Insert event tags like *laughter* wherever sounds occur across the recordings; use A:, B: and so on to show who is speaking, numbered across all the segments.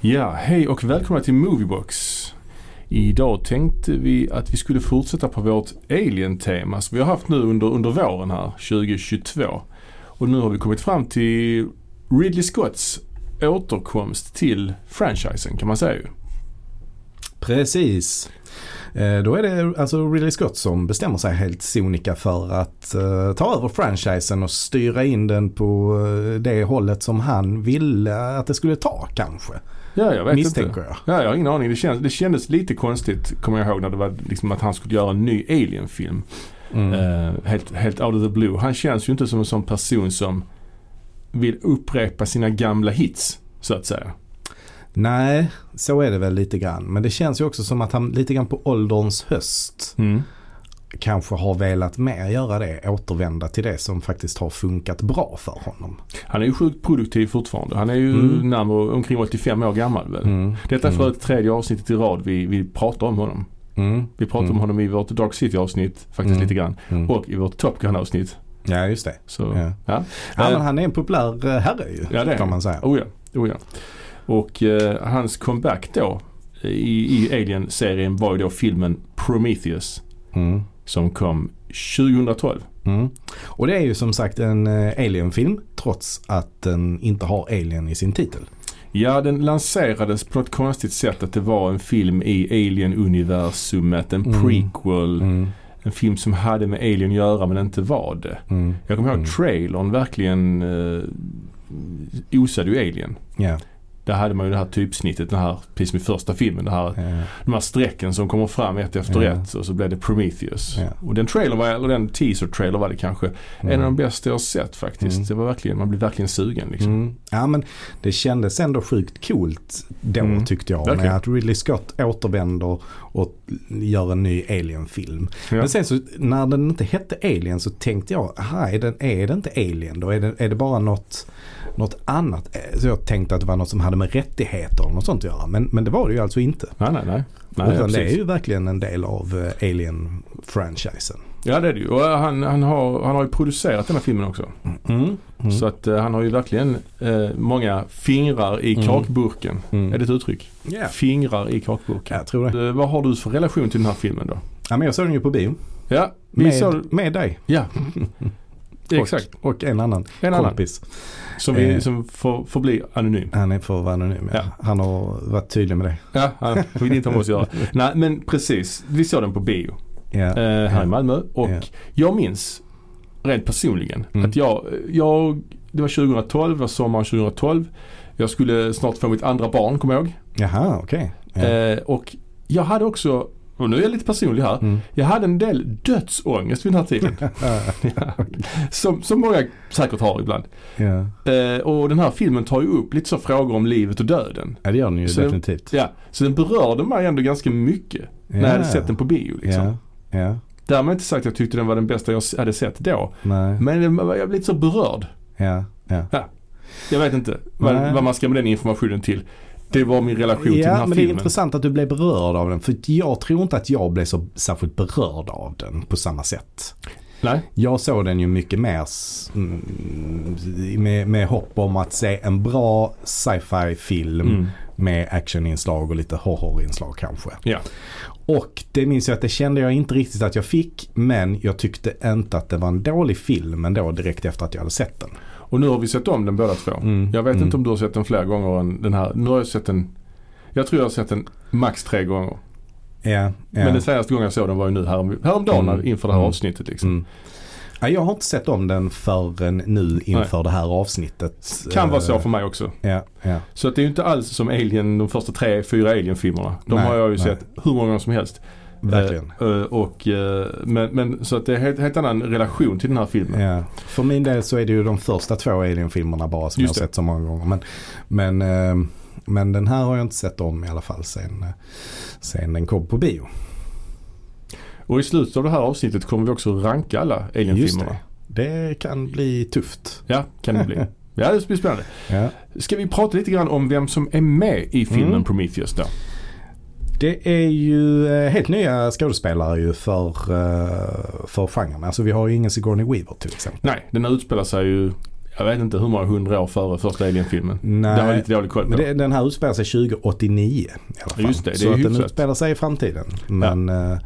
A: Ja, hej och välkomna till Moviebox. Idag tänkte vi att vi skulle fortsätta på vårt alien-tema som vi har haft nu under, under våren här, 2022. Och nu har vi kommit fram till Ridley Scotts återkomst till franchisen kan man säga ju.
B: Precis. Eh, Då är det alltså Ridley Scott som bestämmer sig helt sonika för att eh, ta över franchisen och styra in den på eh, det hållet som han ville att det skulle ta kanske.
A: Ja, jag vet
B: Misstänker
A: inte.
B: jag.
A: Ja, jag har ingen aning. Det, känns, det kändes lite konstigt, kommer jag ihåg, när det var liksom att han skulle göra en ny alien-film.
B: Mm.
A: Eh, helt, helt out of the blue. Han känns ju inte som en sån person som vill upprepa sina gamla hits, så att säga.
B: Nej, så är det väl lite grann. Men det känns ju också som att han lite grann på ålderns höst kanske har velat mer göra det. Återvända till det som faktiskt har funkat bra för honom.
A: Han är ju sjukt produktiv fortfarande. Han är ju
B: Mm.
A: närmare omkring 85 år gammal väl.
B: Mm.
A: Detta är för
B: Mm.
A: övrigt tredje avsnittet i rad vi, vi pratar om honom.
B: Mm.
A: Vi pratar om
B: Mm.
A: honom i vårt Dark City avsnitt faktiskt
B: Mm.
A: lite grann.
B: Mm.
A: Och i vårt Top Gun avsnitt.
B: Ja, just det.
A: Så,
B: Ja.
A: ja.
B: Ja,
A: Eh,
B: men han är en populär eh, herre ju.
A: Ja, det är
B: kan
A: han.
B: man säga.
A: Oh ja, oh ja. Och eh, hans comeback då i, i Alien-serien var ju då filmen Prometheus
B: Mm.
A: som kom 2012.
B: Mm. Och det är ju som sagt en eh, Alien-film trots att den inte har Alien i sin titel.
A: Ja, den lanserades på något konstigt sätt att det var en film i Alien-universumet, en
B: Mm.
A: prequel, en film som hade med Alien att göra men inte var det.
B: Mm.
A: Jag kommer ihåg
B: Mm.
A: trailern verkligen eh, osade ju Alien.
B: Ja,
A: Där hade man ju det här typsnittet, den här, precis som i första filmen, det här,
B: ja,
A: de här strecken som kommer fram ett efter
B: Ja.
A: ett och så blev det Prometheus.
B: Ja.
A: Och den trailern, var, eller den teaser-trailern var det kanske, en av de
B: Mm.
A: bästa jag har sett faktiskt.
B: Mm.
A: Det var verkligen, man blev verkligen sugen liksom.
B: Mm. ja, men det kändes ändå sjukt coolt då
A: Mm.
B: tyckte jag.
A: Verkligen.
B: När att Ridley Scott återvänder och gör en ny Alien-film.
A: Ja.
B: Men sen så när den inte hette Alien så tänkte jag, aha, är, den, är det inte Alien då? Är det, är det bara något, något annat? Eh, Så jag tänkte att det var något som hade med rättigheter och något sånt att göra. Men, men det var det ju alltså inte.
A: Nej, nej, nej. nej
B: Utan det
A: precis.
B: är ju verkligen en del av eh, Alien-franchisen.
A: Ja det är det ju. Och han, han, har, han har ju producerat den här filmen också.
B: Mm.
A: Så att eh, han har ju verkligen eh, många fingrar i
B: Mm.
A: kakburken.
B: Mm.
A: Är det ett uttryck?
B: Ja,
A: Fingrar i kakburken.
B: jag tror det.
A: Eh, vad har du för relation till den här filmen då?
B: Ja, men jag såg den ju på bio.
A: Ja, vi såg...
B: Med, med dig.
A: *laughs* Ja.
B: Och,
A: Exakt.
B: och en annan
A: En annan.
B: kompis.
A: Som, vi,
B: Eh.
A: som får, får bli anonym.
B: Han är för att vara anonym. Ja.
A: Ja.
B: Han har varit tydlig med det.
A: Ja, han vill inte ha med oss att göra.
B: *laughs*
A: Nej men precis. Vi såg den på bio.
B: Ja.
A: eh, här i Malmö. Och
B: Ja.
A: jag minns rent personligen
B: Mm.
A: att jag, jag, det var 2012, det var sommaren 2012. Jag skulle snart få mitt andra barn, kommer jag ihåg.
B: Jaha, okej. Ja.
A: Eh, och jag hade också, och nu är jag lite personlig här,
B: Mm.
A: jag hade en del dödsångest vid den här tiden.
B: *laughs*
A: Ja. som, som många säkert har ibland.
B: ja.
A: Eh, och den här filmen tar ju upp lite så frågor om livet och döden.
B: ja, det gör den ju
A: Så-
B: definitivt.
A: Ja, så den berörde mig ändå ganska mycket när jag hade sett den på bio. Liksom.
B: Ja. ja.
A: Därmed inte sagt att jag tyckte den var den bästa jag hade sett då.
B: Nej.
A: Men jag blev lite så berörd.
B: Ja. Ja.
A: Jag vet inte vad,
B: Nej.
A: vad man ska med den informationen till. Det var min relation till den
B: Ja,
A: här
B: men det är
A: filmen.
B: intressant att du blev berörd av den. För jag tror inte att jag blev så särskilt berörd av den på samma sätt.
A: Nej,
B: Jag såg den ju mycket mer s- mm, med, med hopp om att se en bra sci-fi film
A: Mm.
B: med actioninslag och lite horrorinslag kanske.
A: ja.
B: Och det minns jag att det kände jag inte riktigt att jag fick men jag tyckte inte att det var en dålig film ändå direkt efter att jag hade sett den.
A: Och nu har vi sett om den båda två.
B: Mm.
A: Jag vet
B: Mm.
A: inte om du har sett den fler gånger än den här. Nu har jag sett den. Jag tror jag har sett den max tre gånger.
B: Ja, ja.
A: Men den senaste gången jag såg den var ju nu härom, häromdagen
B: Mm.
A: inför det här
B: Mm.
A: avsnittet. Liksom.
B: Mm. Ja, jag har inte sett om den förrän nu inför det här avsnittet.
A: Kan vara så
B: Eh,
A: för mig också.
B: Ja, ja.
A: Så att det är ju inte alls som Alien, de första tre, fyra Alien-filmerna. De
B: Nej,
A: har jag ju
B: nej.
A: sett hur många gånger som helst.
B: Verkligen.
A: Eh, eh, och, eh, men, men, så att det är en helt, helt annan relation till den här filmen.
B: Ja. För min del så är det ju de första två Alien-filmerna bara som
A: Just
B: jag har
A: det.
B: sett så många gånger. Men, men, eh, men den här har jag inte sett om i alla fall sen, eh, sen den kom på bio.
A: Och i slutet av det här avsnittet kommer vi också ranka alla
B: Just
A: Alien-filmerna.
B: det. Det kan bli tufft.
A: Ja, kan det bli.
B: *laughs*
A: Ja, det blir spännande.
B: Ja.
A: Ska vi prata lite grann om vem som är med i filmen
B: Mm.
A: Prometheus då?
B: Det är ju eh, helt nya skådespelare ju för, eh, för genren. Alltså vi har ju ingen Sigourney Weaver till exempel.
A: Nej, den utspelar sig ju jag vet inte hur många hundra år före första Alien-filmen.
B: Nej.
A: Det har jag lite dålig koll på.
B: Men det, den här utspelar sig 2089 i alla fall.
A: Just det, det
B: så
A: är
B: att den
A: hyfsat.
B: utspelar sig i framtiden. Men eh,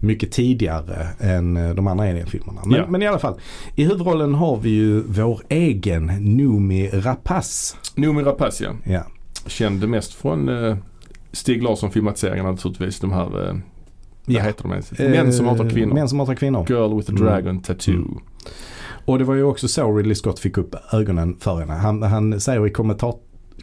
B: mycket tidigare än eh, de andra Alien-filmerna. Men,
A: Ja.
B: men i alla fall, i huvudrollen har vi ju vår egen Noomi Rapace.
A: Noomi Rapace, ja.
B: Ja.
A: Känd mest från eh, Stig Larsson-filmatiseringarna naturligtvis. De här, eh,
B: Ja.
A: vad heter de ens? Män som hatar
B: Eh,
A: kvinnor.
B: Män som hatar kvinnor.
A: Girl with a
B: Mm.
A: dragon tattoo.
B: Mm. Och det var ju också så Ridley Scott fick upp ögonen för henne. Han, han säger i kommentar,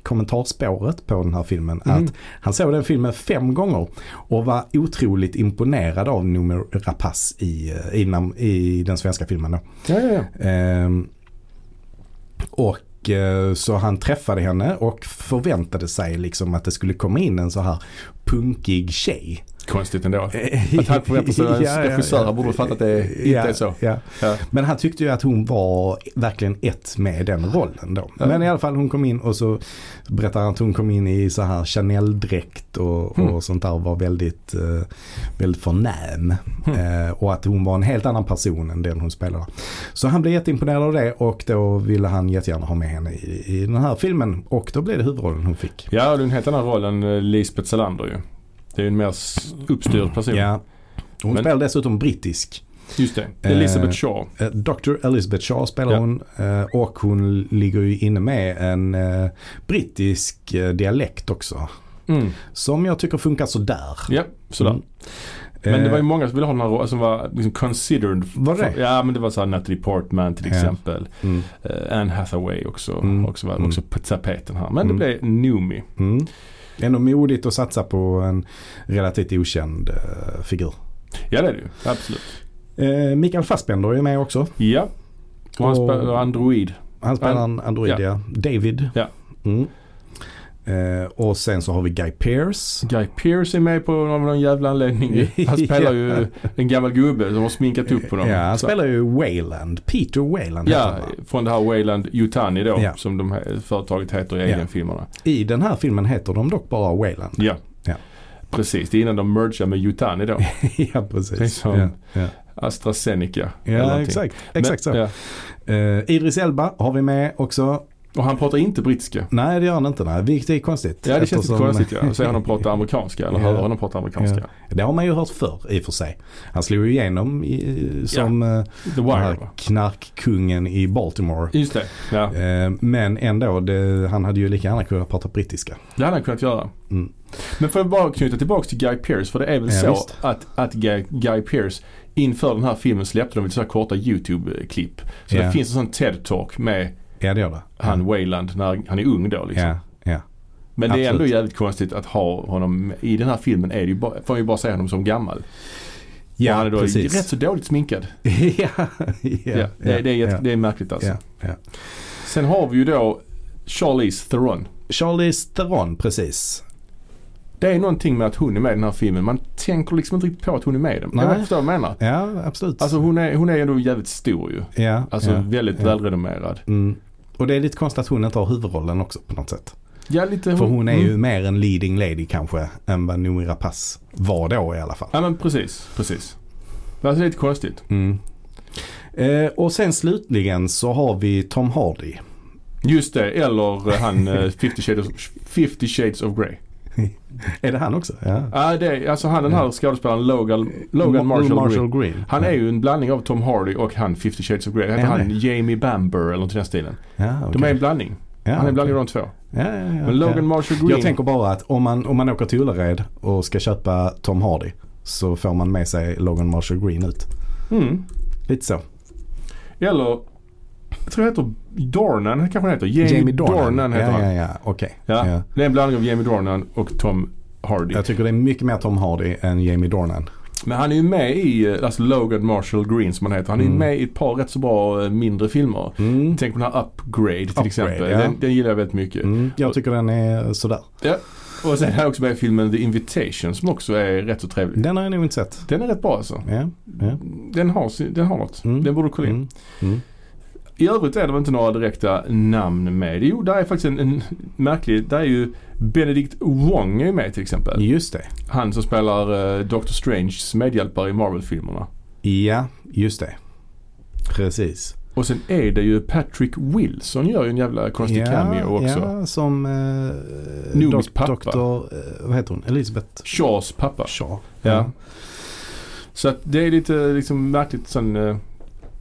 B: kommentarspåret på den här filmen
A: Mm.
B: att han såg den filmen fem gånger och var otroligt imponerad av Noomi Rapace i, eh, i, nam- i den svenska filmen. Då.
A: Ja, ja, ja.
B: Ehm, och eh, så han träffade henne och förväntade sig liksom att det skulle komma in en så här punkig tjej.
A: Konstigt ändå.
B: Eh,
A: Att han förväntar
B: *laughs*
A: sig att en regissör här borde fatta att det inte
B: Ja,
A: är så.
B: ja.
A: Ja.
B: Men han tyckte ju att hon var verkligen ett med den rollen då.
A: Ja.
B: Men i alla fall hon kom in och så berättar han att hon kom in i så här Chanel-dräkt och,
A: Mm.
B: och sånt där och var väldigt, eh, väldigt förnäm.
A: Mm.
B: Eh, och att hon var en helt annan person än den hon spelade. Så han blev jätteimponerad av det och då ville han jättegärna ha med henne i, i den här filmen. Och då blev det huvudrollen hon fick.
A: Ja, det är en helt annan roll än eh, Lisbeth Salander ju. Det är ju en mer s- uppstyrd person.
B: Ja. Hon
A: Men-
B: spelar dessutom brittisk.
A: Just det.
B: Eh,
A: Elizabeth Shaw.
B: Eh, Dr. Elizabeth Shaw spelar
A: Ja.
B: hon eh, och hon ligger ju inne med en eh, brittisk eh, dialekt också.
A: Mm.
B: Som jag tycker funkar sådär.
A: Ja, sådär.
B: Mm.
A: Men det var ju
B: Eh,
A: många som ville ha den här rollen som var liksom considered.
B: Var det?
A: Ja, men det var så här Natalie Portman till
B: Ja.
A: exempel.
B: mm,
A: Eh, Anne Hathaway också,
B: Mm.
A: också var
B: Mm.
A: också på tapeten här. Men
B: Mm.
A: det blev Noomi.
B: mm. Ändå modigt att satsa på en relativt okänd eh, figur.
A: Ja, det är det ju. Absolut.
B: Eh, Mikael Fassbender är med också.
A: Ja. Och han
B: Och-
A: spelar Android.
B: Han spelar en android,
A: ja.
B: ja. David.
A: Ja.
B: Mm. Eh, och sen så har vi Guy Pearce.
A: Guy Pearce är med på av någon jävla
B: *laughs*
A: anledning. ju. *laughs* Han spelar ju en gammal gubbe som har sminkat upp på dem.
B: Ja, han
A: Så-
B: spelar ju Wayland. Peter Wayland heter
A: Ja,
B: han, va?
A: från det här Wayland Yutani då
B: Ja.
A: som de här företaget heter i
B: Ja.
A: Alien-filmerna.
B: I den här filmen heter de dock bara Wayland. *laughs*
A: Ja.
B: Ja.
A: Precis, det är innan de mergar med Yutani då.
B: ja,
A: Det är
B: precis.
A: som-
B: ja, ja.
A: AstraZeneca. eller
B: ja
A: någonting.
B: exakt. exakt så.
A: Men, ja.
B: Eh, Idris Elba har vi med också.
A: Och han pratar inte brittiska.
B: Nej, det gör han inte. Nej. Vilket är konstigt.
A: Ja det känns lite
B: Eftersom-
A: konstigt ja. Att se honom
B: *laughs*
A: prata amerikanska eller
B: Ja.
A: höra honom prata amerikanska.
B: Det har man ju hört förr i och för sig. Han slog ju igenom i, som eh,
A: The
B: den
A: Wire
B: här
A: va?
B: knarkkungen i Baltimore.
A: Just det. Ja.
B: Eh, Men ändå, det, han hade ju lika gärna kunnat prata brittiska.
A: Det hade han kunnat göra.
B: Mm.
A: Men får jag bara knyta tillbaka till Guy Pearce för det är väl
B: Ja,
A: så
B: visst.
A: att, att Guy, Guy Pearce inför den här filmen släppte de lite så här korta YouTube-klipp. Så
B: Ja.
A: det finns en sån TED-talk med
B: Ja, det gör det.
A: han Wayland när han är ung då liksom.
B: Ja, ja.
A: Men det är ändå
B: absolut.
A: jävligt konstigt att ha honom i den här filmen är det ju bara, får man ju bara se honom som gammal.
B: Ja,
A: och han är då
B: precis.
A: rätt så dåligt sminkad.
B: *laughs* ja,
A: Ja, det, det, är jätte, det är märkligt alltså.
B: ja, ja.
A: Sen har vi ju då Charlize Theron.
B: Charlize Theron, precis.
A: Det är någonting med att hon är med i den här filmen. Man tänker liksom inte riktigt på att hon är med i den.
B: Nej.
A: Jag förstår vad jag menar.
B: Ja, absolut.
A: Alltså hon är, hon är ändå jävligt stor ju.
B: ja,
A: Alltså
B: ja.
A: väldigt
B: ja.
A: välrenommerad.
B: Mm. Och det är lite konstigt att hon inte har huvudrollen också på något sätt.
A: Ja, lite
B: För hon är ju
A: Mm.
B: mer en leading lady kanske än vad Noomi Rapace var då i alla fall.
A: Ja men precis, precis. Men Alltså det är lite konstigt.
B: Mm. Eh, och sen slutligen så har vi Tom Hardy.
A: Just det, eller eh, han eh, 50 Shades, 50 Shades of Grey.
B: Är det han också? Ja.
A: Ja, det är, alltså han den här skådespelaren Logan, Logan
B: Mo-
A: Marshall, Green.
B: Green.
A: Han
B: ja.
A: är ju en blandning av Tom Hardy och han 50 Shades of Grey. Heter
B: Är han
A: han Jamie Bamber eller något i den stilen.
B: Ja,
A: De är
B: okej.
A: en blandning.
B: ja,
A: han är en blandning
B: okej.
A: av de två.
B: ja, ja, ja,
A: Men Logan
B: ja.
A: Marshall Green.
B: Jag tänker bara att om man, om man åker till Ullared och ska köpa Tom Hardy så får man med sig Logan Marshall Green ut.
A: Mm.
B: Lite så.
A: Eller, jag tror han heter Dornan, kanske han heter. Jamie, Dornan. heter
B: ja,
A: han.
B: ja, ja. Okej.
A: Ja.
B: Ja.
A: Det är en blandning av Jamie Dornan och Tom Hardy.
B: Jag tycker det är mycket mer Tom Hardy än Jamie Dornan.
A: Men han är ju med i, eh, alltså Logan Marshall Green som han heter. Han är ju
B: Mm.
A: med i ett par rätt så bra eh, mindre filmer.
B: Mm.
A: Tänk på den här Upgrade till
B: Upgrade,
A: exempel.
B: ja.
A: Den, den gillar jag väldigt mycket.
B: Mm. Jag tycker den är sådär.
A: Och sen är han också med i filmen The Invitation som också är rätt så trevlig.
B: Den har jag nog inte sett.
A: Den är rätt bra alltså.
B: Ja. Ja.
A: Den, har, sin- den har något.
B: Mm.
A: Den borde du kolla in.
B: Mm. Mm.
A: I övrigt är det väl inte några direkta namn med. Jo, där är faktiskt en, en märklig. Där är ju Benedict Wong är ju med till exempel.
B: Mm. Just det.
A: Han som spelar eh, Doctor Stranges medhjälpare i Marvel-filmerna.
B: Ja, just det. Precis.
A: Och sen är det ju Patrick Wilson gör ju en jävla konstig cameo också.
B: Ja, som eh,
A: Noomis pappa.
B: doktor, eh, vad heter hon, Elisabeth
A: Shaws pappa.
B: Shaw.
A: Ja. Så att det är lite liksom märkligt sån eh,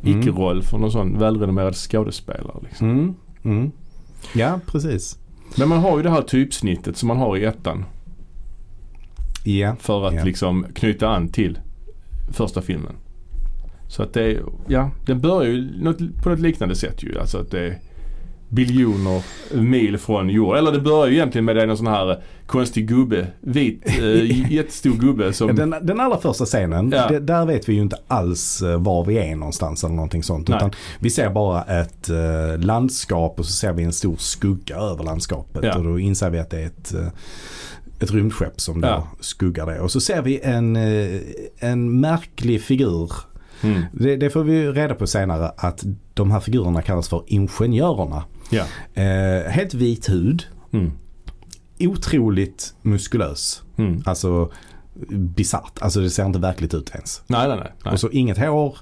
B: Mm.
A: icke-roll för någon sån välrenommerad skådespelare. Liksom.
B: Mm. Mm. Ja, precis.
A: Men man har ju det här typsnittet som man har i ettan
B: Ja.
A: för att
B: Ja.
A: liksom knyta an till första filmen. Så att det är, ja, den börjar ju något, på något liknande sätt ju. Alltså att det är biljoner mil från jord. Eller det börjar ju egentligen med det är någon sån här konstig gubbe,
B: *laughs*
A: vit, eh, jättestor gubbe som...
B: Ja, Den, den allra första scenen,
A: Ja.
B: det, där vet vi ju inte alls eh, var vi är någonstans eller någonting sånt.
A: Nej.
B: Utan vi ser bara ett eh, landskap och så ser vi en stor skugga över landskapet.
A: Ja.
B: Och då inser vi att det är ett, eh, ett rymdskepp som då
A: Ja.
B: skuggar det. Och så ser vi en, eh, en märklig figur.
A: Mm.
B: Det, det får vi ju reda på senare att de här figurerna kallas för ingenjörerna.
A: Ja.
B: Eh, helt vit hud,
A: Mm.
B: otroligt muskulös.
A: Mm.
B: Alltså bisarrt. Alltså det ser inte verkligt ut ens.
A: Nej, nej, nej. nej.
B: Och så inget hår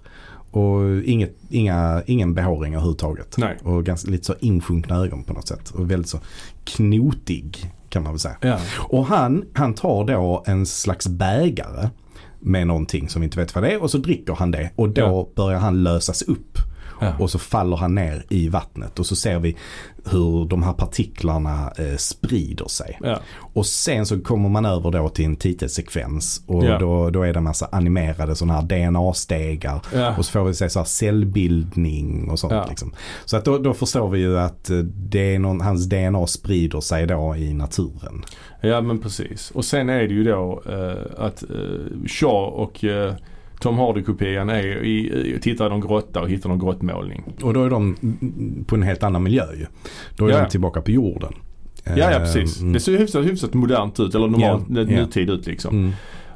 B: och inget, inga, ingen behåring överhuvudtaget.
A: Nej.
B: Och ganska, lite så insjunkna ögon på något sätt. Och väldigt så knotig kan man väl säga.
A: Ja.
B: Och han, han tar då en slags bägare med någonting som vi inte vet vad det är och så dricker han det och då
A: Ja.
B: börjar han lösas upp.
A: Ja.
B: Och så faller han ner i vattnet och så ser vi hur de här partiklarna eh, sprider sig.
A: Ja.
B: Och sen så kommer man över då till en titelsekvens och
A: Ja.
B: då, då är det en massa animerade sådana här DNA-stegar.
A: Ja.
B: Och så får vi se så här cellbildning och sånt.
A: Ja.
B: Liksom. Så att då, då förstår vi ju att eh, det är någon, hans DNA sprider sig då i naturen.
A: Ja men precis. Och sen är det ju då eh, att eh, Shaw och eh, Tom Hardy-kopian är i, i, tittar i någon grotta och hittar någon grottmålning.
B: Och då är de mm, på en helt annan miljö ju. Då är
A: Ja.
B: de tillbaka på jorden.
A: Ja, ja
B: Eh,
A: precis.
B: mm.
A: Det ser ju hyfsat, hyfsat modernt ut, eller normalt
B: Ja,
A: yeah.
B: ja.
A: nutid ut liksom.
B: Mm.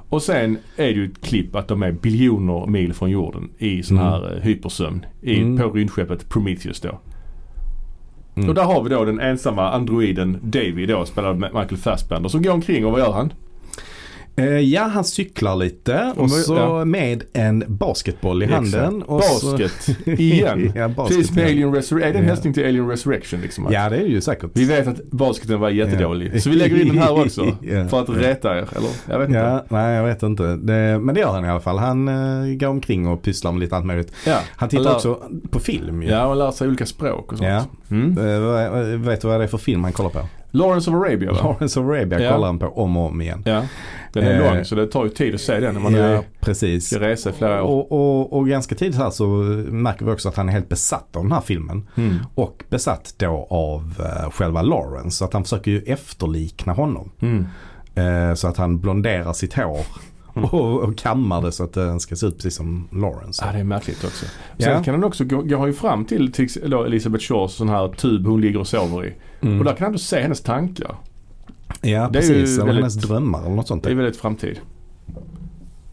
A: Och sen är det ju ett klipp att de är biljoner mil från jorden i sån
B: Mm.
A: här eh, hypersömn. I,
B: Mm.
A: På rymdskeppet Prometheus då.
B: Mm.
A: Och där har vi då den ensamma androiden Davy då, spelad av Michael Fassbender, som går omkring och vad gör han?
B: Eh, ja, han cyklar lite
A: Och
B: och så
A: ja.
B: med en basketboll i handen. Och så-
A: Basket, igen.
B: *laughs* ja,
A: Precis
B: basket.
A: med Alien Resurrection. Är det en
B: Ja.
A: hälsning till Alien Resurrection liksom?
B: Ja, det är det ju säkert.
A: Vi vet att basketen var jättedålig. Så vi lägger in den här också.
B: *laughs* Ja.
A: För att reta er, eller? Jag vet inte.
B: Ja, nej jag vet inte. Det, men det gör han i alla fall. Han eh, går omkring och pysslar med lite allt möjligt.
A: Ja.
B: Han tittar
A: lär-
B: också på film ju.
A: Ja, och lär sig olika språk och sånt.
B: Ja.
A: Mm.
B: Eh, vad- vad- vet du vad det är för film han kollar på?
A: Lawrence of Arabia va?
B: Lawrence of Arabia
A: Ja.
B: kollar han på om och om igen.
A: Ja. Den är
B: Eh.
A: lång så det tar ju tid att se den när man
B: ja,
A: nu
B: precis.
A: ska resa i flera år.
B: Och, och, och ganska tidigt här så märker vi också att han är helt besatt av den här filmen.
A: Mm.
B: Och besatt då av eh, själva Lawrence. Så att han försöker ju efterlikna honom.
A: Mm.
B: Eh, så att han blonderar sitt hår. Och, och kammar det så att den ska se ut precis som Lawrence.
A: Ja, det är märkligt också.
B: Ja.
A: Sen kan han också gå, går han ju fram till, till ex- då Elisabeth Shaws sån här tub hon ligger och sover i.
B: Mm.
A: Och där kan han då se hennes tankar.
B: Ja,
A: Det är ju
B: precis. Eller
A: väldigt-
B: hennes drömmar eller något sånt.
A: Det är väldigt framtid.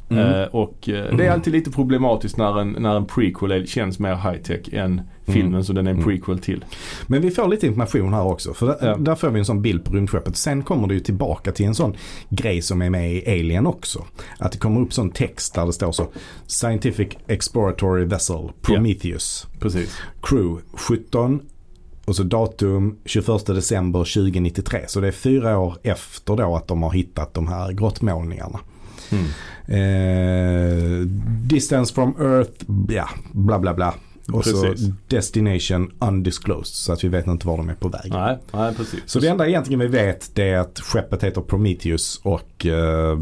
B: Mm.
A: Eh, och eh, det är
B: Mm.
A: alltid lite problematiskt när en, när en prequel är, känns mer high-tech än filmen som den är en prequel till.
B: Men vi får lite information här också. För där,
A: Ja.
B: där får vi en sån bild på rymdskeppet. Sen kommer det ju tillbaka till en sån grej som är med i Alien också. Att det kommer upp sån text där det står så. Scientific Exploratory Vessel Prometheus
A: Precis.
B: Crew 17 och så datum 21 december 2093. Så det är fyra år efter då att de har hittat de här grottmålningarna.
A: Mm.
B: Eh, distance from Earth, ja, bla bla bla. Och
A: Precis.
B: så Destination Undisclosed så att vi vet inte var de är på väg.
A: Nej, nej precis.
B: Så det enda egentligen vi vet det är att skeppet heter Prometheus och eh,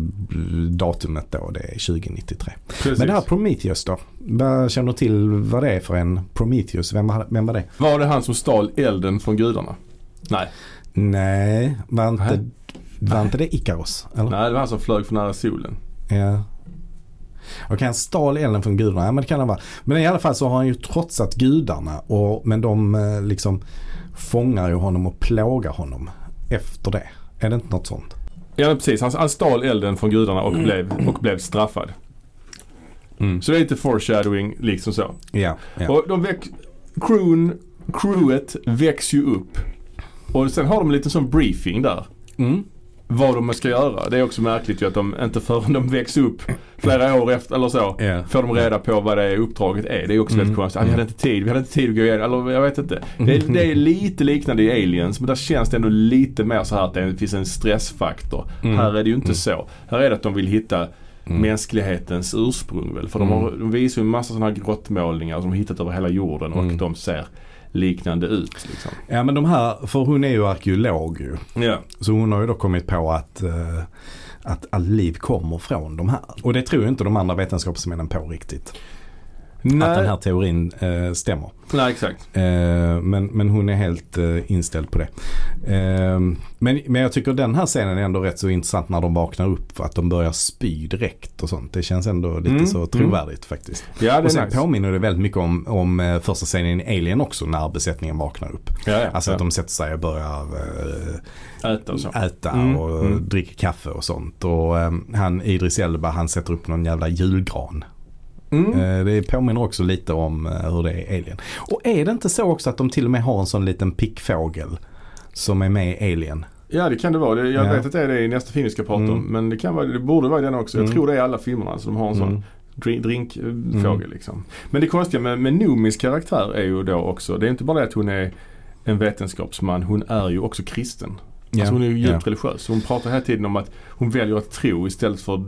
B: datumet då det är 2093.
A: precis.
B: Men det här Prometheus då? Vad känner du till vad det är för en Prometheus? Vem var, vem var det?
A: Var det han som stal elden från gudarna? Nej,
B: Nej, var inte,
A: Nej.
B: Var inte det Ikaros? Eller?
A: nej det var han som flög från nära solen.
B: Ja. Och han stal elden från gudarna, ja, men det kan han vara. Men i alla fall så har han ju trotsat gudarna. Och, men de eh, liksom fångar ju honom och plågar honom efter det. Är det inte något sånt?
A: Ja men precis, han, han stal elden från gudarna och blev, och blev straffad. Så det är lite foreshadowing liksom så.
B: Ja, ja.
A: Och de väck, crewn, crewet väcks ju upp. Och sen har de en liten sån briefing där.
B: Mm.
A: vad de ska göra. Det är också märkligt ju att de inte förrän de väcks upp flera år efter eller så
B: Ja.
A: får de reda på vad det är uppdraget är. Det är också
B: Mm.
A: väldigt konstigt. Ah, vi hade inte tid, vi hade inte tid att gå igenom, eller jag vet inte. Det
B: *laughs*
A: är, det är lite liknande i Aliens men där känns det ändå lite mer så här att det finns en stressfaktor.
B: Mm.
A: Här är det ju inte så. Här är det att de vill hitta mänsklighetens ursprung väl. För
B: Mm.
A: de, har, de visar ju en massa sådana här grottmålningar som de har hittat över hela jorden och
B: Mm.
A: de ser liknande ut. Liksom.
B: Ja men de här, för hon är ju arkeolog ju.
A: Ja.
B: Så hon har ju då kommit på att, eh, att all liv kommer från de här. Och det tror ju inte de andra vetenskapsmännen på riktigt. Att den
A: Nej,
B: här teorin eh, stämmer.
A: nej, exakt.
B: Eh, men, men hon är helt eh, inställd på det. Eh, men, men jag tycker den här scenen är ändå rätt så intressant när de vaknar upp. För att de börjar spy direkt och sånt. Det känns ändå lite
A: Mm,
B: så
A: mm.
B: trovärdigt faktiskt.
A: Ja, det
B: Och
A: är
B: sen
A: nice.
B: påminner det väldigt mycket om, om eh, första scenen i Alien också när besättningen vaknar upp.
A: Ja, ja.
B: Alltså
A: ja.
B: att de sätter sig och börjar eh,
A: äta och så.
B: äta
A: Mm,
B: och
A: mm.
B: dricka kaffe och sånt. Och eh, han Idris Elba han sätter upp någon jävla julgran.
A: Mm.
B: Eh, det påminner också lite om eh, hur det är i Alien. Och är det inte så också att de till och med har en sån liten pickfågel som är med i Alien?
A: Ja det kan det vara. Det- Jag
B: Ja.
A: vet att det är det i nästa film vi ska prata om.
B: Mm.
A: Men det, kan vara, det borde vara i den också. Jag
B: Mm.
A: tror det är i alla filmerna. Alltså, de har en sån
B: Mm.
A: drink- drinkfågel liksom. Men det konstiga med, med Noomis karaktär är ju då också. Det är inte bara det att hon är en vetenskapsman. Hon är ju också kristen. Alltså hon är ju djupt
B: Ja.
A: religiös. Hon pratar hela tiden om att hon väljer att tro istället för,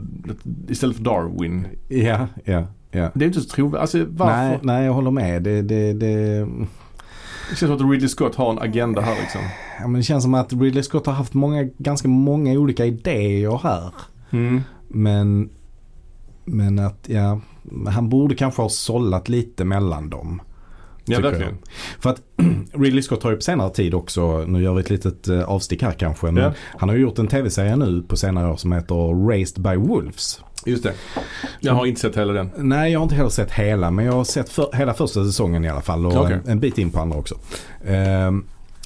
A: istället för Darwin.
B: Ja, ja, ja.
A: Det är ju inte så trovärdigt. Alltså varför?
B: Nej, nej, jag håller med. Det, det, det,
A: Det känns som att Ridley Scott har en agenda här liksom.
B: ja, men det känns som att Ridley Scott har haft många, ganska många olika idéer här.
A: Mm.
B: Men, men att ja, han borde kanske ha sållat lite mellan dem.
A: Ja
B: Tycker jag.
A: verkligen.
B: För att Ridley Scott har ju på senare tid också, nu gör vi ett litet eh, avstick här kanske, men
A: Ja.
B: han har ju gjort en tv-serie nu på senare år som heter Raised by Wolves.
A: Just det. Jag har inte sett hela den.
B: Nej, jag har inte heller sett hela, men jag har sett för, hela första säsongen i alla fall och
A: Okej.
B: en, en bit in på andra också. Ehm,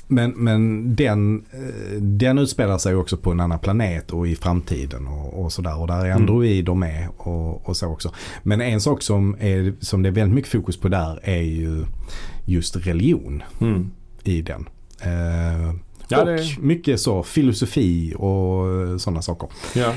B: men men den, eh, den utspelar sig ju också på en annan planet och i framtiden och, och sådär. Och där är
A: Mm.
B: androider med och, och så också. Men en sak som, är, som det är väldigt mycket fokus på där är ju just religion
A: Mm.
B: i den. Eh,
A: Ja,
B: och
A: det-
B: mycket så filosofi och eh, sådana saker.
A: Ja.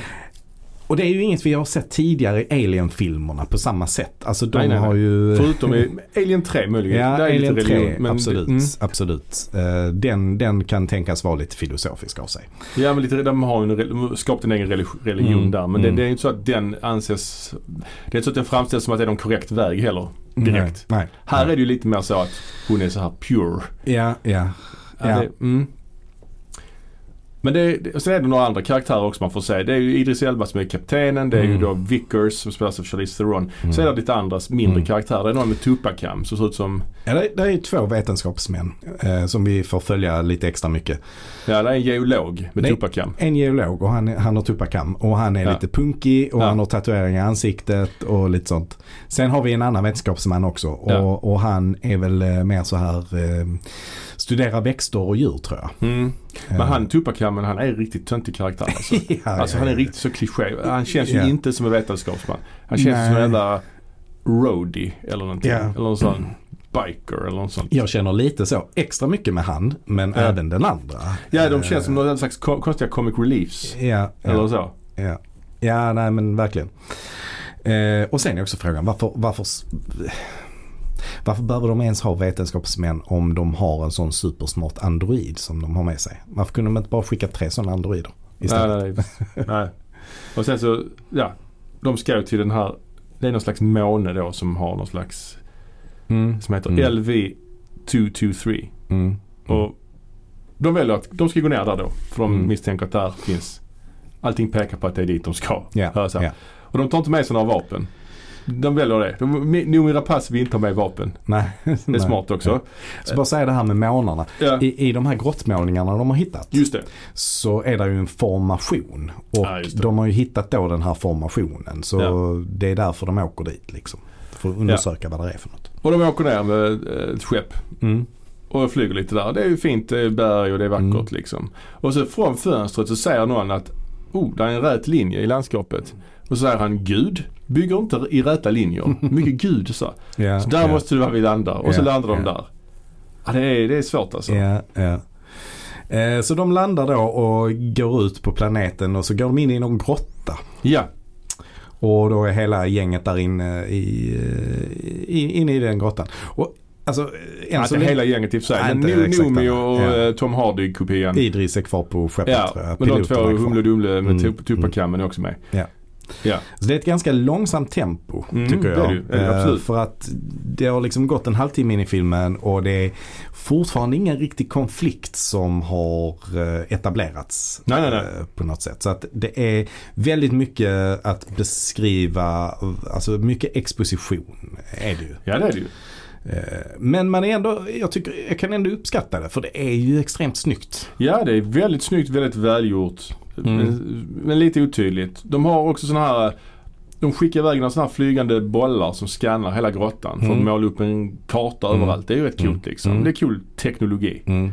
B: Och det är ju inget vi har sett tidigare i Alien-filmerna på samma sätt. Alltså de
A: Nej, nej,
B: har
A: nej.
B: ju...
A: Förutom i Alien 3 möjligen.
B: *laughs* Ja,
A: Där är
B: Alien 3,
A: lite religion, men
B: absolut.
A: Det, mm,
B: absolut. Eh, Den, den kan tänkas vara lite filosofisk av sig.
A: ja, men lite, de har ju en, re- de har skapat en egen religi- religion
B: Mm,
A: där. Men det,
B: mm.
A: det är ju inte så att den anses... Det är inte så att den framställs som att det är någon korrekt väg heller. Mm. Direkt.
B: Nej. nej.
A: Här är det ju lite mer så att hon är så här pure.
B: Ja, ja.
A: Ja.
B: Ja.
A: Det, mm. Men det, det, och sen är det några andra karaktärer också man får se. Det är ju Idris Elba som är kaptenen. Det är ju
B: Mm.
A: då Vickers som spelas av Charlize Theron.
B: Mm.
A: Så är det lite andra mindre
B: Mm.
A: karaktärer. Det är någon med tuppakam som ser ut som...
B: ja det, det är ju två vetenskapsmän eh, som vi får följa lite extra mycket.
A: Ja, det är en geolog med
B: Nej.
A: tuppakam.
B: En geolog och han, han har tuppakam och han är
A: Ja.
B: lite punkig och
A: Ja.
B: han har tatueringar i ansiktet och lite sånt. Sen har vi en annan vetenskapsman också och,
A: Ja.
B: och han är väl eh, mer så här eh, studerar växter och djur tror jag.
A: Mm. Men
B: Eh,
A: han Tupacamen han är en riktigt töntig karaktär alltså.
B: *laughs* ja,
A: Alltså
B: ja,
A: han är
B: ja.
A: riktigt så kliché. Han känns ju
B: Ja.
A: inte som en vetenskapsman. Han känns
B: Nej.
A: som en jävla roadie eller någonting.
B: Ja.
A: Eller någon sån biker eller något sånt.
B: Jag känner lite så extra mycket med han men
A: Ja.
B: även den andra.
A: Ja de
B: Eh,
A: känns som någon slags ko- konstiga comic reliefs.
B: Ja,
A: Eller
B: ja,
A: så.
B: ja. ja nej men verkligen. Eh, och sen är också frågan varför, varför, s- varför behöver de ens ha vetenskapsmän om de har en sån supersmart android som de har med sig? Varför kunde de inte bara skicka tre sådana androider istället?
A: Nej, nej, nej. nej. Och sen så, ja. De ska ju till den här, det är någon slags måne då som har någon slags,
B: Mm.
A: som heter
B: Mm.
A: LV223.
B: Mm. Mm.
A: Och de väljer att de ska gå ner där då. För de
B: Mm.
A: misstänker att där finns allting pekar på att det är dit de ska.
B: Ja,
A: Hör så här.
B: ja.
A: Och de tar inte med sig några vapen. De väljer det. De- Mi- Noomi Rapace vill inte ha med vapen.
B: Nej.
A: Det är smart också.
B: Så bara säga det här med månarna.
A: Ja,
B: I, I de här grottmålningarna de har hittat
A: just det.
B: så är det ju en formation. Och
A: Ja, just det.
B: de har ju hittat då den här formationen. Så
A: Ja.
B: det är därför de åker dit liksom. För att undersöka vad det är för något.
A: Och de åker ner med eh, ett skepp
B: Mm.
A: och flyger lite där. Det är ju fint. Det är berg och det är vackert
B: Mm.
A: liksom. Och så från fönstret så säger någon att oh, där är en rät linje i landskapet. Och så säger han Gud bygger inte i räta linjer. Mycket Gud så.
B: Ja,
A: Så där måste det vara vi landar. Och så
B: Ja,
A: landar de
B: ja.
A: där. Ja, det, är, det är svårt alltså.
B: Ja, ja. Eh, Så de landar då och går ut på planeten och så går de in i någon grotta.
A: Ja,
B: Och då är hela gänget där inne i, eh, i, inne i den grottan. Och alltså, än så
A: inte
B: länge,
A: hela gänget i och för sig.
B: Nej,
A: Men
B: inte
A: Nu-
B: exakt
A: Noomi
B: alla.
A: och
B: Ja.
A: eh, Tom Hardy-kopian.
B: Idris är kvar på skeppet
A: Ja,
B: tror jag.
A: men de två,
B: Piloterna är kvar.
A: Humle och Dumle med
B: Mm,
A: mm. Tupacamen är också med.
B: Så det är ett ganska långsamt tempo
A: Mm,
B: tycker
A: det är
B: jag.
A: det ju. Ja,
B: Eh,
A: absolut.
B: För att det har liksom gått en halvtimme in i filmen och det är fortfarande ingen riktig konflikt som har eh, etablerats.
A: Nej, nej, nej.
B: eh, På något sätt. Så att det är väldigt mycket att beskriva, alltså mycket exposition är det ju.
A: Ja, det är det ju.
B: Eh, Men man är ändå, jag, tycker, jag kan ändå uppskatta det för det är ju extremt snyggt.
A: Ja, det är väldigt snyggt, väldigt välgjort.
B: Mm.
A: Men, men lite otydligt. De har också sådana här de skickar iväg några sådana här flygande bollar som skannar hela grottan för att
B: Mm.
A: måla upp en karta
B: Mm.
A: överallt. Det är ju rätt
B: Mm.
A: coolt liksom.
B: Mm.
A: Det är cool teknologi.
B: *laughs* Mm.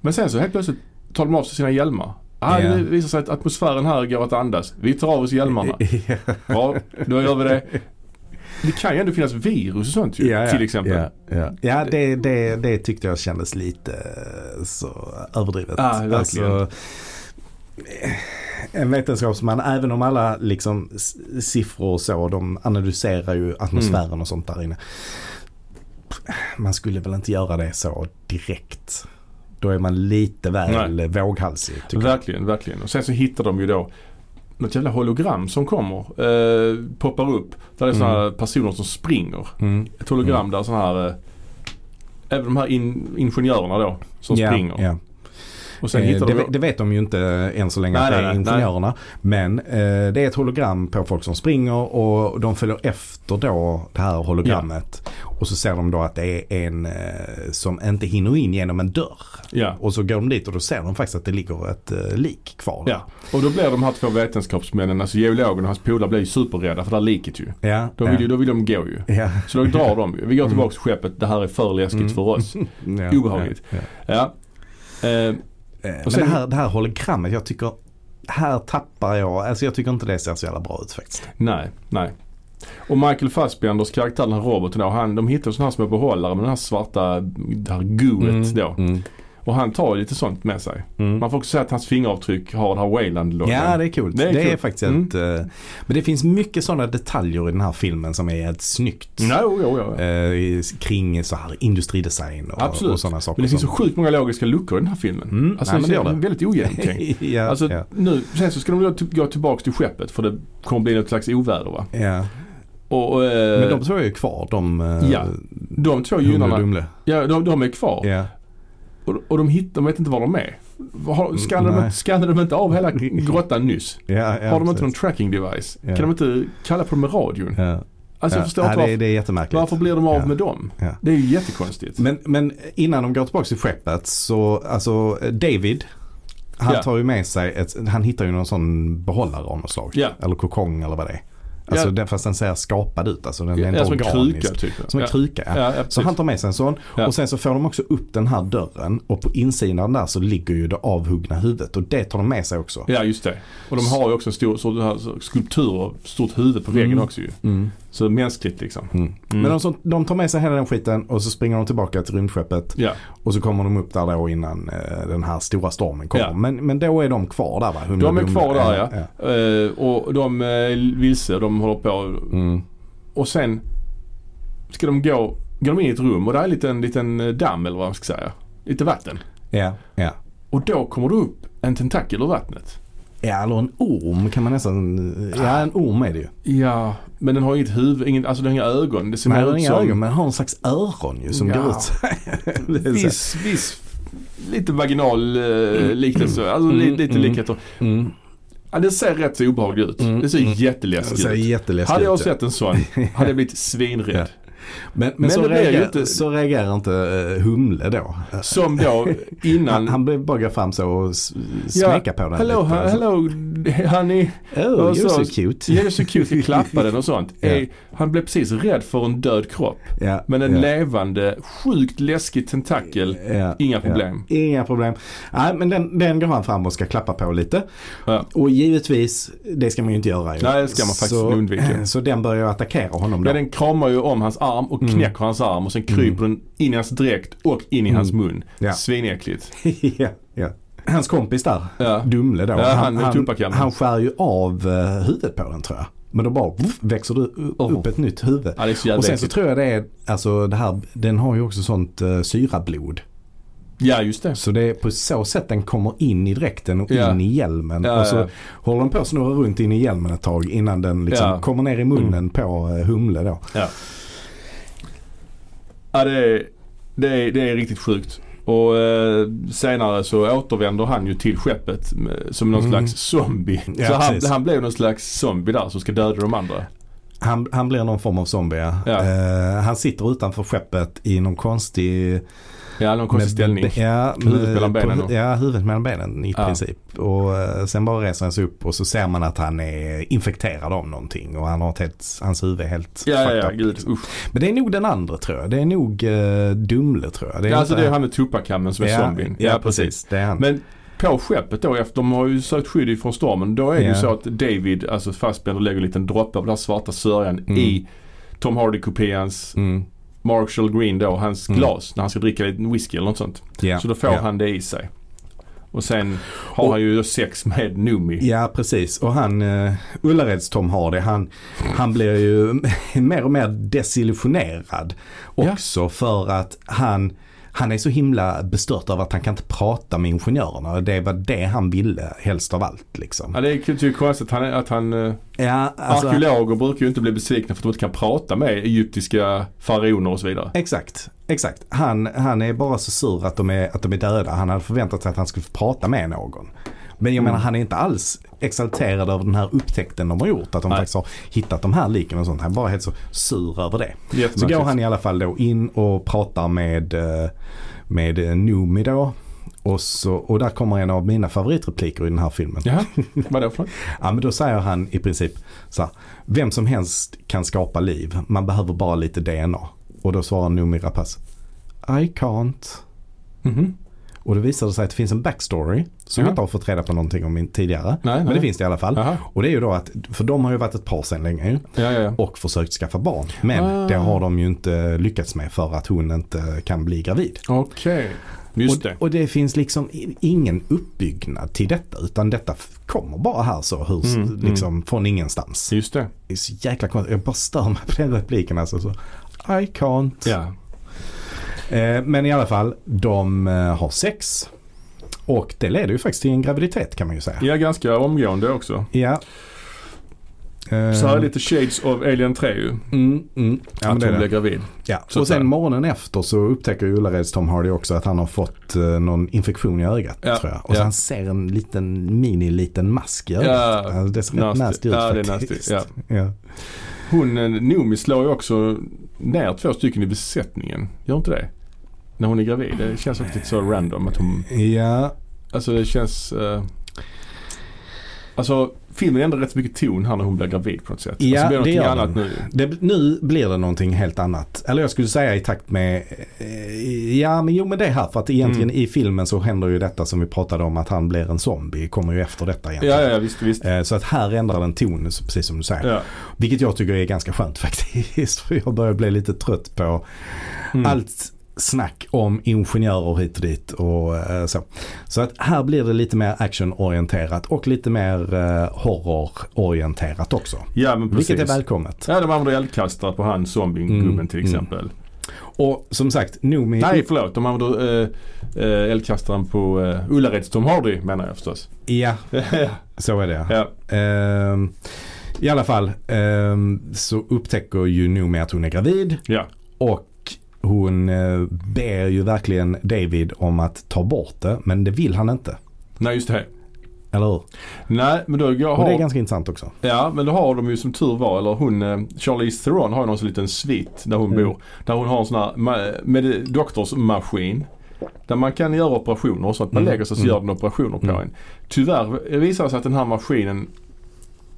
A: Men sen så helt plötsligt tar de av sig sina hjälmar. Ah,
B: Ja.
A: Det visar sig att atmosfären här går att andas. Vi tar av oss hjälmarna. Ja, då gör vi det. Det kan ju ändå finnas virus och sånt ju. till exempel.
B: Ja, ja. ja det, det, det tyckte jag kändes lite eh, så överdrivet. Alltså,
A: Ja, verkligen.
B: eh, en vetenskapsman, även om alla liksom s- siffror och så, de analyserar ju atmosfären
A: Mm.
B: och sånt där inne. Man skulle väl inte göra det så direkt. Då är man lite väl våghalsig. Tycker jag.
A: Verkligen, verkligen. Och sen så hittar de ju då något jävla hologram som kommer. Eh, poppar upp. Där det är sådana här personer som springer.
B: Mm.
A: Ett hologram där sådana här eh, Även de här in, ingenjörerna då som
B: Ja,
A: springer.
B: ja.
A: Och sen
B: Eh,
A: hittar
B: det,
A: de...
B: ve- det vet de ju inte än så länge
A: Nej,
B: att det
A: nej,
B: är
A: nej,
B: ingenjörerna. Men eh, det är ett hologram på folk som springer och de följer efter då det här hologrammet. Och så ser de då att det är en eh, som inte hinner in genom en dörr.
A: ja.
B: Och så går de dit och då ser de faktiskt att det ligger ett eh, lik kvar. där.
A: ja. Och då blir de här två vetenskapsmännen, alltså geologen och hans polare blir ju superrädda för det här liket ju.
B: ja. Mm.
A: Då vill, ju- då vill de gå ju. *laughs*
B: ja.
A: Så då drar de ju. Vi går tillbaka till skeppet. Det här är för läskigt för oss.
B: ja.
A: Obehagligt.
B: Ja.
A: Ja. Eh,
B: Ja. Eh,
A: Och
B: Men
A: sen-
B: det, här, det här hologrammet, jag tycker här tappar jag, alltså jag tycker inte det ser så jävla bra ut faktiskt.
A: Nej, nej. Och Michael Fassbenders karaktär, den här roboten då, han, de hittar sådana här små behållare med den här svarta, det här gooet då.
B: Mm.
A: Och han tar ju lite sånt med sig.
B: Mm.
A: Man får också säga att hans fingeravtryck har det här Wayland-loggan.
B: Ja det är coolt.
A: Det
B: Det
A: är
B: är,
A: coolt.
B: faktiskt
A: Mm.
B: ett, eh, Men det finns mycket sådana detaljer i den här filmen som är helt snyggt.
A: Nej, jo, jo, jo.
B: Eh, i- kring så här industridesign och,
A: Absolut.
B: och sådana
A: Men
B: saker.
A: det finns så
B: som-
A: sjukt många logiska luckor i den här filmen.
B: Mm,
A: Alltså,
B: nej, men
A: det
B: det
A: är
B: gör det.
A: väldigt
B: *laughs*
A: ogenomtänkt.
B: ja,
A: Alltså,
B: ja,
A: nu, sen så ska de då t- gå tillbaka till skeppet för det kommer bli något slags oväder va.
B: ja.
A: Och, och, eh,
B: Men de två är ju kvar, de eh,
A: ja, de två
B: Humle och
A: gynnarna,
B: Dumle.
A: ja, de, de är kvar.
B: Ja.
A: Och, och de, hittar, de vet inte var de är. Har- Skannade de,
B: nej.
A: skannade de inte av hela grottan nyss?
B: Ja, ja,
A: Har de inte någon
B: precis.
A: tracking device?
B: Ja.
A: Kan de inte kalla på dem med radion?
B: Ja.
A: Alltså jag
B: ja.
A: förstår
B: ja,
A: inte
B: det, är-
A: varför,
B: det är jättemärkligt.
A: varför blir de av
B: Ja.
A: med dem?
B: Ja.
A: Det är ju jättekonstigt.
B: Men, men innan de går tillbaka till skeppet så, alltså eh, David, han
A: Ja.
B: tar ju med sig, ett, han hittar ju någon sån behållare av något slag.
A: Ja.
B: Eller kokong eller vad det är. Alltså
A: Ja.
B: den, fast den ser skapad ut, alltså den
A: Ja,
B: är inte
A: som en
B: organisk.
A: kruka typ.
B: Som en
A: ja.
B: kruka, ja.
A: Ja, ja,
B: Så
A: precis.
B: han tar med sig en sån
A: Ja.
B: och sen så får de också upp den här dörren och på insidan där så ligger ju det avhuggna huvudet och det tar de med sig också.
A: ja, just det. Och de har ju också en stor så, här, så, skulptur av stort huvud på väggen
B: Mm.
A: också ju.
B: Mm.
A: Så mänskligt liksom.
B: Mm.
A: Mm.
B: Men de, som, de tar med sig hela den skiten och så springer de tillbaka till rymdskeppet
A: Ja,
B: och så kommer de upp där då innan eh, den här stora stormen kommer.
A: Ja.
B: Men, men då är de kvar där va? Humle
A: De är
B: Bumle.
A: kvar där, ja. Eh, och de är vilse, de håller på.
B: Mm.
A: Och sen ska de gå, går de in i ett rum och där är en liten, liten eh, damm eller vad man ska säga. Lite vatten.
B: Ja, ja.
A: Och då kommer det upp en tentakel ur vattnet.
B: Ja, eller en orm kan man nästan... Ja, en orm är det ju.
A: Ja. Men den har inget huvud, ingen, alltså den har inga ögon. Det ser
B: Men den
A: mer
B: har
A: ut
B: inga
A: som...
B: ögon, men den har en slags öron ju som
A: Ja.
B: går ut. *laughs* Det är så-
A: Viss, viss, lite vaginal eh, liknelse. Alltså li,
B: Mm,
A: lite
B: mm.
A: likheter.
B: Mm.
A: Ja, den ser rätt så obehaglig ut.
B: Mm,
A: Det ser
B: mm. Det
A: jätteläskigt
B: ser
A: ut.
B: jätteläskigt
A: Hade jag
B: ut.
A: sett en sån hade
B: *laughs*
A: jag blivit svinrädd.
B: Men, men,
A: Men
B: så,
A: det blir ju
B: reagerar,
A: inte-
B: så reagerar inte eh, Humle då.
A: Som då
B: *laughs* Han,
A: innan...
B: han blev bara gå fram så och s-
A: Ja,
B: smeka på den
A: Hello,
B: lite. alltså.
A: ha- hello honey.
B: Oh,
A: Och
B: you're
A: så-
B: so cute.
A: Ja, det är så kul.
B: *laughs*
A: Vi klappade den och sånt.
B: Ja.
A: Eh, Han blev precis rädd för en död kropp.
B: Ja,
A: Men en
B: ja,
A: levande, sjukt läskig tentakel.
B: ja,
A: Inga
B: Eh, ja.
A: problem.
B: Inga problem. Nej, men den, den går han fram och ska klappa på lite.
A: Ja.
B: Och givetvis, det ska man ju inte göra. Ju.
A: Nej, det ska man faktiskt
B: så,
A: undvika.
B: *clears throat* Så den börjar attackera honom då.
A: Ja, den kramar ju om hans arm och
B: Mm.
A: knäcker hans arm och sen kryper den in i hans dräkt och in i hans mun.
B: Mm. Ja.
A: Svinäckligt.
B: *laughs* ja, ja. hans kompis där,
A: Ja.
B: Dumle då.
A: Ja, han med
B: han,
A: Tupac-hjälmen.
B: han skär ju av eh, huvudet på den tror jag. Men då bara vuff, växer det u-
A: Oh.
B: upp ett nytt huvud.
A: Ja, det är så jävla
B: Och sen så
A: äckligt.
B: tror jag det är, alltså det här, den har ju också sånt eh, syrablod.
A: Ja, just det.
B: Så det är på så sätt den kommer in i dräkten och
A: Ja.
B: in i hjälmen.
A: Ja,
B: och så
A: ja.
B: håller den på att snurra runt in i hjälmen ett tag innan den liksom
A: Ja.
B: kommer ner i munnen på eh, Humle då.
A: Ja. Ja, det är, det är, det är riktigt sjukt. Och eh, senare så återvänder han ju till skeppet eh, som någon
B: Mm.
A: slags zombie.
B: Ja,
A: så han,
B: precis.
A: han blev någon slags zombie där som ska döda de andra.
B: Han, han blir någon form av zombie ja.
A: Ja.
B: Eh, Han sitter utanför skeppet i någon konstig...
A: Ja, någon konstig ställning.
B: Ja,
A: Huvudet
B: med-
A: mellan
B: på-
A: benen då.
B: Ja, huvudet mellan benen i
A: Ja.
B: princip. Och eh, sen bara reser han sig upp och så ser man att han är infekterad av någonting. Och han har ett helt, hans huvud är helt
A: Ja, ja, ja,
B: fucked up. liksom.
A: gud. Usch.
B: Men det är nog den andra tror jag. Det är nog eh, Dumle tror jag. Det är
A: Ja, alltså
B: inte-
A: det är han med Tupac-kammen som är zombien.
B: Ja, precis. Det är han.
A: Men på skeppet då, efter de har ju sökt skydd ifrån stormen, då är det ju
B: Ja.
A: så att David, alltså Fassbender, lägger en liten droppe av den här svarta sörjan
B: Mm.
A: i Tom Hardy-kopians
B: Mm.
A: Marshall Green då, hans
B: Mm.
A: glas när han ska dricka lite whisky eller något sånt.
B: Ja.
A: Så då får
B: ja.
A: han det i sig. Och sen har
B: Och-
A: han ju då sex med Numi.
B: Ja, precis. Och han, uh, Ullareds Tom Hardy, han, han blir ju *laughs* mer och mer desillusionerad
A: Ja.
B: också för att han, han är så himla bestört över att han kan inte prata med ingenjörerna. Och det var det han ville helst av allt liksom.
A: Ja, det är ju det är ju konstigt att han, att han eh,
B: Ja, alltså,
A: arkeologer brukar ju inte bli besvikna för att de inte kan prata med egyptiska faraoner och så vidare.
B: Exakt, exakt. Han, han är bara så sur att de är, att de är döda. Han hade förväntat sig att han skulle få prata med någon. Men jag menar han är inte alls exalterad över den här upptäckten de har gjort. Att de
A: Nej.
B: faktiskt har hittat de här liken och sånt. Han är bara helt så sur över det. Så
A: Jättemärkligt.
B: går han i alla fall då in och pratar med, eh, med eh, Noomi då. Och, så, och där kommer en av mina favoritrepliker i den här filmen.
A: Jaha, vadå för något?
B: Ja men då säger han i princip så här, Vem som helst kan skapa liv. Man behöver bara lite DNA. Och då svarar Noomi Rapace. I can't.
A: Mhm.
B: Och då visar det sig att det finns en backstory som
A: Ja.
B: vi inte har fått reda på någonting om in- tidigare.
A: Nej,
B: men
A: nej.
B: det finns det i alla fall.
A: Jaha.
B: Och det är ju då att, för de har ju varit ett par sedan länge ju,
A: Ja, ja, ja.
B: och försökt skaffa barn. Men
A: Ah.
B: det har de ju inte lyckats med för att hon inte kan bli gravid.
A: Okej, just
B: och,
A: det.
B: och det finns liksom i- ingen uppbyggnad till detta utan detta f- kommer bara här så hur,
A: Mm,
B: liksom, från ingenstans.
A: Just det.
B: Det är så jäkla konstigt. Jag bara stör mig på den repliken alltså. Så. I can't.
A: Ja.
B: Eh, men i alla fall, de eh, har sex. Och det leder ju faktiskt till en graviditet kan man ju säga.
A: ja, ganska omgående också.
B: Ja.
A: Så här är
B: Eh,
A: lite shades of Alien 3 ju.
B: Mm, mm. Ja, men
A: Att
B: det är
A: hon
B: det.
A: blir gravid.
B: Ja.
A: Så
B: och sen
A: där.
B: morgonen efter så upptäcker ju Ullareds Tom Hardy också att han har fått eh, någon infektion i ögat
A: Ja,
B: tror jag. Och
A: ja.
B: så han ser en liten mini-liten mask i ögat.
A: Ja,
B: Alltså, det ser rätt
A: nasty.
B: nasty ut
A: Ja, det är
B: faktiskt.
A: nasty,
B: Ja.
A: Hon, eh, Noomi slår ju också ner två stycken i besättningen. Gör inte det? När hon är gravid. Det känns också lite så random att hon...
B: ja,
A: Alltså det känns... Eh, alltså filmen ändrar rätt så mycket ton här när hon blir gravid på något sätt.
B: Ja,
A: alltså, blir
B: det
A: någonting
B: gör
A: annat
B: den.
A: nu.
B: det, nu blir det någonting helt annat. Eller jag skulle säga i takt med, eh, ja men jo men det här för att egentligen
A: Mm.
B: i filmen så händer ju detta som vi pratade om att han blir en zombie, kommer ju efter detta egentligen.
A: Ja, ja, visst, visst.
B: Eh, Så att här ändrar den tonen så- precis som du säger.
A: Ja.
B: Vilket jag tycker är ganska skönt *laughs* faktiskt. För jag börjar bli lite trött på
A: Mm.
B: allt snack om ingenjörer hit och dit och eh, så. Så att här blir det lite mer actionorienterat och lite mer eh, horrororienterat också.
A: ja, men precis.
B: Vilket är välkommet.
A: Ja, de använder eldkastare på han zombiegubben
B: Mm,
A: till
B: mm.
A: exempel.
B: Och som sagt, Noomi...
A: Nej, förlåt. De använder eh, eh, eldkastaren på eh, Ullareds Tom Hardy menar jag förstås. *laughs*
B: Ja, så är det. ja.
A: ja.
B: Ehm, I alla fall ehm, så upptäcker ju Noomi att hon är gravid.
A: ja.
B: Och hon eh, ber ju verkligen David om att ta bort det, men det vill han inte.
A: Nej, just det.
B: Eller hur?
A: Nej, men då jag
B: Och
A: har,
B: det är ganska intressant också.
A: ja, men då har de ju som tur var, eller hon, eh, Charlize Theron har ju någon sån liten svit där hon
B: Mm.
A: bor. Där hon har en sån här ma- med doktorsmaskin. Där man kan göra operationer så att man
B: Mm.
A: lägger sig så
B: Mm.
A: gör den operationer på
B: Mm.
A: en. Tyvärr visar det sig att den här maskinen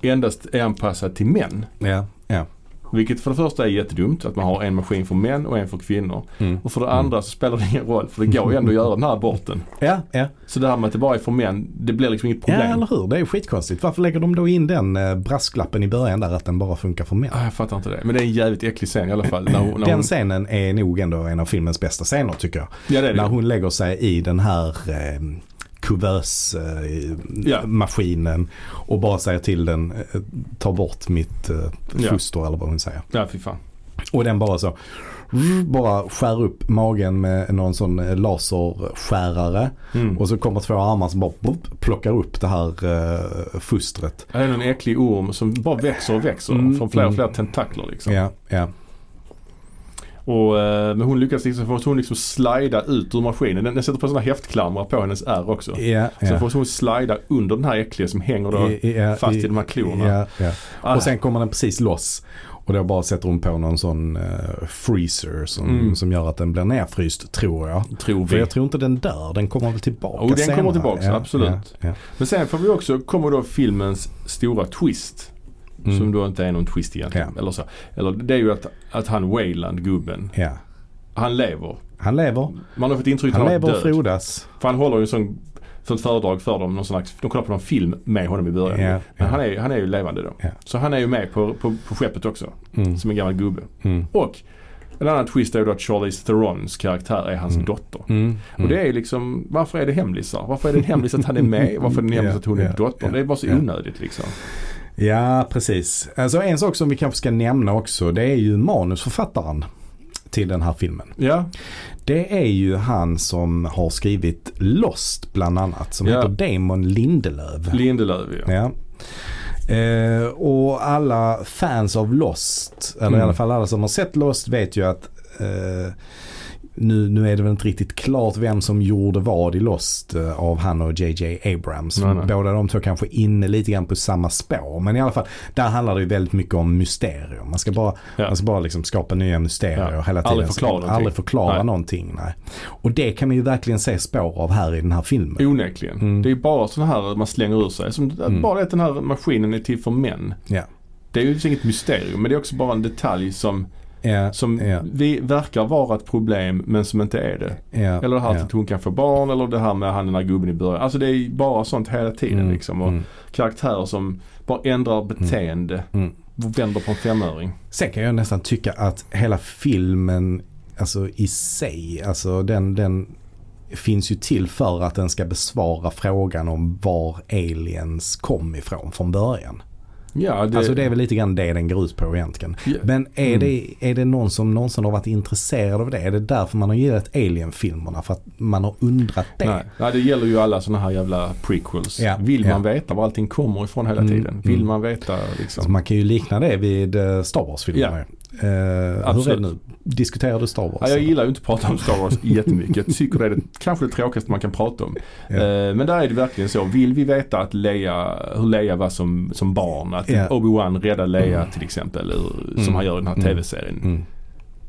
A: endast är anpassad till män.
B: Ja, ja.
A: Vilket för det första är jättedumt att man har en maskin för män och en för kvinnor.
B: Mm.
A: Och för det andra så spelar det ingen roll för det går ju ändå att göra den här aborten.
B: Ja, ja.
A: Så det här med att det bara är för män, det blir liksom inget
B: ja,
A: problem.
B: eller hur? Det är ju skitkonstigt. Varför lägger de då in den eh, brasklappen i början där att den bara funkar för män?
A: Ah, jag fattar inte det. Men det är en jävligt äcklig scen i alla fall. När hon, när hon,
B: Den scenen är nog ändå en av filmens bästa scener tycker jag.
A: ja, det är det.
B: När hon lägger sig i den här eh,
A: Ja.
B: kuvösmaskinen och bara säger till den eh, ta bort mitt eh,
A: Ja.
B: foster eller vad hon säger.
A: Ja, fy fan.
B: Och den bara så mm, bara skär upp magen med någon sån eh, laserskärare.
A: Mm.
B: Och så kommer två armar som bara blup, plockar upp det här eh, fostret.
A: Ja, Det är en äcklig orm som bara växer och växer
B: Mm.
A: från fler och fler
B: Mm.
A: tentakler liksom.
B: Ja, ja.
A: Och, eh, men hon lyckas liksom, måste hon liksom slida ut ur maskinen. Den, den sätter på sådana häftklamrar på hennes ärr också.
B: ja,
A: Sen
B: ja.
A: måste hon slida under den här äckliga som hänger då
B: I- i- ja,
A: fast i
B: i-
A: de här klorna.
B: Ja, ja.
A: Ah,
B: Och sen kommer den precis loss. Och då bara sätter hon på någon sån eh, freezer som,
A: Mm.
B: som gör att den blir nerfryst tror jag.
A: tror
B: För
A: vi.
B: jag tror inte den dör, den kommer väl tillbaka
A: Jo, den
B: senare.
A: kommer tillbaka,
B: ja,
A: absolut.
B: Ja, ja.
A: Men sen får vi också, kommer då filmens stora twist.
B: Mm.
A: Som då inte är någon twist egentligen.
B: Ja.
A: Eller, så. Eller det är ju att, att han Wayland, gubben,
B: ja.
A: han lever.
B: Han lever,
A: Man har fått intrycket
B: han
A: att han
B: lever
A: var
B: och
A: död.
B: frodas.
A: För han håller ju en sån, sånt föredrag för dem. Någon sån här, de kollar på någon film med honom i början.
B: Ja,
A: Men
B: ja.
A: han är, han är ju levande då.
B: Ja.
A: Så han är ju med på, på, på skeppet också.
B: Mm.
A: Som en gammal gubbe.
B: Mm.
A: Och en annan twist är ju då att Charlize Therons karaktär är hans
B: Mm.
A: dotter.
B: Mm. Mm.
A: Och det är ju liksom, varför är det hemlisar? Varför är det en hemlis att han är med? Varför är det en hemlis
B: Ja,
A: att hon är
B: ja,
A: dottern?
B: ja,
A: Det är bara så
B: ja.
A: onödigt liksom.
B: Ja, precis. Alltså en sak som vi kanske ska nämna också, det är ju manusförfattaren till den här filmen.
A: Ja,
B: Det är ju han som har skrivit Lost bland annat, som
A: Ja.
B: heter Damon Lindelöf.
A: Lindelöf ja.
B: Ja. Eh, och alla fans av Lost, eller i
A: Mm.
B: alla fall alla som har sett Lost vet ju att eh, nu, nu är det väl inte riktigt klart vem som gjorde vad i Lost eh, av han och JJ Abrams.
A: Nej, nej.
B: Båda de två kanske inne lite grann på samma spår. Men i alla fall, där handlar det ju väldigt mycket om mysterium. Man ska bara,
A: Ja.
B: man ska bara liksom skapa nya mysterier
A: Ja.
B: hela tiden.
A: Aldrig förklara någonting.
B: Aldrig förklara
A: Nej.
B: någonting. Nej. Och det kan man ju verkligen se spår av här i den här filmen.
A: Onekligen.
B: Mm.
A: Det är ju bara sådana här man slänger ur sig. Som, Bara det att den här maskinen är till för män.
B: Ja.
A: Det är ju liksom inget mysterium men det är också bara en detalj som,
B: Ja,
A: som
B: ja,
A: vi verkar vara ett problem men som inte är det.
B: ja,
A: Eller det här
B: ja.
A: att hon kan få barn eller det här med han den där gubben i början. Alltså det är ju bara sånt hela tiden
B: Mm,
A: liksom. Och
B: mm.
A: Karaktärer som bara ändrar beteende.
B: Mm.
A: Vänder på en femöring.
B: Sen kan jag nästan tycka att hela filmen alltså i sig, alltså den, den finns ju till för att den ska besvara frågan om var aliens kom ifrån från början.
A: Ja, det,
B: Alltså det är väl lite grann det den går ut på egentligen.
A: Ja. Mm.
B: Men är, det, är det någon som någonsin har varit intresserad av det? Är det därför man har gillat alien-filmerna? För att man har undrat det?
A: Nej. Nej, det gäller ju alla sådana här jävla prequels.
B: Ja,
A: Vill
B: ja.
A: man veta var allting kommer ifrån hela
B: Mm,
A: tiden? Vill
B: mm.
A: man veta liksom?
B: Så man kan ju likna det vid eh, Star Wars-filmerna. Eh, hur är
A: Absolut.
B: det nu? Diskuterar du Star Wars?
A: Ja, jag gillar ju inte att prata om Star Wars jättemycket. Jag tycker det är det, kanske det tråkigaste man kan prata om.
B: Ja.
A: Eh, Men där är det verkligen så. Vill vi veta att Leia, hur Leia var som, som barn, att
B: Ja.
A: Obi-Wan räddade Leia till exempel, ur, som
B: Mm.
A: han gör i den här
B: Mm.
A: tv-serien.
B: Mm.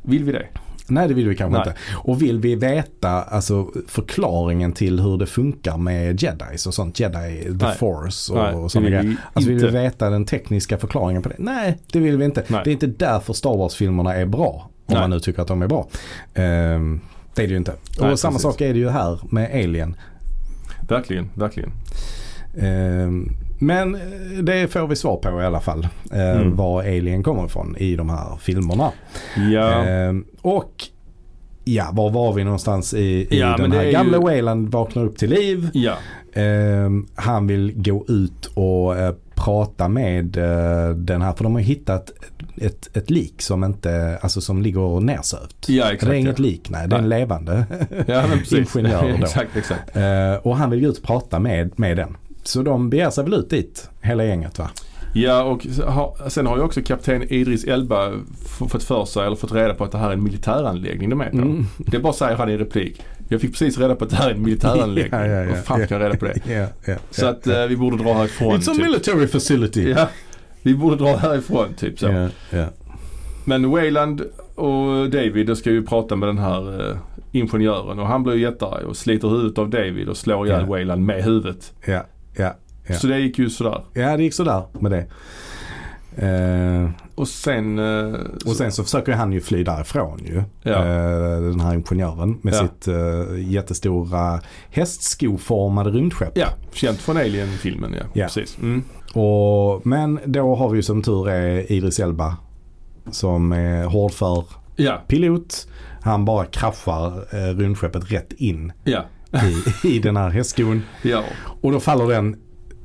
A: Vill vi det?
B: Nej det vill vi kanske
A: Nej.
B: inte. Och vill vi veta alltså, förklaringen till hur det funkar med jedis och sånt. Jedi, the
A: Nej.
B: force
A: Nej,
B: och, och sådana
A: det vill
B: grejer.
A: vi
B: alltså vill vi
A: inte.
B: veta den tekniska förklaringen på det? Nej det vill vi inte.
A: Nej.
B: Det är inte därför Star Wars-filmerna är bra. Om
A: Nej.
B: man nu tycker att de är bra. Ehm, det är det ju inte.
A: Nej,
B: och samma
A: precis.
B: sak är det ju här med Alien.
A: Verkligen, verkligen.
B: Ehm, men eh, det får vi svar på i alla fall. Eh,
A: Mm.
B: Var Alien kommer ifrån i de här filmerna.
A: Ja,
B: Ehm, och ja, var var vi någonstans i, i
A: Ja, men
B: den
A: det är
B: här
A: ju-
B: gamla Wayland vaknar upp till liv.
A: ja.
B: Ehm, han vill gå ut och eh, prata med eh, den här, för de har hittat ett, ett lik som inte, alltså som ligger nersövt.
A: ja exakt.
B: det är
A: ja.
B: inget lik, nej. Det är en levande.
A: *laughs* ja, men precis.
B: ingenjör då.
A: *laughs* exakt, exakt.
B: Ehm, och han vill gå ut och prata med, med den. Så de begär sig väl ut dit, hela gänget va?
A: Ja, och s- har- sen har ju också kapten Idris Elba f- fått för sig, eller fått reda på att det här är en militäranläggning de är på.
B: Mm.
A: Det bara säger han i en replik. Jag fick precis reda på att det här är en militäranläggning.
B: *laughs* Ja, *laughs* ja, ja.
A: Vad fan fick jag reda på det?
B: Yeah, yeah,
A: Så att eh, vi borde dra härifrån. typ.
B: It's a military facility.
A: Ja, vi borde dra härifrån typ så.
B: Yeah, yeah.
A: Men Wayland och David de ska ju prata med den här eh, ingenjören och han blir ju jättearg och sliter huvudet av David och slår ihjäl
B: Ja.
A: Wayland med huvudet.
B: Yeah, yeah. Ja.
A: Så det gick ju sådär.
B: Ja, det gick sådär med det. Eh,
A: Och sen... Eh,
B: och sen så försöker han ju fly därifrån ju.
A: Ja.
B: Eh, den här ingenjören med
A: Ja.
B: sitt eh, jättestora hästskoformade rymdskepp.
A: ja, känt från Alien-filmen ja.
B: Ja.
A: Precis. Mm.
B: Och, men då har vi ju som tur är Idris Elba som är hårdför
A: Ja,
B: pilot. Han bara kraschar eh, rymdskeppet rätt in
A: ja.
B: i, *laughs* i den här hästskon.
A: Ja.
B: Och då faller den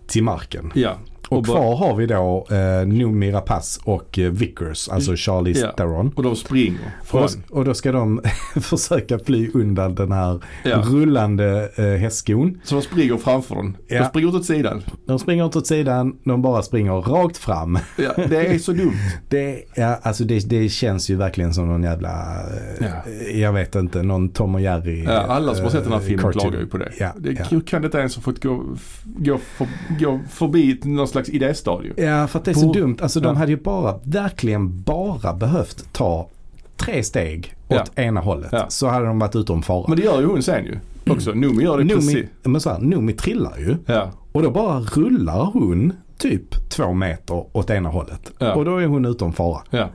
B: till marken.
A: ja.
B: Och,
A: Och bara-
B: kvar har vi då eh, Noomi Rapace och eh, Vickers, alltså Charlize
A: Mm. Ja.
B: Theron.
A: Och de springer.
B: Och,
A: Från,
B: då- och då ska de *laughs* försöka fly undan den här
A: ja.
B: rullande eh, hästskon.
A: Så de springer framför den.
B: Ja.
A: De springer åt sidan.
B: De springer inte åt sidan, de bara springer rakt fram. *laughs*
A: Ja, det är så dumt.
B: Det, ja, alltså det, det känns ju verkligen som någon jävla, eh,
A: Ja.
B: jag vet inte, någon Tom och Jerry.
A: Ja, alla som har
B: eh,
A: sett den här filmen
B: cartoon.
A: klagar ju på det.
B: Ja,
A: det
B: ja.
A: Hur kan detta ens ha fått gå, f- gå, för, gå förbi någon slags idéstadium?
B: Ja, för att det är så
A: På-
B: dumt. Alltså de
A: Ja.
B: hade ju bara, verkligen bara behövt ta tre steg åt
A: Ja.
B: ena hållet.
A: Ja.
B: Så hade de varit utom fara.
A: Men det gör ju hon sen ju. Också. Noomi gör det
B: Noomi,
A: precis.
B: men så här, Noomi trillar ju
A: Ja,
B: och då bara rullar hon typ två meter åt ena hållet.
A: Ja.
B: Och då är hon utom fara.
A: ja.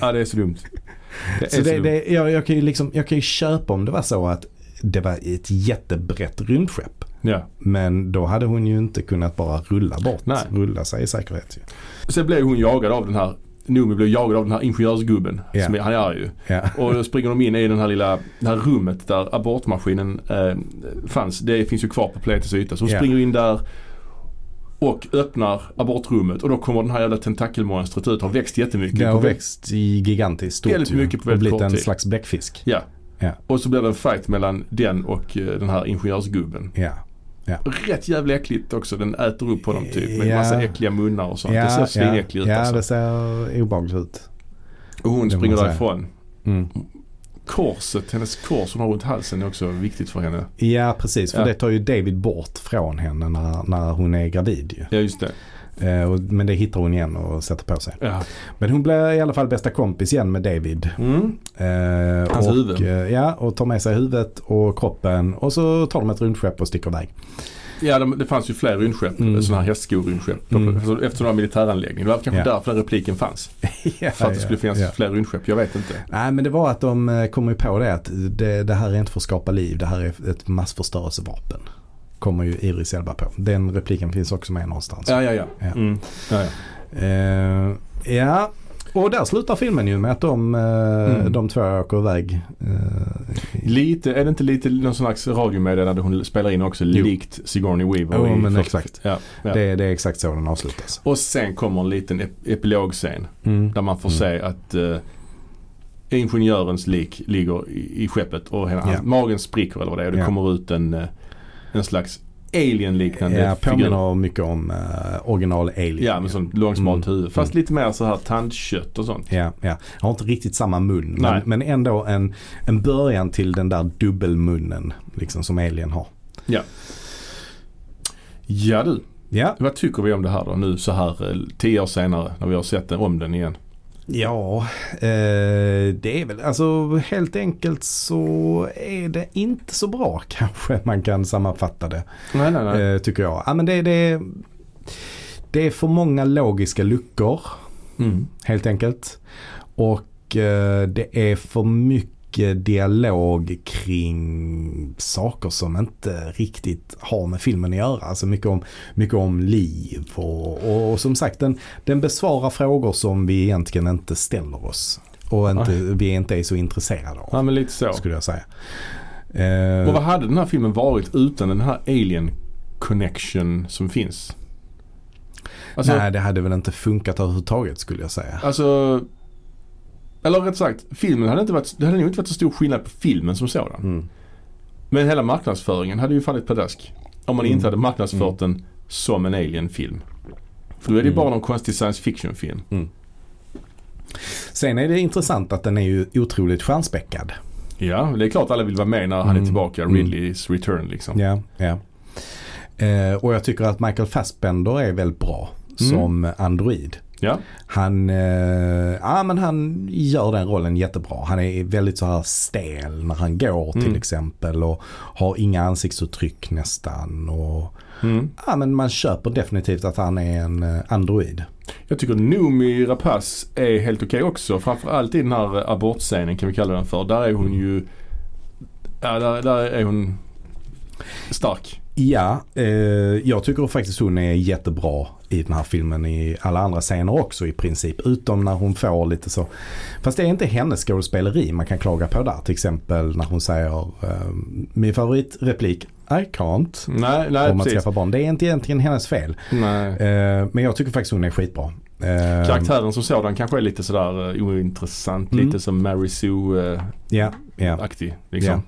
A: Ja, det är så dumt. Det är
B: Så det,
A: dumt.
B: det, jag, jag, kan ju liksom, jag kan ju köpa om det var så att det var ett jättebrett rymdskepp.
A: Ja.
B: Men då hade hon ju inte kunnat bara rulla bort,
A: Nej.
B: rulla sig i säkerhet. Ju.
A: Sen blev hon jagad av den här, Noomi blev jagad av den här ingenjörsgubben.
B: Ja.
A: Som är, han är ju.
B: Ja.
A: Och då springer de in i den här lilla, det här rummet där abortmaskinen eh, fanns. Det finns ju kvar på planetens yta. Så hon
B: Ja.
A: springer in där och öppnar abortrummet och då kommer den här jävla tentakelmonstret ut. Har växt jättemycket.
B: Det har
A: På vä-
B: växt i gigantiskt stort
A: Väldigt
B: ju.
A: mycket på
B: och
A: väldigt
B: blivit
A: kort
B: en
A: tid.
B: slags bläckfisk.
A: Ja.
B: Ja.
A: Och så blir det en fight mellan den och eh, den här ingenjörsgubben.
B: Ja.
A: Rätt jävla äckligt också. Den äter upp honom typ med
B: Ja.
A: massa äckliga munnar och sånt.
B: ja,
A: det ser
B: ja,
A: svinäckligt
B: Ja,
A: ut alltså.
B: det ser obehagligt ut.
A: Och hon
B: det
A: springer
B: måste jag
A: därifrån.
B: Mm.
A: Korset, hennes kors hon har runt halsen är också viktigt för henne.
B: Ja, precis. För
A: Ja.
B: det tar ju David bort från henne när, när hon är gravid ju.
A: Ja just det.
B: Eh, och, men det hittar hon igen och sätter på sig.
A: Ja.
B: Men hon blir i alla fall bästa kompis igen med David.
A: Mm.
B: Eh,
A: Hans
B: och,
A: huvud.
B: eh, ja, och tar med sig huvudet och kroppen och så tar de ett rymdskepp och sticker iväg. *laughs*
A: Ja, de, det fanns ju fler rymdskepp.
B: Mm.
A: Sådana här hästsko-rymdskepp.
B: Mm.
A: Alltså, Efter den här militäranläggningen. Det var kanske
B: Ja.
A: därför den repliken fanns.
B: ja,
A: För att det skulle finnas fler rymdskepp. Jag vet inte.
B: Nej men det var att de eh, kom ju på det att det, det här är inte för att skapa liv, det här är ett massförstörelsevapen. Kommer ju Iris Elba på. Den repliken finns också med någonstans.
A: Ja, ja, ja.
B: Ja.
A: Mm. ja, ja.
B: Eh, ja. Och där slutar filmen ju med att de, eh,
A: Mm.
B: de två åker iväg. Eh,
A: Lite, är det inte lite någon slags radiomeddelande hon spelar in också?
B: Jo.
A: Likt Sigourney Weaver.
B: Jo,
A: i
B: men
A: första-
B: exakt.
A: Ja, ja.
B: det, det är exakt så den avslutas.
A: Och sen kommer en liten ep- epilogscen.
B: Mm.
A: Där man får
B: Mm.
A: se att eh, ingenjörens lik ligger i, i skeppet och hela,
B: Ja.
A: magen spricker eller vad det är. Och det
B: Ja.
A: kommer ut en, eh, en slags alien-liknande
B: Ja,
A: figur.
B: påminner mycket om eh, original Alien.
A: Ja, med sånt långsmalt
B: Mm.
A: huvud. Fast lite mer så här tandkött och sånt.
B: Ja, ja. Har inte riktigt samma mun. Men,
A: Nej.
B: men ändå en, en början till den där dubbelmunnen liksom, som Alien har.
A: Ja du,
B: Ja,
A: vad tycker vi om det här då nu så här eh, tio år senare när vi har sett den, om den igen?
B: ja eh, det är väl alltså helt enkelt så är det inte så bra *laughs* kanske man kan sammanfatta det.
A: Nej, nej, nej.
B: Eh, tycker jag. Ja, men det, det, det är för många logiska luckor
A: Mm.
B: helt enkelt. Och eh, det är för mycket dialog kring saker som inte riktigt har med filmen att göra. Alltså mycket om, mycket om liv och, och, och som sagt den, den besvarar frågor som vi egentligen inte ställer oss. Och inte, vi inte är så intresserade av.
A: Ah. Ja, men lite så.
B: Skulle jag säga. Eh,
A: Och vad hade den här filmen varit utan den här alien connection som finns? Alltså,
B: nej det hade väl inte funkat överhuvudtaget skulle jag säga.
A: alltså eller rätt sagt, filmen hade inte varit, det hade nog inte varit så stor skillnad på filmen som sådan.
B: Mm.
A: Men hela marknadsföringen hade ju fallit pladask. Om man
B: Mm.
A: inte hade marknadsfört den som en alien-film. För då är det ju
B: Mm.
A: bara någon konstig science fiction-film.
B: Sen är det intressant att den är ju otroligt stjärnspäckad.
A: Ja, det är klart alla vill vara med när han
B: Mm.
A: är tillbaka.
B: Mm.
A: Ridleys return liksom.
B: Ja, ja. Eh, och jag tycker att Michael Fassbender är väldigt bra
A: Mm.
B: som android.
A: Ja.
B: Han, eh, ja, men han gör den rollen jättebra. Han är väldigt så här stel när han går till
A: Mm.
B: exempel och har inga ansiktsuttryck nästan. Och,
A: Mm.
B: ja, men man köper definitivt att han är en eh, android.
A: Jag tycker Noomi Rapace är helt okej också. Framförallt i den här abortscenen kan vi kalla den för. Där är hon ju... Ja, där, där är hon stark.
B: Ja, eh, jag tycker faktiskt hon är jättebra i den här filmen i alla andra scener också i princip. Utom när hon får lite så. Fast det är inte hennes skådespeleri man kan klaga på där. Till exempel när hon säger eh, min favoritreplik I can't.
A: Nej, nej
B: om man
A: precis.
B: skaffar barn. Det är inte egentligen hennes fel.
A: Nej.
B: Eh, men jag tycker faktiskt hon är skitbra. Eh,
A: Karaktären som sådan kanske är lite sådär eh, ointressant.
B: Mm.
A: Lite som Mary eh, Sue-aktig.
B: Ja, ja.
A: Liksom.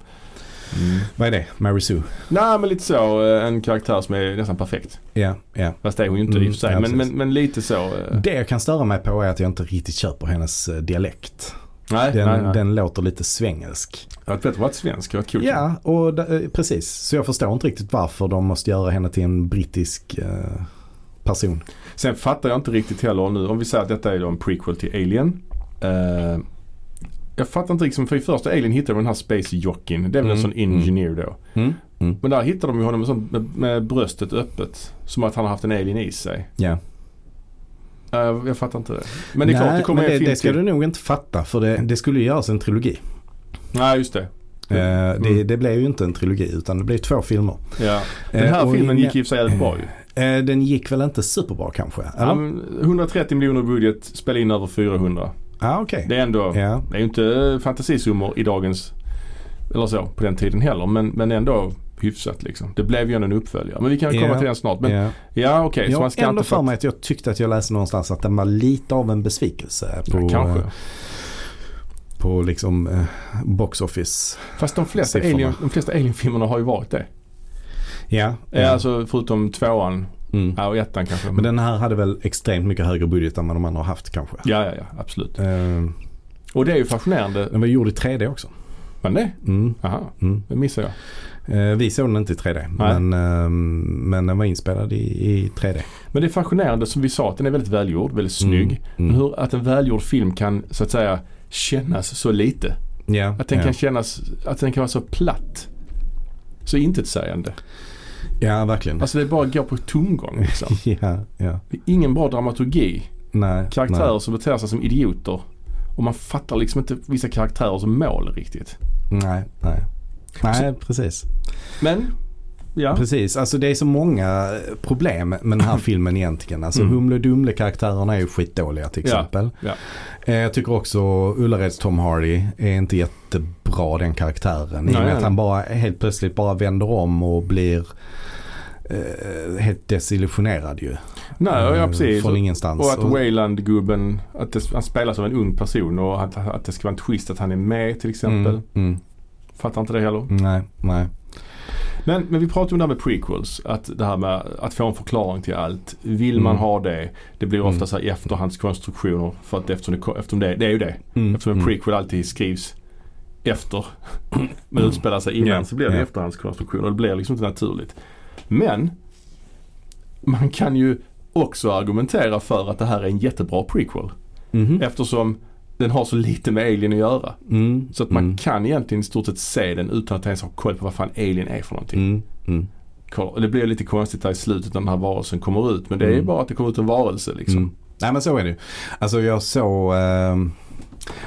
A: Mm.
B: Vad är det? Mary Sue?
A: Nej men lite så. eh, En karaktär som är nästan perfekt.
B: Ja, ja.
A: Fast det är hon ju inte i
B: Mm,
A: och för sig.
B: ja,
A: men,
B: precis.
A: men, men lite så. eh,
B: Det jag kan störa mig på är att jag inte riktigt köper hennes eh, dialekt.
A: Nej,
B: Den,
A: nej, nej.
B: den låter lite svengelsk.
A: Det hade varit bättre att vara svensk. Det var kul.
B: Ja, och da- eh, precis. Så jag förstår inte riktigt varför de måste göra henne till en brittisk eh, person.
A: Sen fattar jag inte riktigt heller nu. Om vi säger att detta är då en prequel till Alien. Eh, jag fattar inte riktigt. För i första Alien hittar de den här Space Jockin. Det är väl en
B: Mm.
A: sån engineer då.
B: Mm.
A: Men där hittar de ju honom med, sånt, med, med bröstet öppet. Som att han har haft en alien i sig.
B: Ja.
A: Eh, jag fattar inte det. Men det är klart det kommer
B: men
A: en
B: det,
A: film
B: det ska
A: till.
B: du nog inte fatta för det, det skulle ju göras en trilogi.
A: Nej just det.
B: Eh, det,
A: Mm.
B: det blev ju inte en trilogi utan det blev två filmer.
A: Ja. Den här
B: Eh, och
A: filmen
B: ingen-
A: gick i och för sig jävligt
B: *clears throat*
A: bra ju.
B: Eh, den gick väl inte superbra kanske? Eller?
A: Ja, men 130 miljoner budget, spela in över 400.
B: ah, okej.
A: Det är ändå,
B: Ja.
A: det är ju inte eh, fantasisummor i dagens, eller så, på den tiden heller. Men, men ändå hyfsat liksom. Det blev ju ändå en uppföljare. Men vi kan ju komma
B: Ja.
A: till den snart. Men,
B: ja.
A: Ja okej,
B: jag
A: så man
B: har
A: ska
B: ändå
A: inte...
B: för mig att jag tyckte att jag läste någonstans att den var lite av en besvikelse på,
A: ja,
B: eh,
A: kanske.
B: på liksom eh, box office.
A: Fast de flesta,
B: siffrorna.
A: alien, de flesta Alien-filmerna har ju varit det.
B: Ja,
A: Ja. Alltså förutom tvåan,
B: mm.
A: ja, och ettan kanske.
B: Men den här hade väl extremt mycket högre budget än vad de andra har haft kanske.
A: Ja, ja, ja, absolut.
B: Eh,
A: Och det är ju fascinerande.
B: den var gjord i 3D också.
A: Men det?
B: Mm.
A: Aha,
B: Mm.
A: det missar jag.
B: Eh, vi såg den inte i 3D
A: Nej.
B: men, eh, men den var inspelad i, i 3D.
A: Men det är fascinerande som vi sa att den är väldigt välgjord, väldigt snygg.
B: Mm. Mm.
A: Hur, att en välgjord film kan så att säga kännas så lite.
B: Ja,
A: Att den
B: ja.
A: kan kännas, att den kan vara så platt. Så intetsägande.
B: Mm. ja verkligen.
A: Alltså det bara går på tomgång liksom.
B: *laughs* ja, ja.
A: Det är ingen bra dramaturgi.
B: Nej,
A: karaktärer som beter sig som idioter. Och man fattar liksom inte vissa karaktärer som mål riktigt.
B: Nej, nej. nej.
A: Alltså-
B: Nej, precis.
A: Men, ja.
B: Precis, alltså det är så många problem med
A: *clears throat*
B: den här filmen egentligen. Alltså
A: Mm.
B: Humle och Dumle-karaktärerna är ju skitdåliga till
A: Ja,
B: exempel.
A: ja.
B: Eh, Jag tycker också Ullareds Tom Hardy är inte jättebra den karaktären. I
A: Nej,
B: och med
A: nej.
B: att han bara helt plötsligt bara vänder om och blir eh, helt desillusionerad ju.
A: Nej, ja
B: Eh,
A: precis.
B: Från ingenstans.
A: Och att
B: Och-
A: Wayland-gubben, att det, han spelas av en ung person och att, att det ska vara en twist att han är med till exempel.
B: mm, mm,
A: Fattar inte det heller.
B: nej, nej.
A: Men, men vi pratade om det här med prequels. Att det här med att få en förklaring till allt. Vill man
B: Mm.
A: ha det? Det blir ofta
B: Mm.
A: så här efterhandskonstruktioner. För att eftersom det, eftersom det, det är ju det.
B: Mm,
A: Eftersom en prequel alltid skrivs efter *clears throat* men utspelar sig innan
B: Ja,
A: så blir det
B: ja.
A: efterhandskonstruktion och det blir liksom inte naturligt. Men man kan ju också argumentera för att det här är en jättebra prequel
B: Mm, mhm,
A: eftersom den har så lite med Alien att göra.
B: mm,
A: Så att man
B: mm,
A: kan egentligen i stort sett se den utan att ens ha koll på vad fan Alien är för någonting.
B: mm, mm,
A: Kolla- och Det blir lite konstigt där i slutet när den här varelsen kommer ut men det är ju
B: Mm.
A: bara att det kommer ut en varelse liksom.
B: Mm. Nej men så är det ju. Alltså jag såg ehm,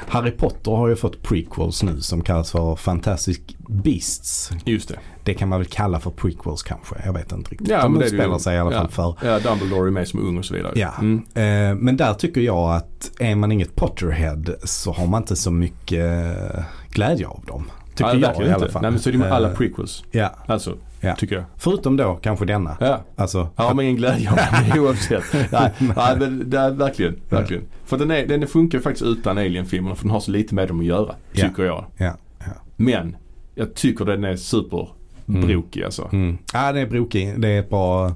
B: Harry Potter har ju fått prequels nu som kallas för Fantastic Beasts.
A: Just det.
B: Det kan man väl kalla för prequels kanske. Jag vet inte riktigt.
A: Ja,
B: De
A: men det är det
B: utspelar
A: ju.
B: sig i alla fall för.
A: Ja, Dumbledore är med som ung och så vidare.
B: Ja.
A: Mm.
B: Eh, men där tycker jag att är man inget Potterhead så har man inte så mycket eh, glädje av dem. Tycker
A: Nej,
B: jag
A: verkligen
B: i alla
A: inte.
B: fall.
A: Nej men så är det med alla
B: Eh,
A: prequels.
B: Ja,
A: Alltså,
B: Ja.
A: tycker jag.
B: förutom då kanske denna.
A: Ja.
B: Alltså,
A: Jag har man ingen glädje av den *laughs* oavsett. Nej, nej men det är verkligen. verkligen. För den, är, den funkar ju faktiskt utan Alien-filmerna för den har så lite med dem att göra.
B: Ja.
A: Tycker jag.
B: ja. ja.
A: Men jag tycker den är superbrokig alltså.
B: Mm. Ja, det är brokig. Det är ett bra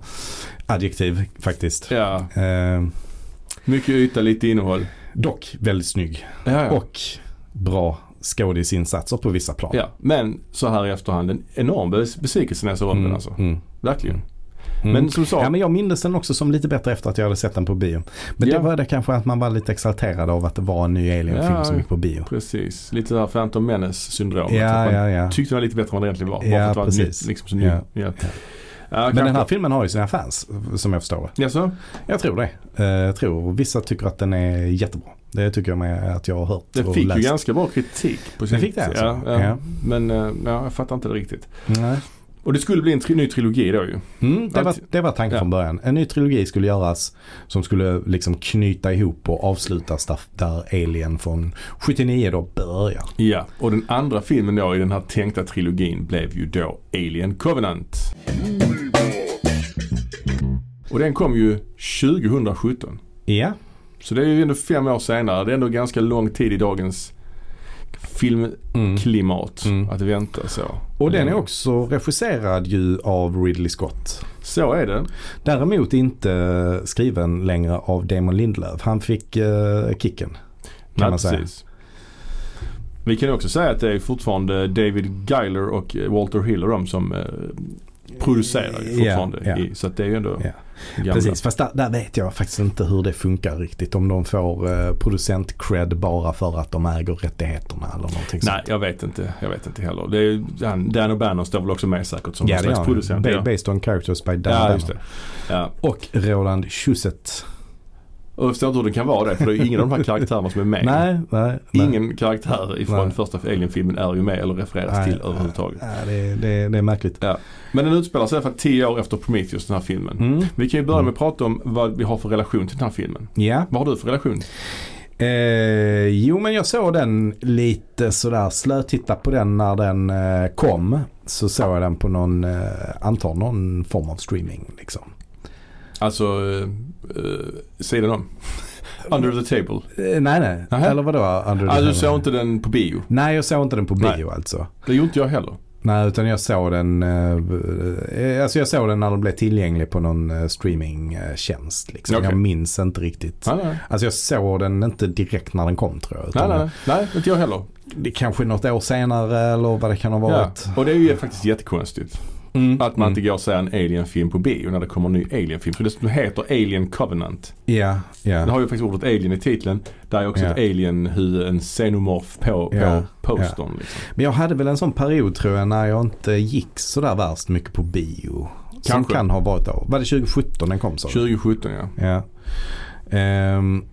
B: adjektiv faktiskt.
A: Ja,
B: Eh,
A: mycket yta, lite innehåll.
B: dock väldigt snygg
A: Ja, ja.
B: och bra skådisinsatser på vissa plan.
A: ja. Men så här i efterhand, en enorm bes- besvikelse när jag såg om den alltså.
B: Mm.
A: Verkligen.
B: Mm.
A: Men som du sa,
B: Ja, men jag minns den också som lite bättre efter att jag hade sett den på bio. Men
A: Ja.
B: det var det kanske att man var lite exalterad av att det var en ny Alien-film
A: Ja.
B: som gick på bio.
A: precis. Lite det här Phantom Menace-syndromet. att
B: Ja,
A: man
B: ja, ja.
A: Tyckte den var lite bättre än vad den egentligen var. Bara
B: Ja,
A: för att det var
B: precis.
A: nytt, liksom, så ny.
B: Ja.
A: Ja. Ja.
B: Men den
A: kanske-
B: här filmen har ju sina fans, som jag förstår det.
A: Jaså?
B: Jag tror det. Eh, Jag tror, vissa tycker att den är jättebra. Det tycker jag med att jag har hört
A: Den
B: och
A: fick ju
B: läst.
A: ganska bra kritik. På sin
B: Den fick det alltså?
A: Ja, ja.
B: Ja.
A: Men eh, ja, jag fattar inte det riktigt.
B: Nej.
A: Och det skulle bli en tri- ny trilogi då ju.
B: Mm, det, var,
A: Allt-
B: det var tanken
A: Ja.
B: från början. En ny trilogi skulle göras som skulle liksom knyta ihop och avslutas där, där Alien från 79 då börjar.
A: Ja, och den andra filmen då i den här tänkta trilogin blev ju då Alien Covenant. Och den kom ju 2017.
B: Ja,
A: Så det är ju ändå fem år senare. Det är ändå ganska lång tid i dagens filmklimat
B: Mm.
A: att vänta så. Mm.
B: och den är också regisserad ju av Ridley Scott.
A: Så är det.
B: Däremot inte skriven längre av Damon Lindelöf. Han fick eh, kicken.
A: Nej,
B: man säga.
A: precis. Vi kan också säga att det är fortfarande David Giler och eh, Walter Hill och de som eh, producerar ju
B: Ja,
A: fortfarande.
B: ja.
A: I, så att det är ju ändå
B: Ja.
A: gamla.
B: Precis, fast där, där vet jag faktiskt inte hur det funkar riktigt. Om de får eh, producent-cred bara för att de äger rättigheterna eller någonting sånt.
A: Nej, jag vet inte. Jag vet inte heller. Det är, han, Dan O'Bannon står väl också med säkert som
B: Ja,
A: någon
B: det gör
A: slags
B: han.
A: producent.
B: Ba-
A: ja.
B: Based on characters by Dan
A: ja,
B: Bannon.
A: just det. Ja.
B: Och Roland Schusset.
A: Och jag förstår inte hur det kan vara det, för det är ju ingen av de här karaktärerna som är med.
B: *laughs* Nej, nej. nej.
A: Ingen karaktär ifrån
B: Nej.
A: första Alien-filmen är ju med eller refereras
B: Nej,
A: till överhuvudtaget.
B: Nej, det, det, det är märkligt.
A: Men den utspelar sig i alla fall tio år efter Prometheus, den här filmen.
B: Mm.
A: Vi kan ju börja med
B: Mm.
A: att prata om vad vi har för relation till den här filmen.
B: Ja.
A: Vad har du för relation?
B: Eh, jo, men jag såg den lite sådär slötitta på den när den eh, kom. Så såg jag den på någon, eh, antar någon form av streaming liksom.
A: Alltså, eh, eh, sidan
B: *laughs*
A: om. Under the table.
B: Eh, nej, nej.
A: Nähä.
B: Eller vadå? Under
A: Ah, du
B: the-
A: såg inte den på bio.
B: Nej, jag såg inte den på
A: Nej.
B: bio alltså.
A: Det gjorde inte jag heller.
B: Nej, utan jag såg den eh, alltså jag såg den när den blev tillgänglig på någon eh, streamingtjänst. Liksom.
A: Okej.
B: Jag minns inte riktigt.
A: Nej, nej.
B: Alltså jag såg den inte direkt när den kom tror jag.
A: Nej,
B: Utan
A: nej, nej. nej inte jag heller.
B: Det kanske är något år senare eller vad det kan ha
A: Ja.
B: varit.
A: Och det är ju faktiskt jättekonstigt.
B: Mm.
A: Att man inte går och ser en alien-film på bio när det kommer en ny alien-film. För dessutom heter Alien Covenant.
B: Ja,
A: Den
B: ja.
A: har ju faktiskt ordet alien i titeln. Där är också
B: Ja.
A: ett alien huvud, en xenomorf på,
B: Ja.
A: på postern. Liksom.
B: Men jag hade väl en sån period tror jag när jag inte gick sådär värst mycket på bio. Som
A: Kanske.
B: kan ha varit då. Var det 2017 den kom så?
A: 2017 ja.
B: Ja. Ehm.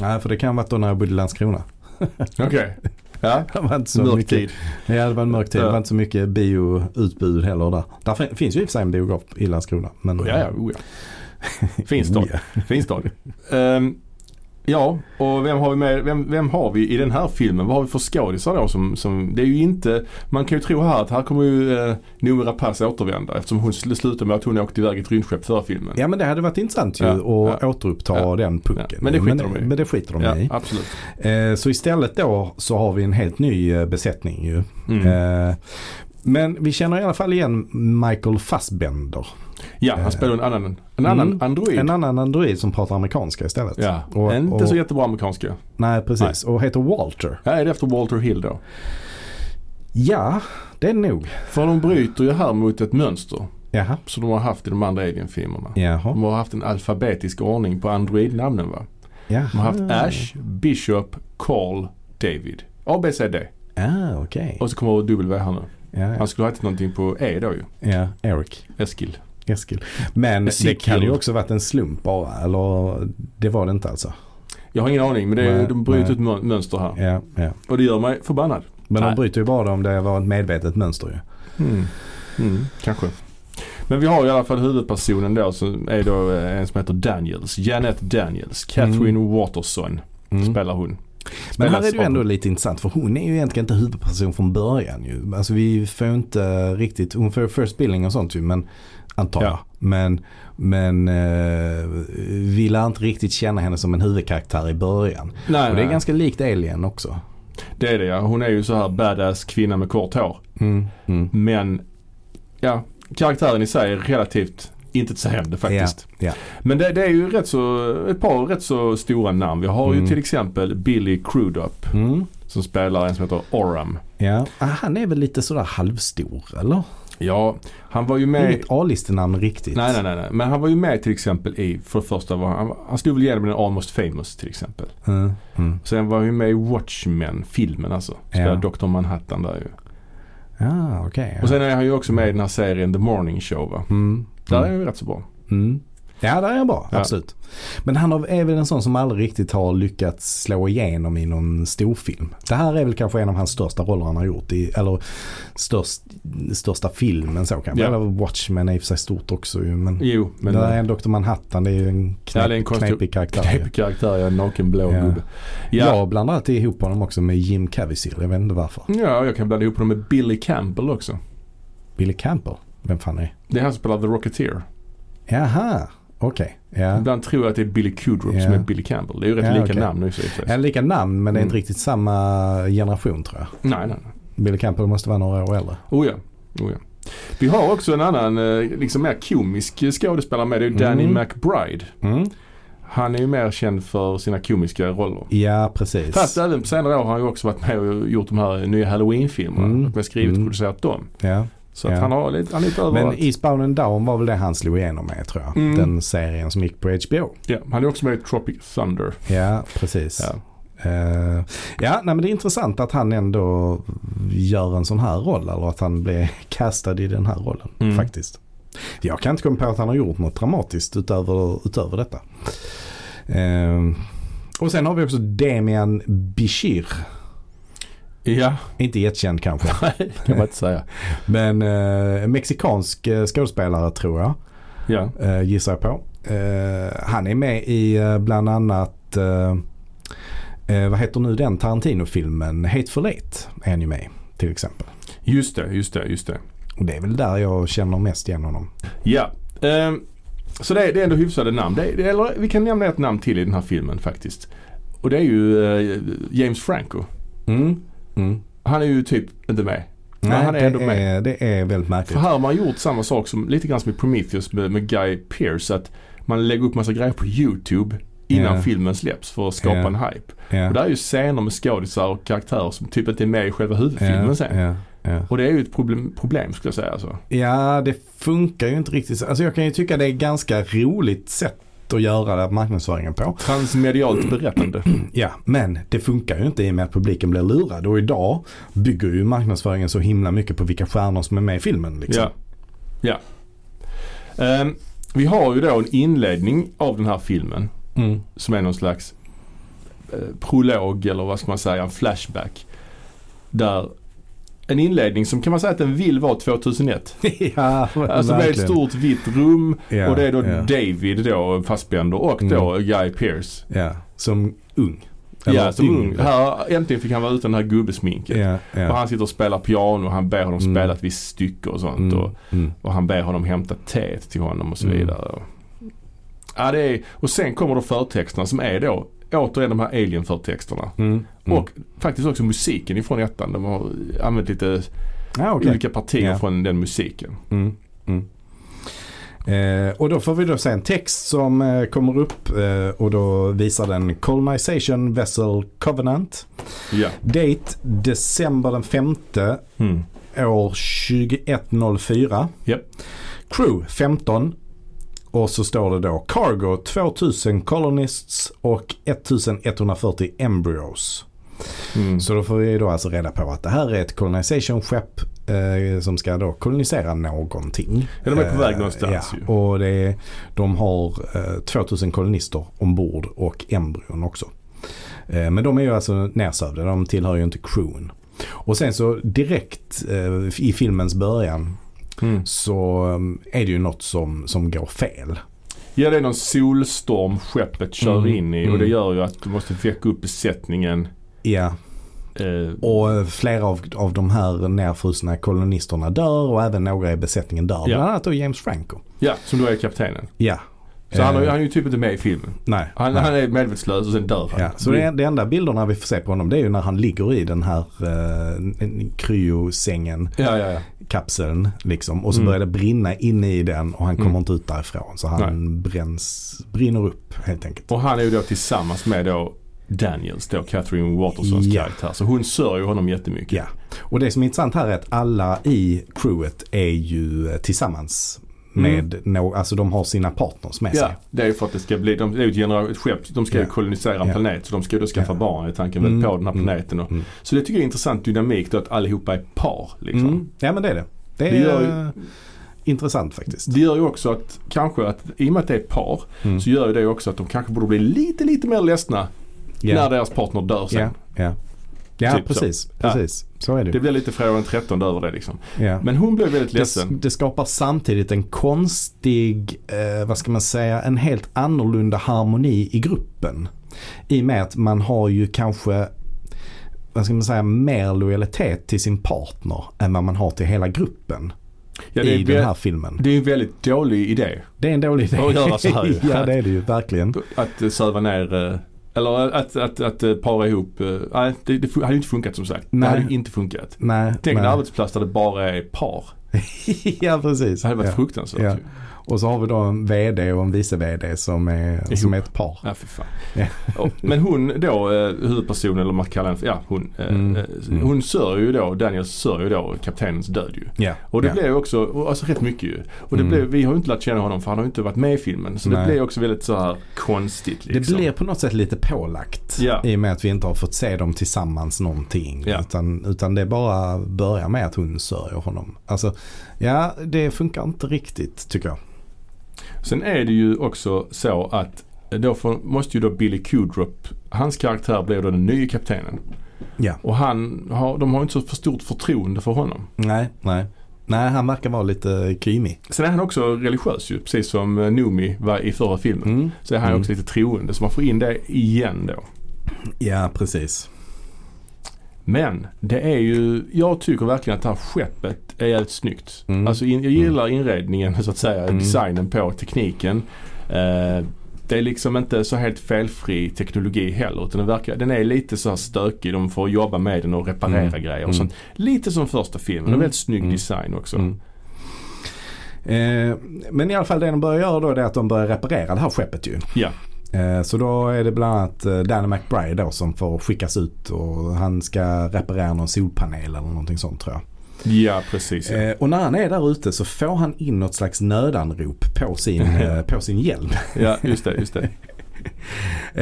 B: Nej, för det kan ha varit då när jag bodde i Landskrona.
A: Okej. Ja.
B: Det var inte så
A: Mörk
B: mycket.
A: tid.
B: Ja, det var en mörk tid.
A: Ja.
B: Det var inte så mycket bioutbud heller där. Där fin- finns ju i och för sig en biograf i Landskrona. Men,
A: Ja, ja, oh, ja. Fin stad.
B: Mm. *laughs* Ja.
A: fin stad. Ehm, ja, och vem har, vi med, vem, vem har vi i den här filmen? Vad har vi för skådisar då? Som, som, det är ju inte, man kan ju tro här att här kommer ju eh, Noomi Rapace återvända eftersom hon sl- slutar med att hon åkte iväg i ett rymdskepp förra filmen.
B: Ja men det hade varit intressant ju
A: Ja,
B: att
A: ja.
B: återuppta
A: Ja.
B: den pucken.
A: Ja, men det skiter
B: men,
A: de i.
B: Men det skiter de
A: Ja,
B: i.
A: absolut.
B: Eh, så istället då så har vi en helt ny eh, besättning ju.
A: Mm.
B: Eh, men vi känner i alla fall igen Michael Fassbender.
A: ja, han
B: eh,
A: spelar en annan, en annan
B: mm,
A: android.
B: En annan android som pratar amerikanska istället.
A: ja,
B: och-
A: inte
B: och-
A: så jättebra amerikanska.
B: Nej precis, och heter Walter.
A: Här är det efter Walter Hill då.
B: Ja, det är nog.
A: För de bryter ju här mot ett mönster
B: Jaha.
A: som de har haft i de andra Alien-filmerna.
B: Jaha.
A: De har haft en alfabetisk ordning på androidnamnen va?
B: Jaha.
A: De har haft Ash, Bishop, Carl, David. ABCD.
B: Ah, okej.
A: Och så kommer W här nu.
B: Ja, ja.
A: Han skulle ha hetat någonting på E då ju.
B: ja, Eric.
A: Eskil.
B: Eskil. Men det
A: Ezekiel.
B: kan ju också varit en slump bara. Eller det var det inte alltså.
A: Jag har ingen aning men det är,
B: Nej,
A: de bryter
B: nej.
A: ett mön- mönster här.
B: Ja, ja.
A: Och det gör mig förbannad.
B: Men
A: Nej.
B: de bryter ju bara om det var ett medvetet mönster ju.
A: Mm. Mm, kanske. Men vi har i alla fall huvudpersonen då som är då eh, en som heter Daniels. Janet Daniels. Catherine Waterson
B: Mm.
A: spelar hon.
B: Men här
A: Spelas
B: är det ju
A: av-
B: ändå lite intressant för hon är ju egentligen inte huvudperson från början ju. Alltså vi får ju inte riktigt, hon får ju first billing och sånt ju men antar jag.
A: Ja.
B: Men, men eh, vi lär inte riktigt känna henne som en huvudkaraktär i början.
A: Nej,
B: Och det är
A: nej.
B: ganska likt Alien också.
A: det är det ja. Hon är ju så här badass kvinna med kort hår.
B: Mm. Mm.
A: Men ja, karaktären i sig är relativt intetsägande faktiskt.
B: Ja, ja.
A: Men det, det är ju rätt så, ett par rätt så stora namn. Vi har ju
B: Mm.
A: till exempel Billy Crudup
B: Mm.
A: som spelar en som heter Oram.
B: Ja. Ah, han är väl lite sådär halvstor eller?
A: Ja, han var ju med...
B: Inget A-listenamn riktigt.
A: Nej, nej, nej, nej. Men han var ju med till exempel i, för det första var han, han stod väl igenom i den Almost Famous till exempel.
B: Mm. Mm.
A: Sen var han ju med i Watchmen, filmen alltså. Spelade
B: Ja.
A: Dr. Manhattan där ju.
B: Ah, okej.
A: Och sen är han ju också med i den här serien The Morning Show va.
B: Mm.
A: Där är
B: Mm.
A: han ju rätt så bra.
B: Mm. Ja, där är han bra.
A: Ja.
B: Absolut. Men han har- är väl en sån som aldrig riktigt har lyckats slå igenom i någon storfilm. Det här är väl kanske en av hans största roller han har gjort. I, eller störst, största filmen så kanske.
A: Ja.
B: Eller Watchmen är i och för sig stort också ju. Men,
A: Jo, men...
B: där är en Dr. Manhattan. Det är ju en, knep,
A: Ja, det är en konstig-
B: knepig karaktär. ju.
A: Knepig typ karaktär, ja. En naken blå
B: Ja.
A: gubbe. Ja.
B: Jag blandar alltid ihop honom också med Jim Caviezel. Jag vet inte varför.
A: ja, jag kan blanda ihop honom med Billy Campbell också.
B: Billy Campbell. Vem fan är
A: Det är han som spelar The Rocketeer.
B: Jaha, okej. Ja.
A: Ibland tror jag att det är Billy Kudrup
B: Ja.
A: som är Billy Campbell. Det är ju rätt
B: Ja,
A: lika
B: okej.
A: namn nu i och för sig.
B: Ja, lika namn men det är inte
A: Mm.
B: riktigt samma generation tror jag.
A: Nej, nej, nej.
B: Billy Campbell måste vara några år äldre.
A: Oh ja. Oh, ja. Vi har också en annan, eh, liksom mer komisk skådespelare med. Det är ju Danny
B: Mm.
A: McBride. Han är ju mer känd för sina komiska roller.
B: Ja, precis.
A: Fast även på senare år har han ju också varit med och gjort de här nya Halloween-filmerna.
B: Mm.
A: Och skrivit och
B: Mm.
A: producerat dem.
B: ja.
A: Så att
B: Ja.
A: han, har lite, han är lite
B: Men
A: överallt.
B: Eastbound and Down var väl det han slog igenom med tror jag.
A: Mm.
B: Den serien som gick på HBO.
A: Ja, han är också med i Tropic Thunder.
B: Ja, precis.
A: Ja.
B: Ja. ja, nej, men det är intressant att han ändå gör en sån här roll. Eller att han blir *laughs* kastad i den här rollen
A: Mm.
B: faktiskt. Jag kan inte komma på att han har gjort något dramatiskt utöver, utöver detta. Eh, och sen har vi också Demian Bichir.
A: *laughs* Ja,
B: Inte jättekänd kanske.
A: kan man inte säga.
B: Men eh, mexikansk eh, skådespelare tror jag.
A: Ja.
B: eh, gissar jag på. Eh, han är med i eh, bland annat, eh, eh, vad heter nu den Tarantino-filmen, Hateful Eight är han ju med i, till exempel.
A: Just det, just det, just det.
B: Och det är väl där jag känner mest igen honom.
A: Ja. ehm, så det är, det är ändå hyfsade namn. Det är, det- eller vi kan nämna ett namn till i den här filmen faktiskt. Och det är ju eh, James Franco.
B: Mm. Mm.
A: Han är ju typ inte med. Men
B: Nej,
A: han är
B: det,
A: ändå med.
B: är, det är väldigt
A: För
B: märkligt.
A: här har man gjort samma sak som lite grann som i Prometheus med, med Guy Pearce. Att man lägger upp massa grejer på YouTube innan
B: Ja.
A: filmen släpps för att skapa
B: Ja.
A: en hype.
B: Ja.
A: Och där är ju scener med skådisar och karaktärer som typ inte är med i själva huvudfilmen
B: ja.
A: sen.
B: Ja. Ja.
A: Och det är ju ett problem, problem skulle jag säga alltså.
B: Ja, det funkar ju inte riktigt. så. Alltså jag kan ju tycka det är ganska roligt sätt att göra det, marknadsföringen på.
A: Transmedialt *clears throat* berättande.
B: Ja, men det funkar ju inte i och med att publiken blir lurad. Och idag bygger ju marknadsföringen så himla mycket på vilka stjärnor som är med i filmen. Liksom.
A: Ja. ja. Ehm, vi har ju då en inledning av den här filmen
B: Mm. *laughs*
A: som är någon slags eh, prolog eller vad ska man säga, en flashback. Där en inledning som kan man säga att den vill vara 2001.
B: ja,
A: Alltså det är ett stort vitt rum
B: Ja,
A: och det är då
B: ja. Mm.
A: David då, Fassbender och då Guy Pearce.
B: Ja, som ung.
A: Ja, som ung.
B: yngre.
A: Här, äntligen fick han vara utan det här gubbesminket.
B: Ja,
A: Och
B: ja.
A: han sitter och spelar piano och han ber honom
B: Mm.
A: spela ett visst stycke och sånt. Och,
B: Mm, mm.
A: Och han ber honom hämta teet till honom och så
B: Mm.
A: vidare. Ja, det är, och sen kommer då förtexterna som är då återigen de här alien-förtexterna.
B: Mm. Mm.
A: Och faktiskt också musiken ifrån ettan. De har använt lite
B: ja, okej.
A: olika partier
B: Ja.
A: från den musiken.
B: Mm. Mm. Eh, och då får vi då se en text som eh, kommer upp eh, och då visar den Colonization Vessel Covenant.
A: Ja.
B: Date december den 5
A: Mm.
B: år 2104.
A: Japp.
B: Crew 15. Och så står det då Cargo 2000 Colonists och 1140 Embryos.
A: Mm.
B: Så då får vi då alltså reda på att det här är ett colonization-skepp eh, som ska då kolonisera någonting.
A: Ja, de är på
B: Eh,
A: väg någonstans ju.
B: ja. Och det är, de har eh, 2000 kolonister ombord och embryon också. Eh, men de är ju alltså nersövda, de tillhör ju inte crewen. Och sen så direkt eh, i filmens början
A: Mm.
B: så eh, är det ju något som, som går fel.
A: Ja, det är någon solstorm skeppet kör
B: Mm.
A: in i och
B: Mm.
A: det gör ju att du måste väcka upp besättningen.
B: Ja,
A: Eh,
B: Och eh, flera av, av de här nerfrusna kolonisterna dör och även några i besättningen dör.
A: Ja.
B: Bland annat då James Franco.
A: ja, som då är kaptenen.
B: Ja.
A: Så han, har, ju-
B: Eh,
A: han är ju typ inte med i filmen.
B: Nej.
A: Han,
B: nej.
A: han är medvetslös och sen dör han.
B: Ja, så det, det enda bilderna vi får se på honom det är ju när han ligger i den här eh, kryosängen,
A: ja, ja, ja.
B: kapseln liksom. Och så
A: Mm.
B: börjar det brinna inne i den och han kommer
A: Mm.
B: inte ut därifrån. Så han bränns, brinner upp helt enkelt.
A: Och han är ju då tillsammans med då Daniels, då Catherine Watersons
B: Ja.
A: karaktär. Så hon sörjer ju honom jättemycket.
B: Ja. Och det som är intressant här är att alla i crewet är ju eh, tillsammans med nå- alltså de har sina partners med sig.
A: Mm. Ja, det är ju för att det ska bli, de, det är ju ett, genera- ett skepp, de ska ju
B: Ja.
A: kolonisera en
B: Ja.
A: planet så de ska ju då skaffa
B: Ja.
A: barn i tanken väl
B: Mm.
A: på den här
B: Mm.
A: planeten. Och,
B: Mm.
A: Så det tycker jag är intressant dynamik då att allihopa är par liksom.
B: Mm. Ja men det är det. Det är,
A: Det gör ju-
B: intressant faktiskt.
A: Det gör ju också att kanske att i och med att det är par
B: Mm.
A: så gör ju det också att de kanske borde bli lite, lite mer ledsna när deras partner dör sen.
B: Ja, ja. ja
A: Typ så.
B: precis.
A: Ja.
B: precis. Så är det.
A: Det blir lite fredag den 13 över det liksom.
B: ja.
A: Men hon blev väldigt
B: det,
A: ledsen.
B: det skapar samtidigt en konstig, eh, vad ska man säga, en helt annorlunda harmoni i gruppen. I och med att man har ju kanske, vad ska man säga, mer lojalitet till sin partner än vad man har till hela gruppen
A: Ja, det,
B: i
A: är,
B: den
A: vä-
B: här filmen.
A: det är en väldigt dålig idé
B: Det är en dålig idé.
A: Att göra så här ju.
B: *laughs* ja, det är det ju verkligen.
A: att eh, söva ner eh, eller att, att, att, eh, para ihop. eh, Nej, det, det fun- hade ju inte funkat som sagt. Det
B: Nej.
A: hade ju inte funkat.
B: Nej,
A: Tänk en
B: *laughs* nej.
A: arbetsplats där det bara är par.
B: ja, precis.
A: Det hade varit
B: Ja.
A: fruktansvärt
B: Ja.
A: ju.
B: Och så har vi då en VD och en vice VD som är,
A: Ihop.
B: som är ett par.
A: Ja, för fan.
B: Ja.
A: Och- Men hon då, eh, huvudpersonen eller vad man kallar henne för, ja hon. eh,
B: Mm.
A: eh, Hon sörjer ju då, Daniel sörjer ju då kaptenens död ju.
B: Ja.
A: Och det
B: ja.
A: blev också, och alltså rätt mycket ju. Och det
B: Mm.
A: blev, vi har ju inte lärt känna honom för han har ju inte varit med i filmen. Så
B: Nej.
A: det blev också väldigt så här konstigt liksom.
B: Det blir på något sätt lite pålagt.
A: Ja.
B: I och med att vi inte har fått se dem tillsammans någonting.
A: Ja.
B: Utan, utan det bara börjar med att hon sörjer honom. Alltså, ja det funkar inte riktigt tycker jag.
A: Sen är det ju också så att eh, då får, måste ju då Billy Kudrup, hans karaktär blir då den nya kaptenen.
B: Ja.
A: Och han har, de har ju inte så för stort förtroende för honom.
B: Nej, nej. Nej, han verkar vara lite krymig.
A: Sen är han också religiös ju, precis som eh, Noomi var i förra filmen.
B: Mm.
A: Så är han
B: Mm.
A: också lite troende så man får in det igen då.
B: Ja, precis.
A: Men det är ju, jag tycker verkligen att det här skeppet är jävligt snyggt.
B: Mm.
A: Alltså in, jag gillar inredningen så att säga,
B: Mm.
A: designen på tekniken. Eh, det är liksom inte så helt felfri teknologi heller utan den, verkar, den är lite så här stökig. De får jobba med den och reparera
B: Mm.
A: grejer
B: Mm.
A: och sånt. Lite som första filmen,
B: Mm.
A: en väldigt snygg
B: Mm.
A: design också.
B: Mm. Eh, men i alla fall det de börjar göra då det är att de börjar reparera det här skeppet ju.
A: Ja.
B: Eh, så då är det bland annat eh, Danny McBride då som får skickas ut och han ska reparera någon solpanel eller någonting sånt tror jag.
A: Ja precis. Ja.
B: Eh, och när han är där ute så får han in något slags nödanrop
A: *laughs*
B: på sin, eh, på sin hjälm.
A: ja just det, just
B: *laughs*
A: det.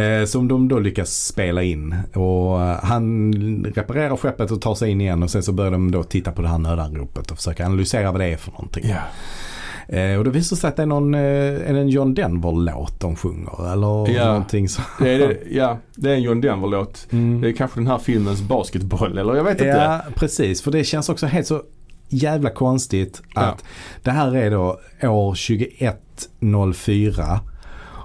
B: Eh, som de då lyckas spela in. Och eh, han reparerar skeppet och tar sig in igen och sen så börjar de då titta på det här nödanropet och försöka analysera vad det är för någonting.
A: Ja.
B: Eh, och då visar det sig att det är någon, eh, är det en John Denver-låt de sjunger eller
A: Ja.
B: någonting så. Mm.
A: Det, är,
B: *laughs*
A: det, ja, det är en John Denver-låt. Det är kanske den här filmens basketboll eller jag vet inte.
B: Ja, precis. För det känns också helt så jävla konstigt att det här är då år 2104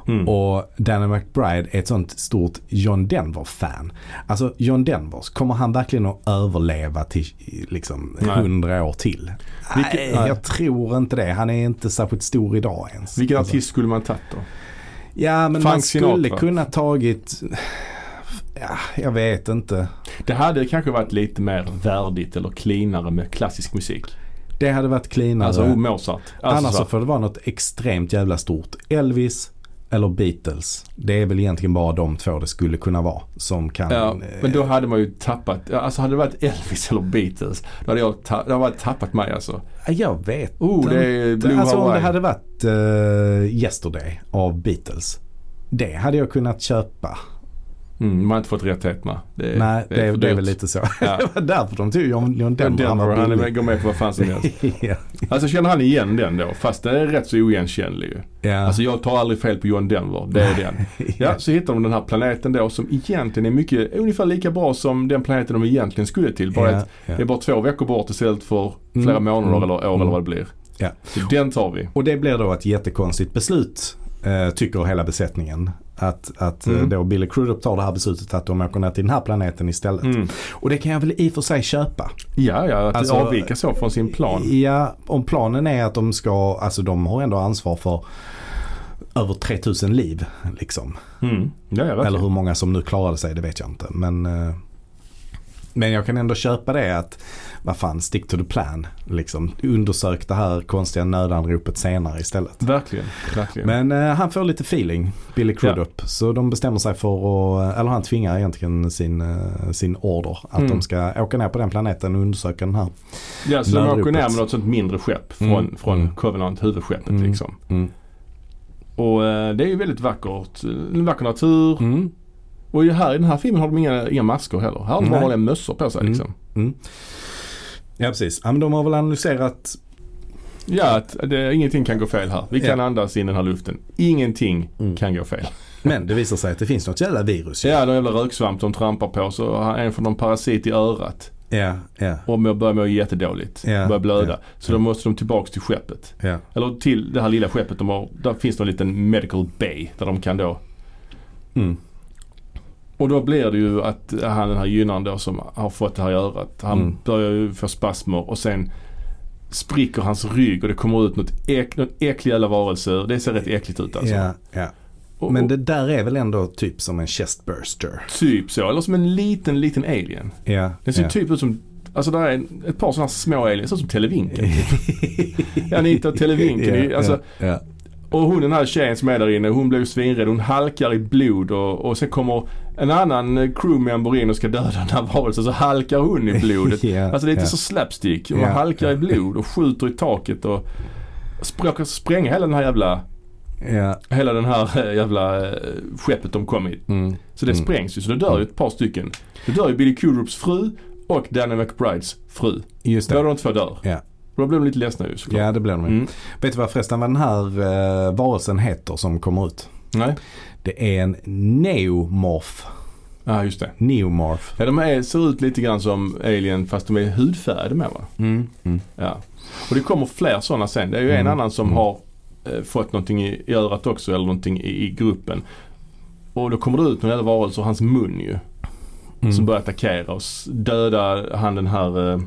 A: Mm.
B: och Danny McBride är ett sånt stort John Denver-fan. Alltså John Denvers, kommer han verkligen att överleva till liksom
A: Nej.
B: hundra år till?
A: Vilket-
B: nej,
A: nej.
B: jag tror inte det. Han är inte särskilt stor idag ens.
A: Vilken
B: Alltså.
A: artist skulle man tagit då?
B: Ja, men
A: Frank
B: man skulle
A: Sinatra.
B: kunna tagit, ja, jag vet inte.
A: Det hade kanske varit lite mer värdigt eller cleanare med klassisk musik.
B: Det hade varit cleanare.
A: Alltså Mozart. Alltså,
B: Annars så
A: så,
B: får det vara något extremt jävla stort. Elvis eller Beatles. Det är väl egentligen bara de två det skulle kunna vara. Som kan...
A: ja,
B: eh,
A: men då hade man ju tappat, ja, alltså hade det varit Elvis eller Beatles, då hade jag ta, det hade varit tappat mig alltså.
B: jag vet
A: Oh,
B: inte.
A: det är Blue
B: Alltså om det
A: Hawaii.
B: hade varit eh, Yesterday av Beatles. Det hade jag kunnat köpa.
A: Mm, man har inte fått rättigheterna. Det,
B: Nej, det, är-
A: för
B: det är
A: dyrt.
B: väl lite så. *laughs*
A: Ja.
B: det var därför de tog John, John
A: Den
B: Denver. Han var
A: han
B: billig.
A: går med på vad fan som
B: *laughs*
A: helst.
B: ja.
A: Alltså känner han igen den då? Fast den är rätt så oigenkännlig ju.
B: Ja.
A: Alltså jag tar aldrig fel på John Denver. Det är den. Ja, så hittar de den här planeten då som egentligen är mycket, ungefär lika bra som den planeten de egentligen skulle till. Bara
B: Ja,
A: att
B: ja.
A: det är bara två veckor bort istället för flera
B: Mm,
A: månader
B: mm,
A: eller år
B: mm.
A: eller vad det blir.
B: Ja.
A: Så den tar vi.
B: Och det blir då ett jättekonstigt beslut, eh, tycker hela besättningen. Att, att eh,
A: Mm.
B: då Billy Crudup tar det här beslutet att de åker ner till den här planeten istället.
A: Mm.
B: Och det kan jag väl i och för sig köpa.
A: Ja, ja, att
B: Alltså-
A: avvika så från sin plan.
B: Ja, om planen är att de ska, alltså de har ändå ansvar för över 3000 liv liksom.
A: Mm. Ja, ja,
B: Eller
A: verkligen.
B: hur många som nu klarade sig, det vet jag inte. Men, eh, men jag kan ändå köpa det att, vad fan, stick to the plan. Liksom. Undersök det här konstiga nödanropet senare istället.
A: Verkligen. verkligen.
B: Men eh, han får lite feeling, Billy Crudup. Så de bestämmer sig för att, eh, eller han tvingar egentligen sin, eh, sin order att
A: Mm.
B: de ska åka ner på den planeten och undersöka den här.
A: ja, så de
B: Nödropet.
A: åker ner med något sånt mindre skepp från,
B: Mm.
A: från
B: Mm.
A: Covenant, huvudskeppet
B: Mm.
A: liksom. Och eh, det är ju väldigt vackert. En vacker natur.
B: Mm.
A: Och ju här i den här filmen har de inga, inga masker heller. Här har de
B: Nej.
A: bara vanliga mössor på sig
B: Mm.
A: liksom.
B: Ja precis, ja, men de har väl analyserat
A: Ja, att det, ingenting kan gå fel här. Vi kan
B: Ja.
A: andas in den här luften. Ingenting
B: Mm.
A: kan gå fel.
B: Men det visar sig att det finns något jävla virus. ju.
A: Ja, någon jävla röksvamp de trampar på så har en från någon parasit i örat
B: ja, ja.
A: och mår- börjar må jättedåligt.
B: Ja,
A: Börjar blöda.
B: ja.
A: Så då måste de tillbaks till skeppet.
B: ja.
A: Eller till det här lilla skeppet de har. Där finns det en liten medical bay där de kan då
B: Mm.
A: Och då blir det ju att han den här gynnaren då som har fått det här i örat. Han
B: Mm.
A: börjar ju få spasmer och sen spricker hans rygg och det kommer ut något äck, någon äcklig jävla varelse ur. Det ser rätt äckligt ut alltså.
B: ja, ja.
A: Och,
B: Men
A: men
B: det där är väl ändå typ som en chestburster.
A: Typ så. Eller som en liten, liten alien.
B: Ja,
A: Den ser
B: ja.
A: typ *laughs* ut som Alltså där är en- ett par sådana små aliens, ser ut som Televinken. Anita och Televinken. är ju- alltså,
B: ja, ja.
A: Och hon den här tjejen som är där inne, hon blev svinrädd. Hon halkar i blod och, och sen kommer en annan eh, crewmember in och ska döda den här varelsen. Så halkar hon i
B: *laughs*
A: blodet.
B: Ja,
A: Alltså det är lite
B: ja.
A: så slapstick. Man
B: Ja,
A: halkar
B: ja.
A: i blod och skjuter i taket och språkar, spränger hela den här jävla,
B: Ja.
A: hela den här eh, jävla eh, skeppet de kom i.
B: Mm.
A: Så det
B: Mm.
A: sprängs ju. Så det dör ju ett par stycken. Det dör ju Billy Kudrups fru och Danny McBrides fru.
B: Just
A: Båda
B: det.
A: de två dör.
B: Ja.
A: Då blir de lite ledsna ju såklart.
B: Ja, det blir de ju.
A: Mm.
B: Vet du vad förresten vad den här eh, varelsen heter som kommer ut?
A: Nej,
B: Det är en neomorf.
A: ja ah, just det.
B: Neomorf.
A: Ja, de är, ser ut lite grann som Alien fast de är hudfärgade med va? Ja. Och det kommer fler sådana sen. Det är ju en
B: Mm.
A: annan som
B: Mm.
A: har eh, fått någonting i, i örat också eller någonting i, i gruppen. Och då kommer det ut någon jävla varelse ur hans mun ju.
B: Mm.
A: Som börjar attackera och s- döda han den här, eh,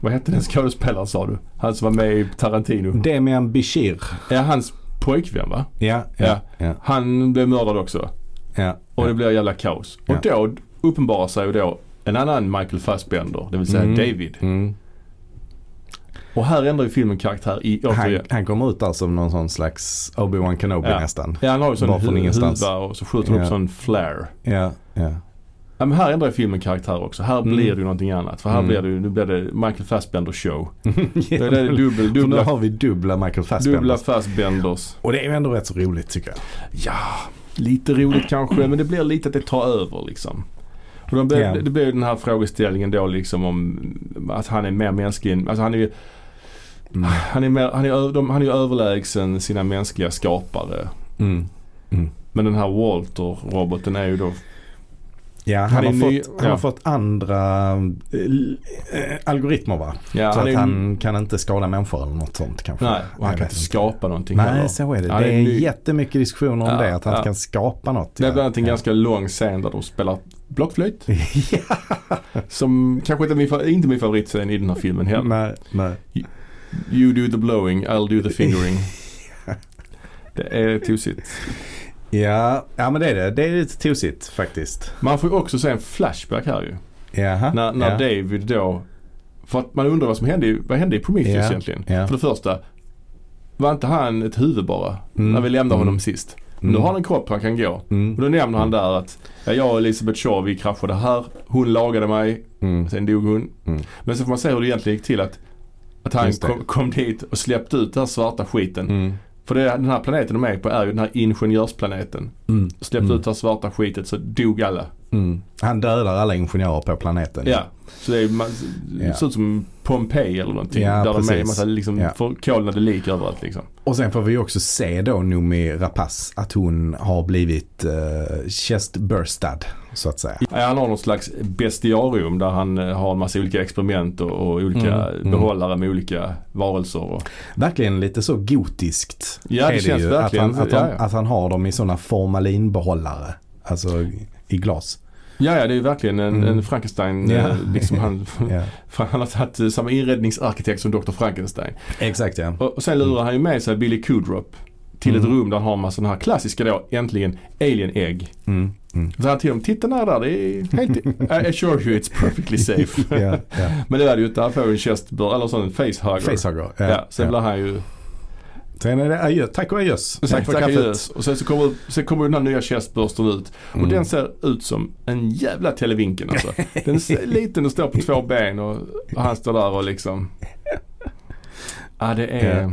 A: vad hette den skådespelaren sa du? Han som var med i
B: Mm.
A: Tarantino.
B: Demian Bishir.
A: Ja, hans pojkvän va?
B: Ja,
A: Ja.
B: ja, ja.
A: Han blev mördad också.
B: ja,
A: Och det
B: ja.
A: blir jävla kaos. Och då uppenbarar sig ju då en annan Michael Fassbender, det vill säga
B: Mm.
A: David.
B: Mm.
A: Och här ändrar ju filmen karaktär i återigen.
B: Han, han kommer ut där som någon sån slags Obi-Wan Kenobi
A: Ja.
B: nästan.
A: Ja, han har ju sån
B: Bara från
A: hu-
B: ingenstans.
A: huva och så skjuter han upp
B: Ja.
A: sån flare.
B: Ja, ja.
A: *laughs* Ja, men här ändrar ju filmen karaktär också. Här
B: Mm.
A: blir det ju någonting annat. För här
B: Mm.
A: blir det ju, nu blir det Michael Fassbender show.
B: *laughs* ja.
A: Då är det dubbel,
B: Så nu
A: dubbla,
B: har vi dubbla Michael Fassbender.
A: dubbla Fassbenders.
B: Och det är ju ändå rätt så roligt tycker jag.
A: Ja, lite roligt kanske men det blir lite att det tar över liksom. Och de,
B: Ja.
A: yeah. Det blir ju den här frågeställningen då liksom om att han är mer mänsklig än, alltså han är ju
B: Mm.
A: han är, mer, han, är, ö- de, han är ju överlägsen sina mänskliga skapare.
B: Mm.
A: Men den här Walter, roboten, är ju då
B: Ja, han,
A: Han är
B: har,
A: ny-
B: fått, han
A: ja.
B: har fått andra eh, l- eh, algoritmer va?
A: Ja,
B: så
A: han är
B: att
A: ju,
B: han kan inte skada människor eller något sånt kanske.
A: Nej, och han
B: Jag
A: kan
B: vet
A: inte skapa någonting
B: Nej,
A: heller.
B: så är det.
A: Han
B: det
A: är
B: är
A: ny.
B: jättemycket diskussioner om
A: Ja,
B: det. Att han
A: ja.
B: inte kan skapa något.
A: Det är
B: ja.
A: bland annat en
B: Ja. *laughs*
A: ganska lång scen där de spelar blockflöjt. Som kanske inte är min, fa- inte min favoritscen i den här filmen heller.
B: Nej, nej.
A: You do the blowing, I'll do the fingering.
B: *laughs*
A: Det är tosigt.
B: Ja, ja, men det är det. Det är lite tosigt faktiskt.
A: Man får ju också se en flashback här ju.
B: Jaha.
A: När, när
B: ja.
A: David då... För att man undrar vad som hände, i- vad hände i Prometheus
B: Ja,
A: egentligen?
B: ja.
A: För det första, var inte han ett huvud bara?
B: Mm,
A: När vi lämnade
B: mm,
A: honom sist.
B: mm,
A: Nu har han en kropp han kan gå. Och
B: Mm.
A: då nämner han där att ja, jag och Elisabeth Shaw vi kraschade här. Hon lagade mig,
B: Mm.
A: sen dog hon.
B: Mm.
A: Men så får man se hur det egentligen gick till att, att han
B: Just det.
A: kom, kom dit och släppte ut den här svarta skiten.
B: Mm.
A: För det, den här planeten de är på är ju den här ingenjörsplaneten.
B: Mm.
A: Släppte ut det här svarta skitet så dog alla.
B: Mm. Han dödar alla ingenjörer på planeten.
A: Ja. Så det är, man,
B: Ja.
A: det ser ut som Pompeji eller någonting.
B: Ja,
A: där de är en
B: precis.
A: massa liksom,
B: Ja.
A: förkolnade lik överallt liksom.
B: Och sen får vi ju också se då Noomi Rapace att hon har blivit uh, chestburstad så att säga.
A: Ja, han har någon slags bestiarium där han eh, har en massa olika experiment och, och olika
B: Mm, mm.
A: behållare med olika varelser. Och,
B: Verkligen lite så gotiskt.
A: ja,
B: är
A: det, känns
B: ju,
A: verkligen.
B: Att han, att, han,
A: ja, ja.
B: att han har dem i sådana formalinbehållare. Alltså i glas.
A: ja, ja, det är ju verkligen en,
B: Mm.
A: en Frankenstein.
B: Ja.
A: eh, Liksom han,
B: *laughs* Ja.
A: *laughs* han har tagit eh, samma inredningsarkitekt som Dr. Frankenstein.
B: Exakt ja.
A: Och och sen lurar han ju med sig Billy Kudrup till ett
B: Mm.
A: rum där han har en massa sådana här klassiska då, äntligen, alien-ägg.
B: Mm. Mm.
A: Så han till dem, titta när där, det
B: *laughs*
A: är helt, I assure you it's perfectly safe.
B: ja,
A: *laughs*
B: ja.
A: Men det är det ju inte, han får ju en chestbur, eller sån en facehugger.
B: Facehugger. Ja,
A: Ja, sen blir
B: ja.
A: han ju,
B: Sen är det adjö. Tack och adjöss.
A: tack för kaffet. Och sen så kommer, sen kommer ju den här nya chestbursten ut. Och
B: Mm.
A: den ser ut som en jävla televinken alltså. Den
B: *laughs*
A: är liten och står på två ben och, och han står där och liksom. Ja det är,
B: Ja.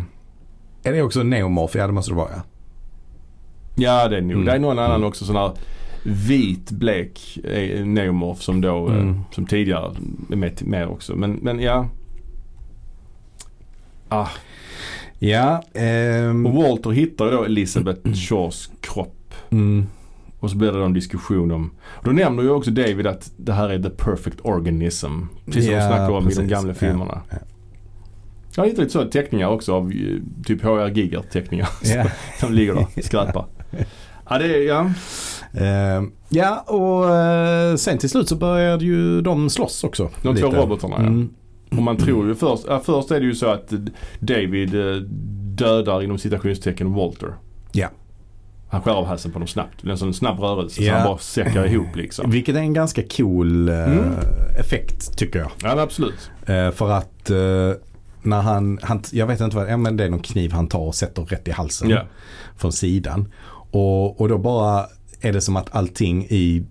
B: Är det också neomorf? Ja det måste det vara ja.
A: Ja det är nog.
B: Mm.
A: Det är någon annan
B: Mm.
A: också sån här vit blek eh, neomorf som då eh,
B: Mm.
A: som tidigare är med, med också. Men, men ja. Ah.
B: Ja, ehm,
A: Och Walter hittar ju då Elizabeth Shaws kropp.
B: mm,
A: Och så blir det då en diskussion om... Och då nämner ju också David att det här är the perfect organism. Precis som
B: Ja,
A: de snackar om i
B: precis.
A: de gamla
B: Ja,
A: filmerna.
B: ja.
A: Jag har hittat lite sådana teckningar också av eh, typ HR Giger teckningar. *laughs*
B: ja.
A: Som ligger där och
B: *laughs*
A: skräpar. Ja, det är, ja.
B: Ehm, ja, och eh, sen till slut så började ju de slåss också.
A: De två
B: lite.
A: robotarna ja.
B: Mm,
A: Och man tror ju först, ja, först är det ju så att eh, David eh, dödar inom citationstecken Walter.
B: Ja.
A: Han skär av halsen på dem snabbt. Det är en sån snabb rörelse
B: Ja.
A: så han bara säckar ihop liksom.
B: Vilket är en ganska cool eh,
A: Mm.
B: effekt tycker jag.
A: Ja men absolut.
B: Eh, för att eh, när han, han, jag vet inte vad, ja, men det är någon kniv han tar och sätter rätt i halsen
A: Ja.
B: från sidan. Och, och då bara är det som att allting i,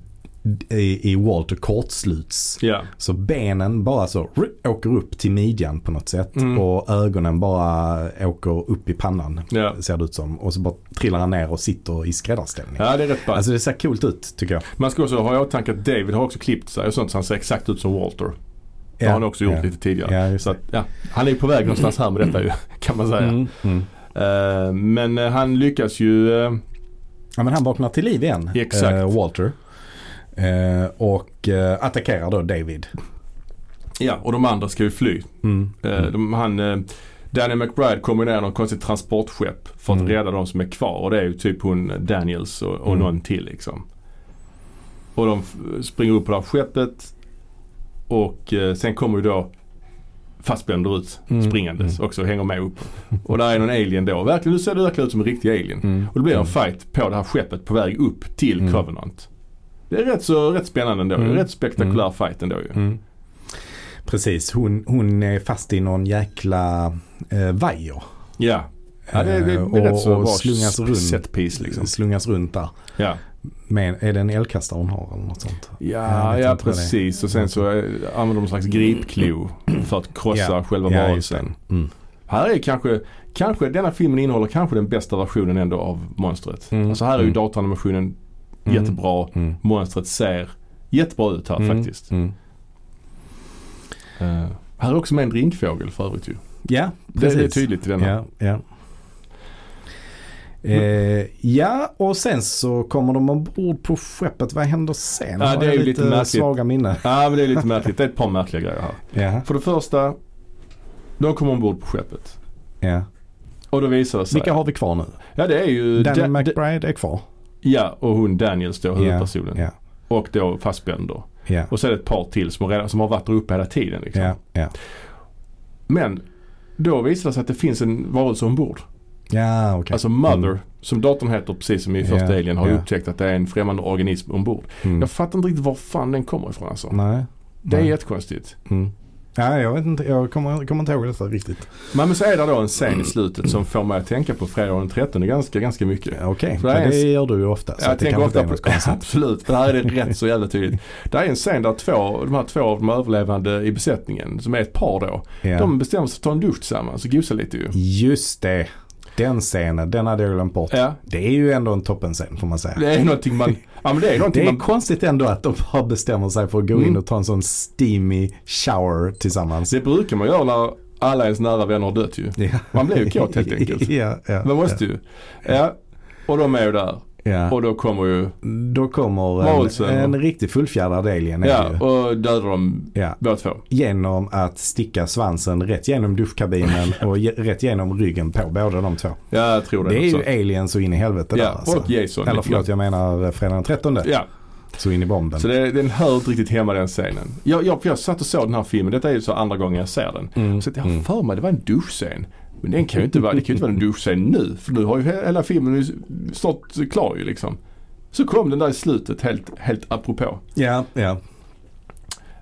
B: i, i Walter kortsluts.
A: Ja.
B: Så benen bara så rup, åker upp till midjan på något sätt
A: Mm.
B: och ögonen bara åker upp i pannan.
A: Ja.
B: Ser det ut som. Och så bara trillar han ner och sitter i skräddarställning.
A: ja det är rätt ballt.
B: Alltså det ser coolt ut tycker jag.
A: Man ska också ha i åtanke att David har också klippt sig och sånt så han ser exakt ut som Walter. Det har han också gjort
B: ja.
A: lite tidigare.
B: Ja, just
A: Så att, ja, han är ju på väg någonstans här med detta ju *laughs* kan man säga.
B: Mm. Mm.
A: Eh, men eh, han lyckas ju eh,
B: Ja men han vaknar till liv igen.
A: Exakt.
B: eh, Walter. Eh, och eh, attackerar då David. Mm.
A: Ja, och de andra ska ju fly. Eh, de, han, eh, Danny McBride kommer ner i något konstigt transportskepp för att
B: Mm.
A: rädda de som är kvar. Och det är ju typ hon Daniels och, och
B: Mm.
A: någon till liksom. Och de f- springer upp på det här skeppet. Och eh, sen kommer ju då Fassbender ut
B: Mm.
A: springandes också och hänger med upp. Och där är någon alien då. Verkligen, nu ser det verkligen ut som en riktig alien.
B: Mm.
A: Och det blir en fight på det här skeppet på väg upp till
B: Mm.
A: Covenant. Det är rätt så rätt spännande ändå.
B: Mm.
A: En rätt spektakulär fight ändå ju.
B: Mm. Precis, hon, hon är fast i någon jäkla eh, vajer.
A: Ja. Ja, det, det, det är
B: Eh, och,
A: rätt så
B: och
A: bra
B: slungas runt,
A: setpiece liksom.
B: slungas runt där.
A: Ja,
B: Med, är det en elkastare hon har eller något sånt? Jag
A: ja,
B: vet
A: ja
B: inte vad det är. Mm.
A: precis. Och sen så eh, använder de en slags gripklo för att krossa
B: Ja.
A: själva
B: Ja, just det.
A: varelsen.
B: Mm.
A: Här är kanske, kanske, denna filmen innehåller kanske den bästa versionen ändå av monstret.
B: Mm.
A: Alltså här är ju
B: Mm.
A: datoranimationen
B: Mm.
A: jättebra.
B: Mm.
A: Monstret ser jättebra ut här
B: Mm.
A: faktiskt.
B: Mm.
A: Eh, här är också med en drinkfågel för övrigt ju.
B: Ja,
A: Det,
B: precis.
A: det är tydligt i denna.
B: Ja, ja. Eh, ja, och sen så kommer de ombord på skeppet. Vad händer sen?
A: Ja,
B: Har
A: det är
B: jag
A: ju lite märkligt.
B: svaga minnen.
A: Ja, men det är lite märkligt. Det är ett par märkliga grejer här.
B: Ja,
A: För det första, de kommer ombord på skeppet.
B: ja.
A: Och då visar det sig.
B: Vilka har vi kvar nu?
A: Ja det är ju
B: Danny
A: Da- Da-
B: McBride är kvar.
A: Ja och hon Daniels då huvudpersonen.
B: Ja,
A: Och då Fassbender.
B: ja,
A: Och så är det ett par till som, redan, som har varit där uppe hela tiden. Liksom.
B: ja. ja.
A: Men då visar det sig att det finns en varelse ombord.
B: Ja, okej.
A: Alltså Mother,
B: Mm.
A: som datorn heter precis som i
B: Ja,
A: första Alien, har ju
B: ja.
A: upptäckt att det är en främmande organism ombord.
B: Mm.
A: Jag fattar inte riktigt var fan den kommer ifrån alltså.
B: Nej.
A: Det är
B: nej.
A: jättekonstigt.
B: Mm. Ja, jag vet inte. Jag kommer, kommer inte ihåg detta riktigt.
A: Men men så är det då en scen i slutet som får mig att tänka på fredag den 13 ganska, ganska mycket.
B: Ja, Okej,
A: Så det är
B: okay. det
A: en-
B: gör du ju ofta. Så
A: jag
B: att det
A: tänker
B: kanske
A: ofta
B: inte är
A: på
B: något *laughs* konstigt.
A: Absolut, det här är det rätt så jävla tydligt. Det här är en scen där två, de här två av de överlevande i besättningen, som är ett par då,
B: Ja.
A: de bestämmer sig för att ta en dusch tillsammans och gosa lite ju.
B: Just det. Den scenen, den hade jag glömt bort.
A: Ja,
B: Det är ju ändå en toppenscen får man säga.
A: det är någonting man, ja men det är någonting
B: Det är
A: man,
B: konstigt ändå att de bara bestämmer sig för att gå in
A: Mm.
B: och ta en sån steamy shower tillsammans.
A: det brukar man göra när alla ens nära vänner har dött ju.
B: Ja.
A: Man blir ju kåt
B: *laughs*
A: helt enkelt.
B: ja, ja,
A: Man måste ju. Ja, och de är ju där.
B: ja.
A: Och då kommer ju,
B: Då kommer
A: Varelsen.
B: en, en riktig fullfjädrad alien är
A: ja,
B: ju.
A: och dödar dem
B: Ja.
A: båda två.
B: Genom att sticka svansen rätt
A: *laughs*
B: genom duschkabinen och ge, rätt genom ryggen på båda de två.
A: Ja, jag tror det.
B: Det är
A: också.
B: ju alien så in i helvete där
A: alltså- Ja,
B: alltså.
A: och Jason.
B: Eller
A: lite
B: förlåt, jag menar fredagen den 13
A: grann. Ja,
B: så in i bomben.
A: Så det, den hör inte riktigt hemma den scenen. Jag, jag, jag satt och såg den här filmen, detta är ju så andra gången jag ser den.
B: Mm.
A: Så att jag har för mig det var en duschscen. Men den kan ju inte vara, det kan ju inte vara en duschscen nu. För nu har ju he- hela filmen ju snart klar ju liksom. Så kom den där i slutet helt, helt apropå.
B: Ja, ja.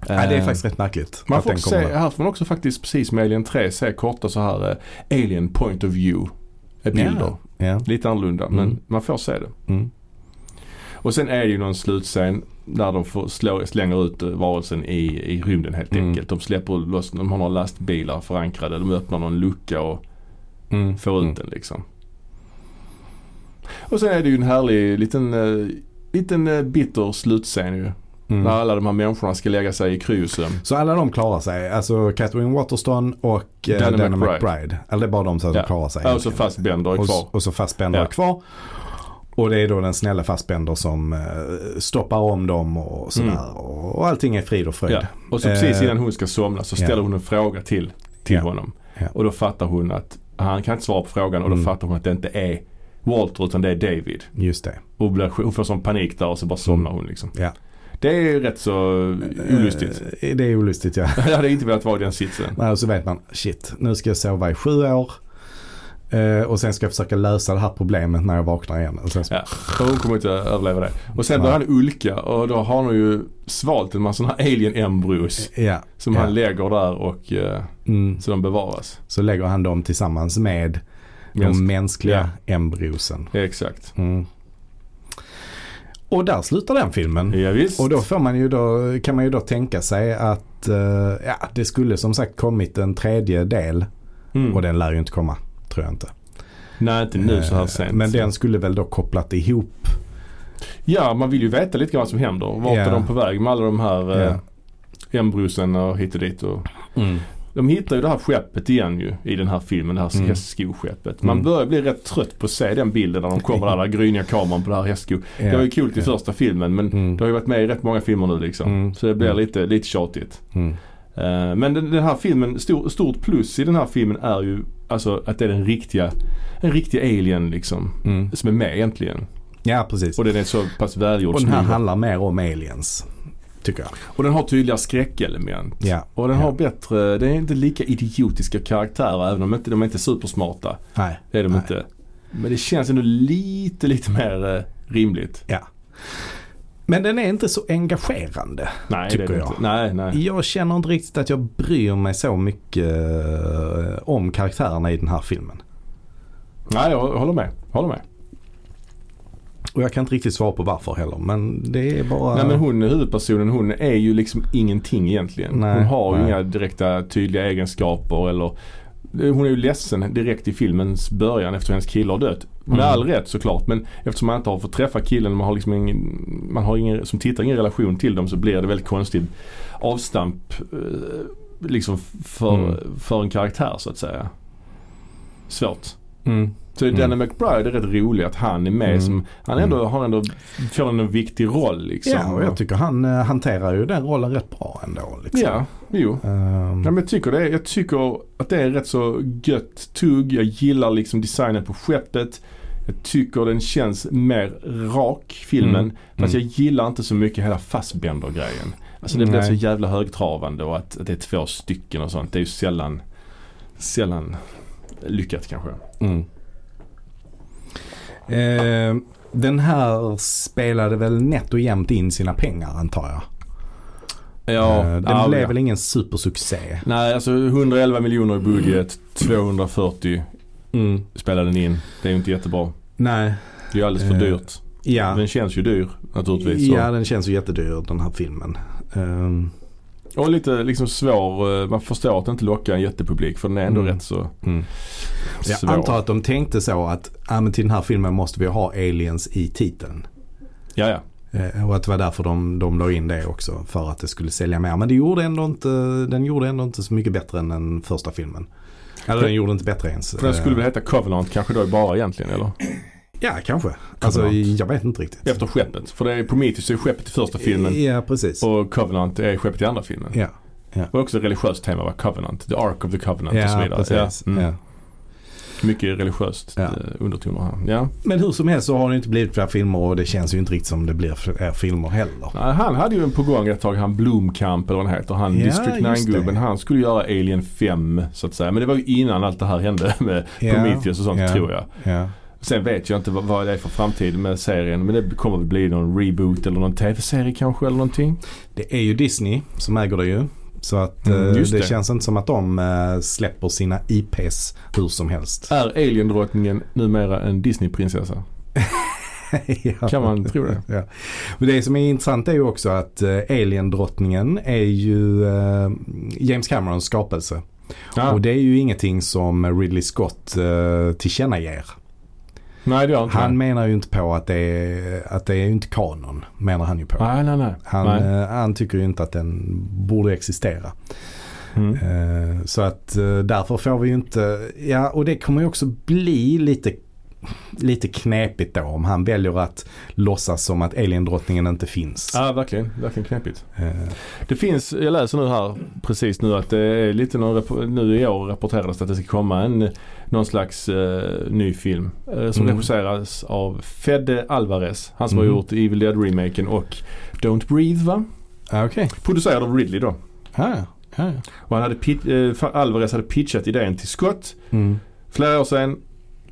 B: ja, det är
A: Eh,
B: faktiskt rätt märkligt.
A: man
B: att
A: får
B: den
A: också
B: kommer
A: se,
B: där.
A: här får man också faktiskt precis som Alien 3 se korta så här eh, Alien point of view eh, bilder.
B: Ja. Ja.
A: Lite annorlunda men
B: Mm.
A: man får se det.
B: Mm.
A: Och sen är det ju någon slutscen där de får slå, slänger ut eh, varelsen i, i rymden helt
B: Mm.
A: enkelt. De släpper loss, de har några lastbilar förankrade. De öppnar någon lucka och
B: Mm.
A: får ut
B: Mm.
A: den liksom. Och sen är det ju en härlig liten, eh, liten eh, bitter slutscen ju.
B: Mm.
A: När alla de här människorna ska lägga sig i krusen.
B: Så alla de klarar sig. Alltså Catherine Waterston och eh,
A: Danny
B: Danny,
A: McBride.
B: McBride. Eller det är bara de som
A: Ja.
B: klarar sig.
A: Och så Fassbender Alltså är
B: och,
A: kvar.
B: och så Fassbender
A: Ja.
B: är kvar. Och det är då den snälla Fassbender som eh, stoppar om dem och sådär. Och, och allting är frid och fröjd.
A: Mm. Ja. Och så precis
B: Eh,
A: innan hon ska somna så
B: ja.
A: ställer hon en fråga till, till
B: Ja.
A: honom.
B: Ja.
A: Och då fattar hon att han kan inte svara på frågan och då
B: Mm.
A: fattar hon att det inte är Walter utan det är David.
B: Just det.
A: Och hon, blir, hon får sån panik där och så bara somnar hon liksom.
B: Ja.
A: Det är ju rätt så olustigt.
B: Eh, det är olustigt ja.
A: *laughs* Jag hade inte velat vara i den
B: *laughs*
A: sitsen.
B: Nej, och så vet man, shit, nu ska jag sova i sju år. Eh, och sen ska jag försöka lösa det här problemet när jag vaknar igen. Och sen så,
A: Ja, för hon kommer inte överleva det. Och sen börjar han ulka och då har han ju svalt en massa sådana här alien-embryos
B: ja.
A: som
B: Ja.
A: han lägger där och eh,
B: Mm.
A: så de bevaras.
B: Så lägger han dem tillsammans med
A: Mänsk-
B: de mänskliga embryosen.
A: Exakt.
B: Mm. Och där slutar den filmen.
A: Ja, visst.
B: Och då, får man ju då kan man ju då tänka sig att eh, ja, det skulle som sagt kommit en tredje del.
A: Mm.
B: Och den lär ju inte komma, tror jag inte.
A: Nej, inte nu så här
B: Eh,
A: sent.
B: Men den skulle väl då kopplat ihop.
A: Ja, man vill ju veta lite grann vad som händer. Vart
B: Ja.
A: är de på väg med alla de här eh,
B: Ja.
A: embryosen och hit och dit. Och... De hittar ju det här skeppet igen ju i den här filmen, det här
B: Mm.
A: hästskoskeppet. Man
B: Mm.
A: börjar bli rätt trött på att se den bilden när de kommer där, den gryniga kameran på det här hästsko. Det var ju kul i
B: Ja.
A: första filmen men
B: Mm.
A: det har ju varit med i rätt många filmer nu liksom.
B: Mm.
A: Så det blir
B: Mm.
A: lite, lite tjatigt.
B: Mm.
A: Eh, men den, den här filmen, stor, stort plus i den här filmen är ju alltså att det är den riktiga, en riktig alien liksom.
B: Mm.
A: Som är med egentligen.
B: Ja, precis.
A: Och den är så pass välgjord
B: Och den
A: som
B: här
A: den var.
B: handlar mer om aliens. Tycker jag.
A: Och den har tydliga skräckelement.
B: Ja.
A: Och den
B: Ja.
A: har bättre, den är inte lika idiotiska karaktärer även om inte, de är inte supersmarta.
B: Nej.
A: Det är de
B: Nej.
A: inte. Men det känns ändå lite, lite mer eh, rimligt.
B: Ja. Men den är inte så engagerande.
A: Nej, det
B: Tycker
A: är det
B: jag.
A: inte. Nej, nej.
B: Jag känner inte riktigt att jag bryr mig så mycket eh, om karaktärerna i den här filmen.
A: Nej, jag håller med. Håller med.
B: Och jag kan inte riktigt svara på varför heller. Men det är bara...
A: Nej men hon, huvudpersonen, hon är ju liksom ingenting egentligen.
B: Nej,
A: hon har ju
B: nej.
A: inga direkta tydliga egenskaper eller hon är ju ledsen direkt i filmens början efter hennes kille har dött. Med
B: Mm.
A: all rätt såklart men eftersom man inte har fått träffa killen man har liksom ingen, man har ingen, som tittar ingen relation till dem så blir det väldigt konstigt avstamp eh, liksom för,
B: Mm.
A: för en karaktär så att säga. Svårt.
B: Mm.
A: Så
B: Mm.
A: Danny McBride är rätt rolig att han är med
B: Mm.
A: som, han ändå, har ändå, får ändå en viktig roll liksom.
B: Ja, och jag tycker han eh, hanterar ju den rollen rätt bra ändå. Liksom.
A: Ja, jo.
B: Ehm,
A: Ja, men jag, tycker det, är- jag tycker att det är rätt så gött tugg. Jag gillar liksom designen på skeppet. Jag tycker den känns mer rak, filmen.
B: Mm.
A: Fast
B: Mm.
A: jag gillar inte så mycket hela Fassbender-grejen. Alltså det blir
B: Nej.
A: så jävla högtravande och att, att det är två stycken och sånt. Det är ju sällan, sällan lyckat kanske.
B: mm. Ehm, den här spelade väl nätt och jämnt in sina pengar antar jag.
A: Ja,
B: Ehm, den
A: ja,
B: blev
A: ja.
B: väl ingen supersuccé.
A: Nej, alltså 111 miljoner i budget. 240 spelar den in. Det är ju inte jättebra.
B: Nej.
A: Det är ju alldeles för
B: Eh,
A: dyrt.
B: Ja.
A: Den känns ju dyr naturligtvis. så.
B: Ja, den känns ju jättedyr den här filmen. Ehm,
A: Och lite liksom svår. eh, Man förstår att den inte lockar en jättepublik för den är ändå
B: Mm.
A: rätt så
B: Jag
A: svår.
B: antar att de tänkte så att ah, men till den här filmen måste vi ha aliens i titeln.
A: Ja, ja.
B: Eh, och att det var därför de, de la in det också. För att det skulle sälja mer. Men det gjorde ändå inte, den gjorde ändå inte så mycket bättre än den första filmen. Eller den gjorde inte bättre ens.
A: För den skulle
B: Eh,
A: väl heta Covenant kanske då bara egentligen eller?
B: Ja, kanske. Alltså, jag vet inte riktigt.
A: Efter skeppet. För det är Prometheus är skeppet i första filmen
B: Ja, precis.
A: och Covenant är skeppet i andra filmen.
B: ja,
A: Det var också ett religiöst tema va? Covenant. The Ark of the Covenant och så
B: ja
A: vidare.
B: precis.
A: Ja. Mm.
B: Ja.
A: Mycket religiöst
B: Ja.
A: eh, undertoner här. Ja.
B: Men hur som helst så har det inte blivit fler filmer och det känns ju inte riktigt som det blir fler filmer heller.
A: Nej, Han hade ju en på gång ett tag, han Blomkamp eller vad han heter. Han
B: Ja,
A: District
B: just
A: 9-gubben.
B: det.
A: Han skulle göra Alien 5 så att säga. Men det var ju innan allt det här hände *laughs* med
B: Ja,
A: Prometheus och sånt
B: ja.
A: tror jag.
B: Ja.
A: Sen vet jag inte vad, vad det är för framtid med serien men det kommer väl bli någon reboot eller någon tv-serie kanske eller någonting.
B: Det är ju Disney som äger det ju. Så att
A: Mm,
B: eh,
A: just
B: det,
A: det.
B: känns inte som att de eh, släpper sina IPs hur som helst.
A: Är Alien-drottningen numera en Disney-prinsessa?
B: *laughs* Ja.
A: Ah, Kan man tro det?
B: Ja. Men det som är intressant är ju också att eh, Alien-drottningen är ju eh, James Camerons skapelse.
A: Ja,
B: Och det är ju ingenting som Ridley Scott eh, tillkännager.
A: Nej det gör inte
B: Han
A: det.
B: menar ju inte på att det är, att det är ju inte kanon. Menar han ju på.
A: Nej nej nej.
B: Han,
A: Ah, nej.
B: eh, han tycker ju inte att den borde existera.
A: Mm.
B: Eh, Så att eh, därför får vi ju inte, ja och det kommer ju också bli lite, lite knepigt då om han väljer att låtsas som att aliendrottningen inte finns.
A: Ja verkligen, verkligen knepigt.
B: Eh,
A: Det finns, jag läser nu här precis nu att det är lite någon, rap- nu i år rapporterades att det ska komma en någon slags eh, ny film. Eh, som
B: Mm.
A: regisseras av Fede Alvarez. Han som
B: Mhm.
A: har gjort Evil Dead-remaken och Don't Breathe va?
B: ah, Okej,
A: Producerad av Ridley då.
B: ah, ja, ja, ja.
A: Och han hade pit- eh, Fa- Alvarez hade pitchat idén till Scott
B: Mm.
A: flera år sedan.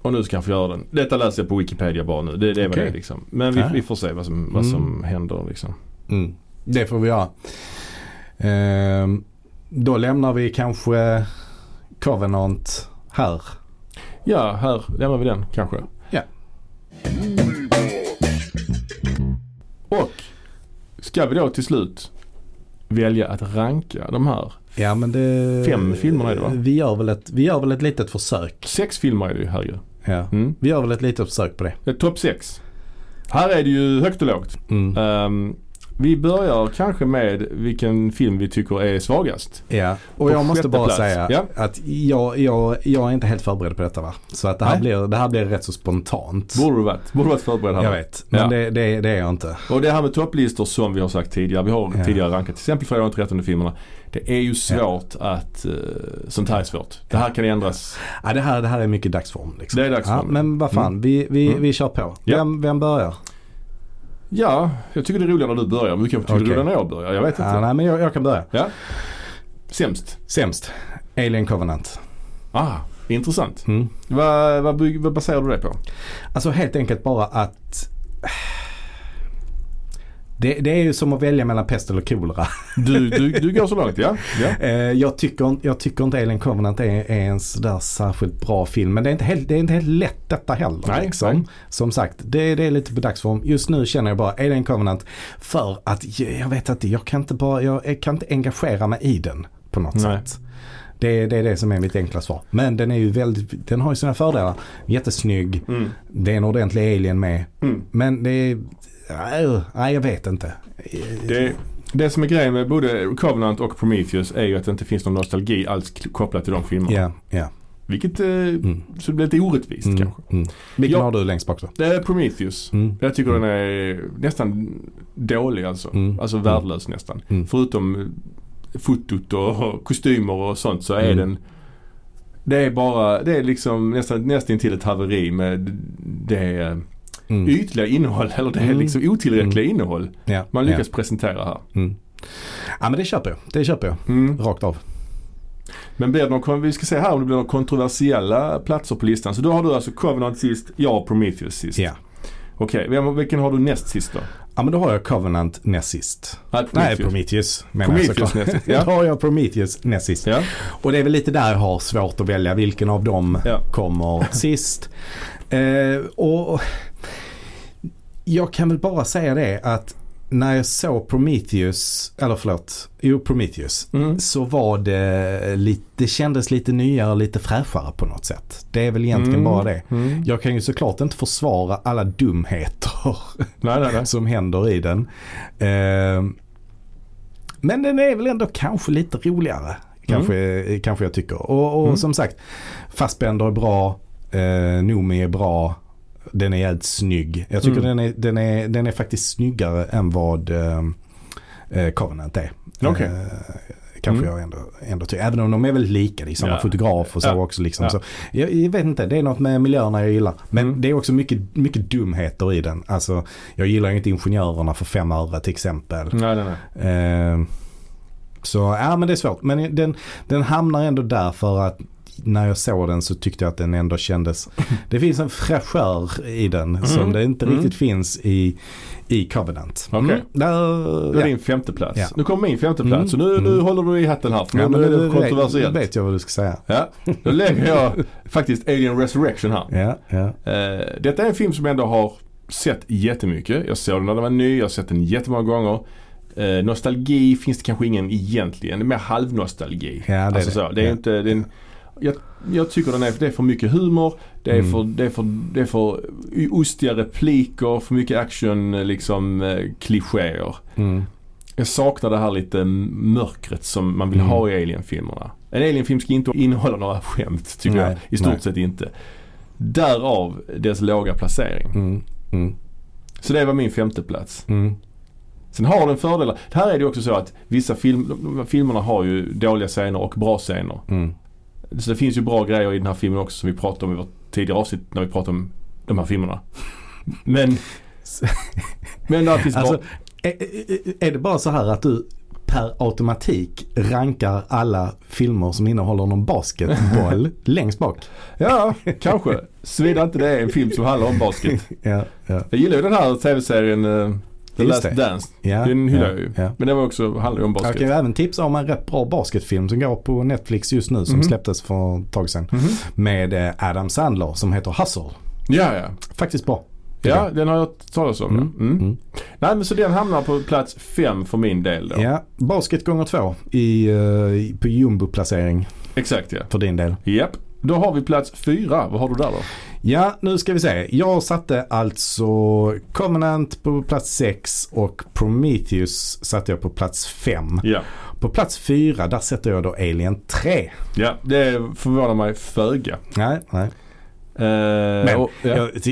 A: Och nu ska han få göra den. Detta läser jag på Wikipedia bara nu. Det, det är vad
B: Okej.
A: det är liksom. Men vi,
B: Ah.
A: vi får se vad som, vad
B: Mm.
A: som händer liksom.
B: Mm. Det får vi göra. Ehm, då lämnar vi kanske Covenant här.
A: Ja, här lämnar vi den kanske.
B: Ja.
A: Och ska vi då till slut välja att ranka de här.
B: Ja men det...
A: Fem filmer är det, va?
B: Vi gör väl ett, vi gör väl ett litet försök.
A: Sex filmer är det ju här ju.
B: Ja.
A: Mm.
B: Vi gör väl ett litet försök på det.
A: Det är Topp sex. Här är det ju högt och lågt.
B: Mm.
A: Ehm, vi börjar kanske med vilken film vi tycker är svagast.
B: Ja, och
A: På
B: jag måste
A: sjätte
B: bara
A: plats.
B: säga
A: Ja.
B: att jag, jag, jag är inte helt förberedd på detta va. Så att det här,
A: Nej.
B: blir, det här blir rätt så spontant.
A: Borde du varit, borde du varit förberedd här.
B: Jag vet, men
A: Ja.
B: det, det, det är jag inte.
A: Och det här med topplistor som vi har sagt tidigare. Vi har
B: Ja.
A: tidigare rankat till exempel fredag de 13 filmerna. Det är ju svårt att, eh, sånt här är svårt. Det här kan ändras.
B: Ja, det, här, det här är mycket dagsform. Liksom.
A: Det är dagsform.
B: Ja, men vad fan, vi, vi,
A: Mm.
B: vi kör på.
A: Ja.
B: Vem, vem börjar?
A: Ja, jag tycker det är roligare när du börjar. Men du kanske tycker det är
B: Okej.
A: roligare när jag börjar. Jag vet inte.
B: Ja, nej, men jag, jag kan börja.
A: Ja. Sämst.
B: Sämst. Alien Covenant.
A: Ah, intressant.
B: Mm.
A: Vad, vad, bygg- vad baserar du det på?
B: Alltså helt enkelt bara att det, det är ju som att välja mellan pest eller kolera.
A: Du, du, du går så långt, ja. ja.
B: Eh, jag, tycker, jag tycker inte Alien Covenant är, är en sådär särskilt bra film. Men det är inte helt, det är inte helt lätt detta heller.
A: Nej,
B: liksom.
A: nej.
B: Som sagt, det, det är lite på dagsform. Just nu känner jag bara Alien Covenant för att jag, jag vet att jag kan inte bara, jag kan inte engagera mig i den på något
A: Nej.
B: sätt. Det, det är det som är mitt enkla svar. Men den är ju väldigt, den har ju sina fördelar. Jättesnygg.
A: Mm.
B: Det är en ordentlig alien med.
A: Mm.
B: Men det är, nej, nej jag vet inte.
A: Det, det som är grejen med både Covenant och Prometheus är ju att det inte finns någon nostalgi alls k- kopplat till de filmerna.
B: Ja, ja.
A: Vilket, eh, så det blir lite orättvist
B: Mm,
A: kanske.
B: mm. Vilken
A: Jag-
B: har du längst bak då?
A: Det är Prometheus.
B: Mm.
A: Jag tycker den är nästan dålig alltså.
B: Mm.
A: Alltså värdelös nästan.
B: Mm.
A: Förutom eh, fotot och och *laughs* kostymer och sånt så är
B: Mm.
A: den det är bara, det är liksom nästan, nästan till ett haveri med det eh,
B: Mm.
A: ytliga innehåll *laughs* eller det är
B: Mm.
A: liksom otillräckliga innehåll
B: Ja,
A: man lyckas presentera här.
B: Ja. Mm. ja men det köper jag. Det köper jag.
A: Mm.
B: Rakt av.
A: Men blir det någon, kon- vi ska se här om det blir några kontroversiella platser på listan. Så då har du alltså Covenant sist, jag och Prometheus sist.
B: Ja.
A: Okej, vem- vilken har du näst sist då?
B: ja men då har jag Covenant näst sist.
A: Nej,
B: Nej Prometheus menar
A: Prometheus
B: jag
A: näst
B: *laughs* såklart.
A: sist, ja.
B: Då har jag Prometheus näst sist.
A: Ja.
B: Och det är väl lite där jag har svårt att välja vilken av dem
A: Ja. *laughs*
B: kommer sist. Eh, och Jag kan väl bara säga det att när jag såg Prometheus, eller förlåt, jo Prometheus.
A: Mm.
B: Så var det lite, det kändes lite nyare, lite fräschare på något sätt. Det är väl egentligen
A: Mm.
B: bara det.
A: Mm.
B: Jag kan ju såklart inte försvara alla dumheter
A: Nej,
B: *laughs*
A: nej, nej.
B: som händer i den. Eh, men den är väl ändå kanske lite roligare. Kanske, kanske jag tycker. Och, och
A: Mm.
B: som sagt, Fassbender är bra, eh, Noomi är bra, den är jävligt snygg. Jag tycker
A: Mm.
B: den, är, den, är, den är faktiskt snyggare än vad eh, eh, Covenant är.
A: Okej.
B: Eh, kanske
A: Mm.
B: jag ändå, ändå tycker. Även om de är väldigt lika, det är samma
A: Ja.
B: fotograf och så
A: Ja.
B: också. Liksom.
A: Ja.
B: Så, jag, jag vet inte, det är något med miljöerna jag gillar. Men
A: Mm.
B: det är också mycket, mycket dumheter i den. Alltså, jag gillar ju inte ingenjörerna för fem öre till exempel.
A: nej, nej, nej.
B: Eh, så ja men det är svårt. Men den, den hamnar ändå där för att när jag såg den så tyckte jag att den
A: *laughs*
B: ändå kändes. Det finns en fräschör i den som
A: Mm.
B: det inte
A: Mm.
B: riktigt finns i, i Covenant. Mm.
A: Okej.
B: Där,
A: Det var
B: ja.
A: din femte plats.
B: Ja.
A: Nu kommer min femte plats.
B: Mm.
A: Så nu, nu
B: Mm.
A: håller du i hatten här. För
B: Ja,
A: nu
B: men
A: är
B: nu
A: det
B: vet, nu
A: kontroversiellt.
B: vet jag vad du ska säga.
A: Ja, då lägger
B: *laughs*
A: jag faktiskt Alien Resurrection här.
B: Ja, ja.
A: Eh, detta är en film som jag ändå har sett jättemycket. Jag såg den när den var ny, jag har sett den jättemånga gånger. Eh, nostalgi finns det kanske ingen egentligen. Det är mer halvnostalgi.
B: Ja, det är
A: alltså
B: det.
A: Så, det är
B: Ja.
A: inte, det är en, Jag, jag tycker den är, det är för mycket humor, det är,
B: Mm.
A: för, det, är för, det är för ostiga repliker, för mycket action liksom eh, klichéer.
B: Mm.
A: Jag saknar det här lite mörkret som man vill
B: Mm.
A: ha i Alien-filmerna. En Alien-film ska inte innehålla några skämt tycker
B: Nej,
A: jag. I stort
B: nej.
A: sett inte. Därav dess låga placering.
B: Mm. Mm.
A: Så det var min femte plats.
B: Mm.
A: Sen har den fördelar. Här är det också så att vissa film, de- de- filmerna har ju dåliga scener och bra scener.
B: Mm.
A: Så det finns ju bra grejer i den här filmen också som vi pratade om i vårt tidigare avsnitt när vi pratade om de här filmerna. Men,
B: *laughs*
A: men där finns
B: Alltså,
A: bra.
B: är, är- är det bara så här att du per automatik rankar alla filmer som innehåller
A: *laughs*
B: någon basketboll längst bak?
A: Ja, kanske. Såvida inte det är en film som handlar om basket.
B: Ja, ja.
A: Jag gillar ju den här tv-serien eh, The
B: Just
A: Last
B: det.
A: Dance.
B: ja
A: Den hyllar
B: ja,
A: jag ju.
B: Ja.
A: Men det var också, handlar ju om
B: Jag
A: basket.
B: kan ju även tipsa om en rätt bra basketfilm som går på Netflix just nu som
A: Mhm.
B: släpptes för ett tag sedan.
A: Mhm.
B: Med eh, Adam Sandler som heter Hustle.
A: Ja, ja.
B: Faktiskt bra.
A: Ja, den har jag hört talas om.
B: Mm.
A: ja. Mm.
B: Mm.
A: Nej, men så den hamnar på plats fem för min del då.
B: Ja, basket gånger två i, eh, i- på jumbo-placering
A: Exakt ja.
B: för din del.
A: Japp. Då har vi plats fyra. Vad har du där då?
B: Ja, nu ska vi se. Jag satte alltså Covenant på plats 6 och Prometheus satte jag på plats 5.
A: Ja.
B: På plats 4 där sätter jag då Alien 3.
A: Ja, det förvånar mig föga.
B: Nej, nej.
A: Eh, och, ja.
B: Jag, i,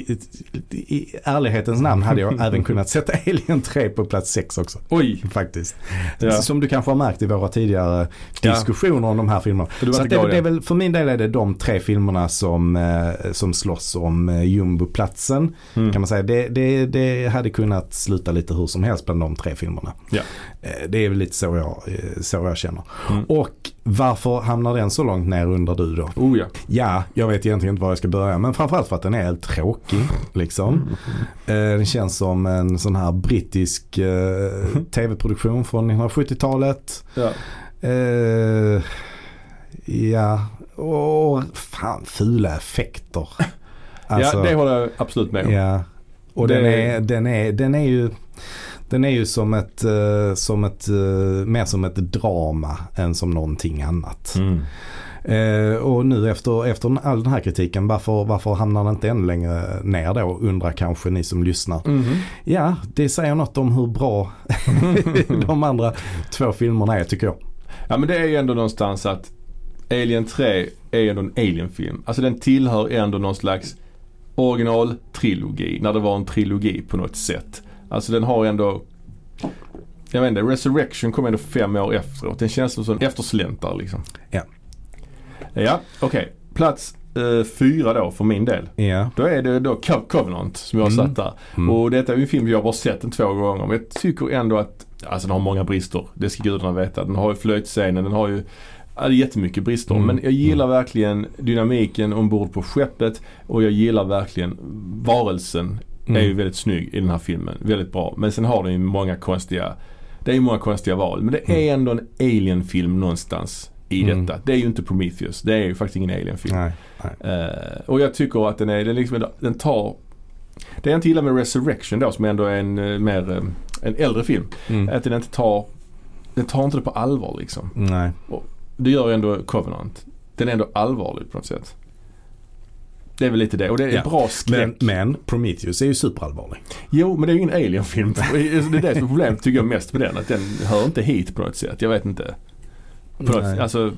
B: i, I ärlighetens namn hade jag
A: *laughs*
B: även kunnat sätta Alien 3 på plats 6 också.
A: Oj,
B: Faktiskt.
A: Ja.
B: Som du kanske har märkt i våra tidigare
A: Ja.
B: diskussioner om de här filmerna.
A: du var
B: Så
A: inte
B: att det,
A: glad
B: det är
A: än.
B: väl, för min del är det de tre filmerna som, eh, som slåss om eh, jumboplatsen.
A: Mm.
B: Kan man säga. Det, det, det hade kunnat sluta lite hur som helst bland de tre filmerna.
A: Ja.
B: Eh, Det är väl lite så jag, eh, så jag känner.
A: Mm.
B: Och varför hamnar den så långt ner under du då?
A: Oh ja.
B: Ja, jag vet egentligen inte var jag ska börja men framförallt för att den är helt tråkig. Liksom.
A: Mm.
B: Eh, Den känns som en sån här
A: *laughs*
B: brittisk eh, tv-produktion från 1970-talet.
A: ja.
B: Eh, ja, och fan fula effekter. Alltså,
A: ja, det håller jag absolut med om.
B: ja. Och
A: Det-
B: den är, den, är, den är ju den är ju som ett, eh, som ett, eh, mer som ett drama än som någonting annat.
A: Mm.
B: Eh, och nu efter, efter all den här kritiken, varför, varför hamnar den inte än längre ner då? Undrar kanske ni som lyssnar.
A: Mhm.
B: Ja, det säger något om hur bra *laughs* de andra två filmerna är tycker jag.
A: Ja men det är ju ändå någonstans att Alien 3 är ju ändå en Alien-film. Alltså den tillhör ändå någon slags originaltrilogi. När det var en trilogi på något sätt. Alltså den har ändå jag vet inte, Resurrection kom ändå fem år efteråt. Den känns som en eftersläntrare liksom.
B: Ja.
A: Ja, okej. Plats eh, fyra då för min del.
B: Ja.
A: Då är det då Co- Covenant som jag har
B: Mm.
A: satt där.
B: Mm.
A: Och detta är ju en film jag har bara sett den två gånger. Men jag tycker ändå att, alltså den har många brister. Det ska gudarna veta. Den har ju flöjtscenen, den har ju ja, det är jättemycket brister.
B: Mm.
A: Men jag gillar verkligen dynamiken ombord på skeppet och jag gillar verkligen varelsen.
B: Mm.
A: är ju väldigt snygg i den här filmen. Väldigt bra. Men sen har den ju många konstiga, det är ju många konstiga val. Men det är ändå en alien-film någonstans i
B: Mm.
A: detta. Det är ju inte Prometheus. Det är ju faktiskt ingen alien-film.
B: Nej.
A: Eh, och jag tycker att den är, den liksom, den tar Det jag inte gillar med Resurrection då som ändå är en eh, mer, eh, en äldre film.
B: Mm.
A: Att den inte tar, den tar inte det på allvar liksom.
B: Nej.
A: Det gör ändå Covenant. Den är ändå allvarlig på något sätt. Det är väl lite det. Och det är
B: Ja.
A: bra skräck.
B: Men, men Prometheus är ju superallvarlig.
A: Jo, men det är ju ingen alien-film. *laughs* Det är det som är problemet tycker jag mest med den. Att den hör inte hit på något sätt. Jag vet inte. På något,
B: Nej.
A: alltså,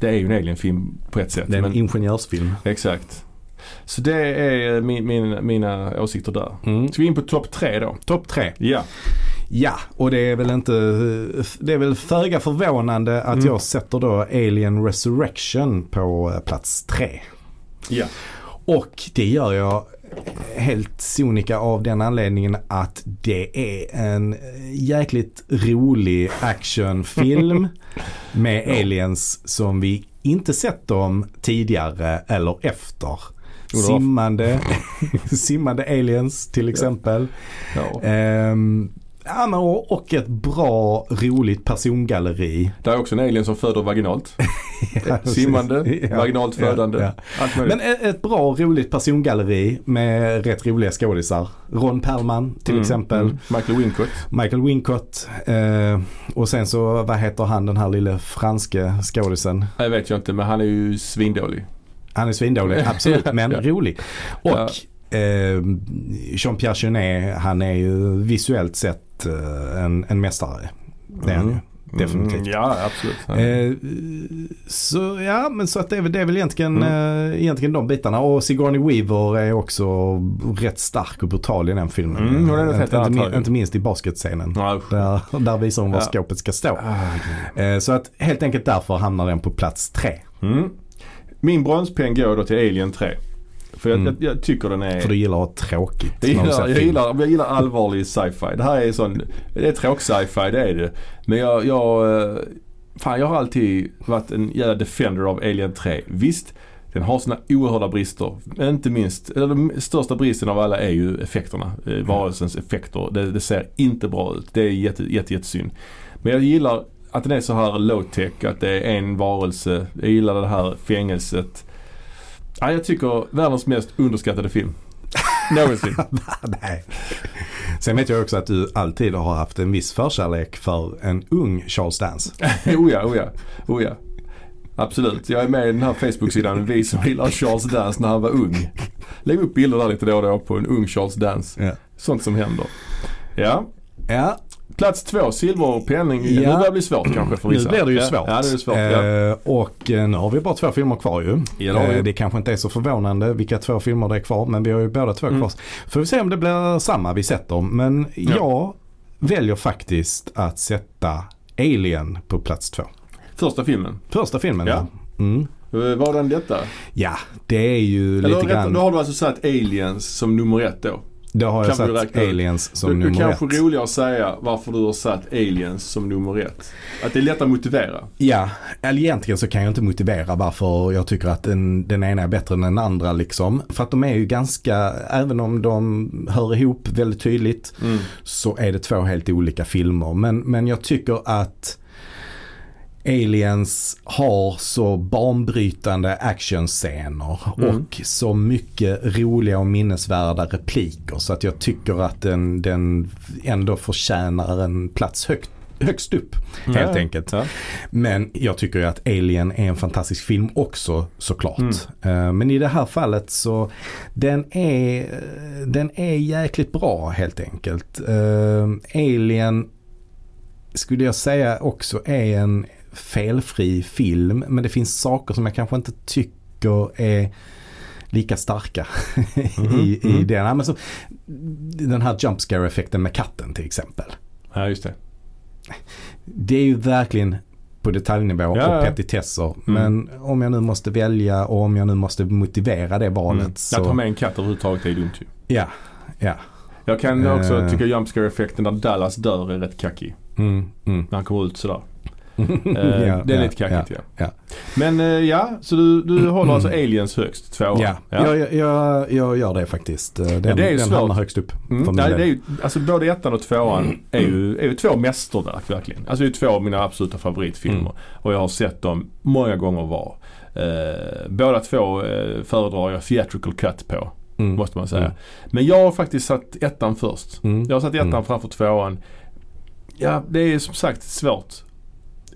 A: det är ju en alien-film på ett sätt.
B: det är en
A: men-
B: ingenjörsfilm.
A: Exakt. Så det är eh, min, min, mina åsikter där.
B: Mm.
A: Ska vi in på topp tre då?
B: Topp tre.
A: Ja.
B: Ja, och det är väl inte, det är väl föga förvånande att
A: Mm.
B: jag sätter då Alien Resurrection på eh, plats tre.
A: ja.
B: Och det gör jag helt sonika av den anledningen att det är en eh, jäkligt rolig actionfilm med aliens som vi inte sett dem tidigare eller efter.
A: Jo, det var-
B: *laughs* Simmande, simmande aliens till exempel.
A: ja.
B: Ehm, Ja, men och, och ett bra, roligt persongalleri.
A: Där är också en alien som föder
B: *laughs*
A: vaginalt. Simmande,
B: precis. Ja,
A: vaginalt
B: ja,
A: födande.
B: ja.
A: Allt möjligt.
B: Men e- ett bra, roligt persongalleri med rätt roliga skådisar. Ron Perlman till
A: Mm,
B: exempel.
A: mm. Michael Wincott.
B: Michael Wincott. Eh, och sen så, vad heter han den här lille franske skådisen?
A: Nej, vet jag inte men han är ju svindålig.
B: Han
A: *laughs*
B: är svindålig, absolut, men
A: Ja.
B: rolig.
A: Ja.
B: Och eh, Jean-Pierre Jeunet, han är ju visuellt sett eh, en, en mästare. Det är han ju. Definitivt.
A: Mm, ja, absolut. Ja.
B: Eh, så ja, men så att det är, väl- det är väl egentligen,
A: Mm.
B: eh, egentligen de bitarna. Och Sigourney Weaver är också rätt stark och brutal i den filmen. Eh,
A: Mm, hon är något helt
B: inte,
A: annat,
B: inte,
A: har
B: min,
A: ju.
B: inte minst i basketscenen.
A: Ja, usch.
B: Där, där visar hon var
A: Ja.
B: skåpet ska stå.
A: Ah, gud.
B: Eh, så att helt enkelt därför hamnar den på plats tre.
A: Mm. Min bronspeng går då till Alien 3. För jag,
B: Mm.
A: jag, jag tycker den är...
B: För du gillar att ha tråkigt.
A: jag,
B: när du ser
A: gillar, jag,
B: film.
A: gillar, jag gillar allvarlig sci-fi. Det här är sån... Det är tråk sci-fi, det är det. Men jag... jag eh, fan, jag har alltid varit en jävla defender av Alien 3. Visst, den har sina oerhörda brister. Inte minst, eller den största bristen av alla är ju effekterna. Eh, Varelsens effekter. Det, det ser inte bra ut. Det är jätte, jätte, jättesynd. Men jag gillar att den är så här low-tech, att det är en varelse. Jag gillar det här fängelset. Ja, jag tycker världens mest underskattade film. Någonsin.
B: *laughs* Nej. Sen vet jag också att du alltid har haft en viss förkärlek för en ung Charles Dance.
A: *laughs* oh ja, oh ja, oh ja. Absolut. Jag är med i den här Facebook-sidan Vi som gillar Charles Dance när han var ung. Lägg upp bilder där lite då och då på en ung Charles Dance.
B: Ja.
A: Sånt som händer. Ja.
B: Ja,
A: Plats två, silverpenning.
B: Ja.
A: Nu börjar det bli svårt kanske för vissa.
B: Nu blir det ju
A: ja.
B: svårt.
A: Ja, det är svårt. ja.
B: Eh, och eh, nu har vi bara två filmer kvar ju.
A: Ja, det har vi.
B: Eh, det kanske inte är så förvånande vilka två filmer det är kvar men vi har ju båda
A: Mm.
B: två kvar. Får vi se om det blir samma vi sätter. Men jag väljer faktiskt att sätta Alien på plats två.
A: Första filmen.
B: Första filmen.
A: Ja.
B: Mm.
A: Eh, Var den detta?
B: ja, det är ju
A: Eller
B: lite
A: rätt, då
B: grann.
A: har du alltså satt Aliens som nummer ett då?
B: Då har jag
A: kanske du
B: satt
A: räknar ut.
B: Aliens som
A: Som det är
B: nummer
A: kanske
B: ett.
A: roligare att säga varför du har satt Aliens som nummer ett. Att det är lätt att motivera.
B: Ja, eller egentligen så kan jag inte motivera varför jag tycker att den, den ena är bättre än den andra liksom. För att de är ju ganska, även om de hör ihop väldigt tydligt,
A: Mm.
B: så är det två helt olika filmer. Men, men jag tycker att Aliens har så banbrytande actionscener
A: Mm.
B: och så mycket roliga och minnesvärda repliker så att jag tycker att den, den ändå förtjänar en plats högt, högst upp helt
A: Ja.
B: enkelt.
A: Ja.
B: Men jag tycker ju att Alien är en fantastisk film också såklart. Eh, Men i det här fallet så den är, den är jäkligt bra helt enkelt. Eh, Alien skulle jag säga också är en felfri film. Men det finns saker som jag kanske inte tycker är lika starka *laughs* i, i den. Ja, men så, den här jump scare effekten med katten till exempel.
A: Ja, just det.
B: Det är ju verkligen på detaljnivå
A: Ja, Mm.
B: och
A: ja.
B: petitesser. Men om jag nu måste välja och om jag nu måste motivera det valet
A: Att ha
B: så...
A: Mm. med en katt överhuvudtaget är dumt ju.
B: Ja, ja.
A: Jag kan också
B: Eh.
A: tycka JumpScare-effekten när Dallas dör är rätt kackig.
B: Mm, mm.
A: När han kommer ut sådär. Eh,
B: *laughs* Ja,
A: det är
B: ja,
A: lite kackigt ja.
B: ja. Mm.
A: Men eh, ja, så du, du håller alltså Aliens högst, två
B: Ja, Jag, jag, jag, jag gör det faktiskt. Eh, Den,
A: det är ju
B: den
A: svårt.
B: hamnar högst upp.
A: Mm.
B: för min
A: Nej,
B: del.
A: det är ju, alltså både ettan och tvåan är ju, är ju två mästerverk verkligen. Alltså det är två av mina absoluta favoritfilmer.
B: Mm.
A: Och jag har sett dem många gånger var. Eh, båda två eh, föredrar jag theatrical cut på,
B: Mm.
A: måste man säga.
B: Mm.
A: Men jag har faktiskt satt ettan först.
B: Mm.
A: Jag har satt ettan
B: Mm.
A: framför tvåan. Ja, det är som sagt svårt.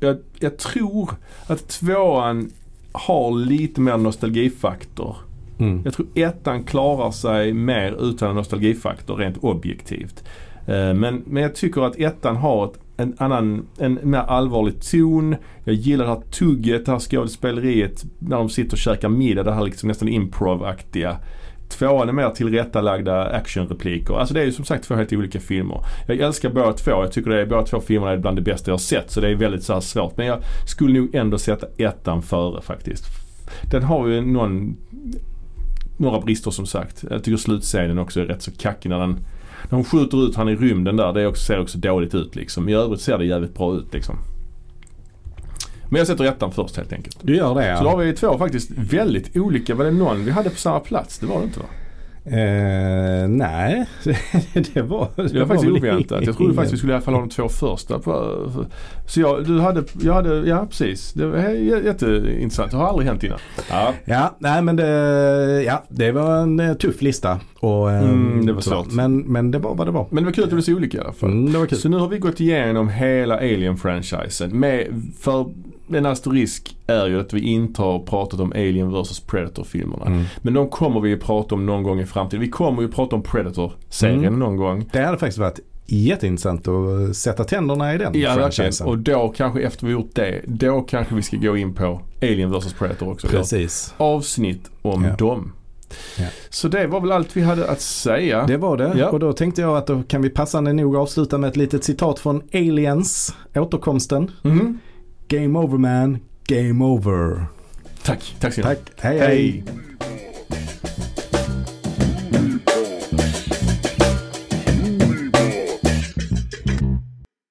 A: Jag, jag tror att tvåan har lite mer nostalgifaktor.
B: Mm.
A: Jag tror ettan klarar sig mer utan en nostalgifaktor rent objektivt. Eh, Men, men jag tycker att ettan har ett, en annan, en mer allvarlig ton. Jag gillar det här tugget, det här skådespeleriet när de sitter och käkar middag. Det här liksom nästan improv-aktiga. Tvåan är mer tillrättalagda actionrepliker. Alltså det är ju som sagt två helt olika filmer. Jag älskar båda två. Jag tycker det är, båda två filmerna är bland det bästa jag har sett. Så det är väldigt så här svårt. Men jag skulle nog ändå sätta ettan före faktiskt. Den har ju någon några brister som sagt. Jag tycker slutscenen också är rätt så kackig när den när hon skjuter ut han i rymden där. Det också, ser också dåligt ut liksom. I övrigt ser det jävligt bra ut liksom. Men jag sätter ettan först helt enkelt.
B: Du gör det
A: Så då
B: ja.
A: har vi två faktiskt väldigt olika. Var det någon vi hade på samma plats? Det var det inte va?
B: Eh, nej, *laughs* det var
A: Det var faktiskt
B: väl
A: oväntat. Jag trodde
B: ingen-
A: faktiskt vi skulle i alla fall ha de två första. på- Så jag, du hade, jag hade, ja precis. Det var jä- jätteintressant. Det har aldrig hänt innan. Ja.
B: Ja, nej men det, ja, det var en eh, tuff lista. Och, eh,
A: Mm, det var
B: så.
A: svårt.
B: Men, men det var vad det var.
A: Men det var kul att det blev så olika i alla fall.
B: Mm, det var kul.
A: Så nu har vi gått igenom hela Alien-franchisen. Med, för en asterisk är ju att vi inte har pratat om Alien vs Predator-filmerna.
B: Mm.
A: Men de kommer vi ju prata om någon gång i framtiden. Vi kommer ju prata om Predator-serien
B: Mm.
A: någon gång.
B: Det hade faktiskt varit jätteintressant att sätta tänderna i den
A: Ja, verkligen.
B: franchisen.
A: Och då kanske efter vi gjort det, då kanske vi ska gå in på Alien vs Predator också. Göra
B: Precis,
A: avsnitt om
B: Ja.
A: dem.
B: Ja.
A: Så det var väl allt vi hade att säga.
B: det var det.
A: Ja.
B: Och då tänkte jag att då kan vi passande nog avsluta med ett litet citat från Aliens, återkomsten.
A: Mhm.
B: Game over man, game over.
A: Tack. Tack så mycket.
B: Tack, hej. hej.
A: hej.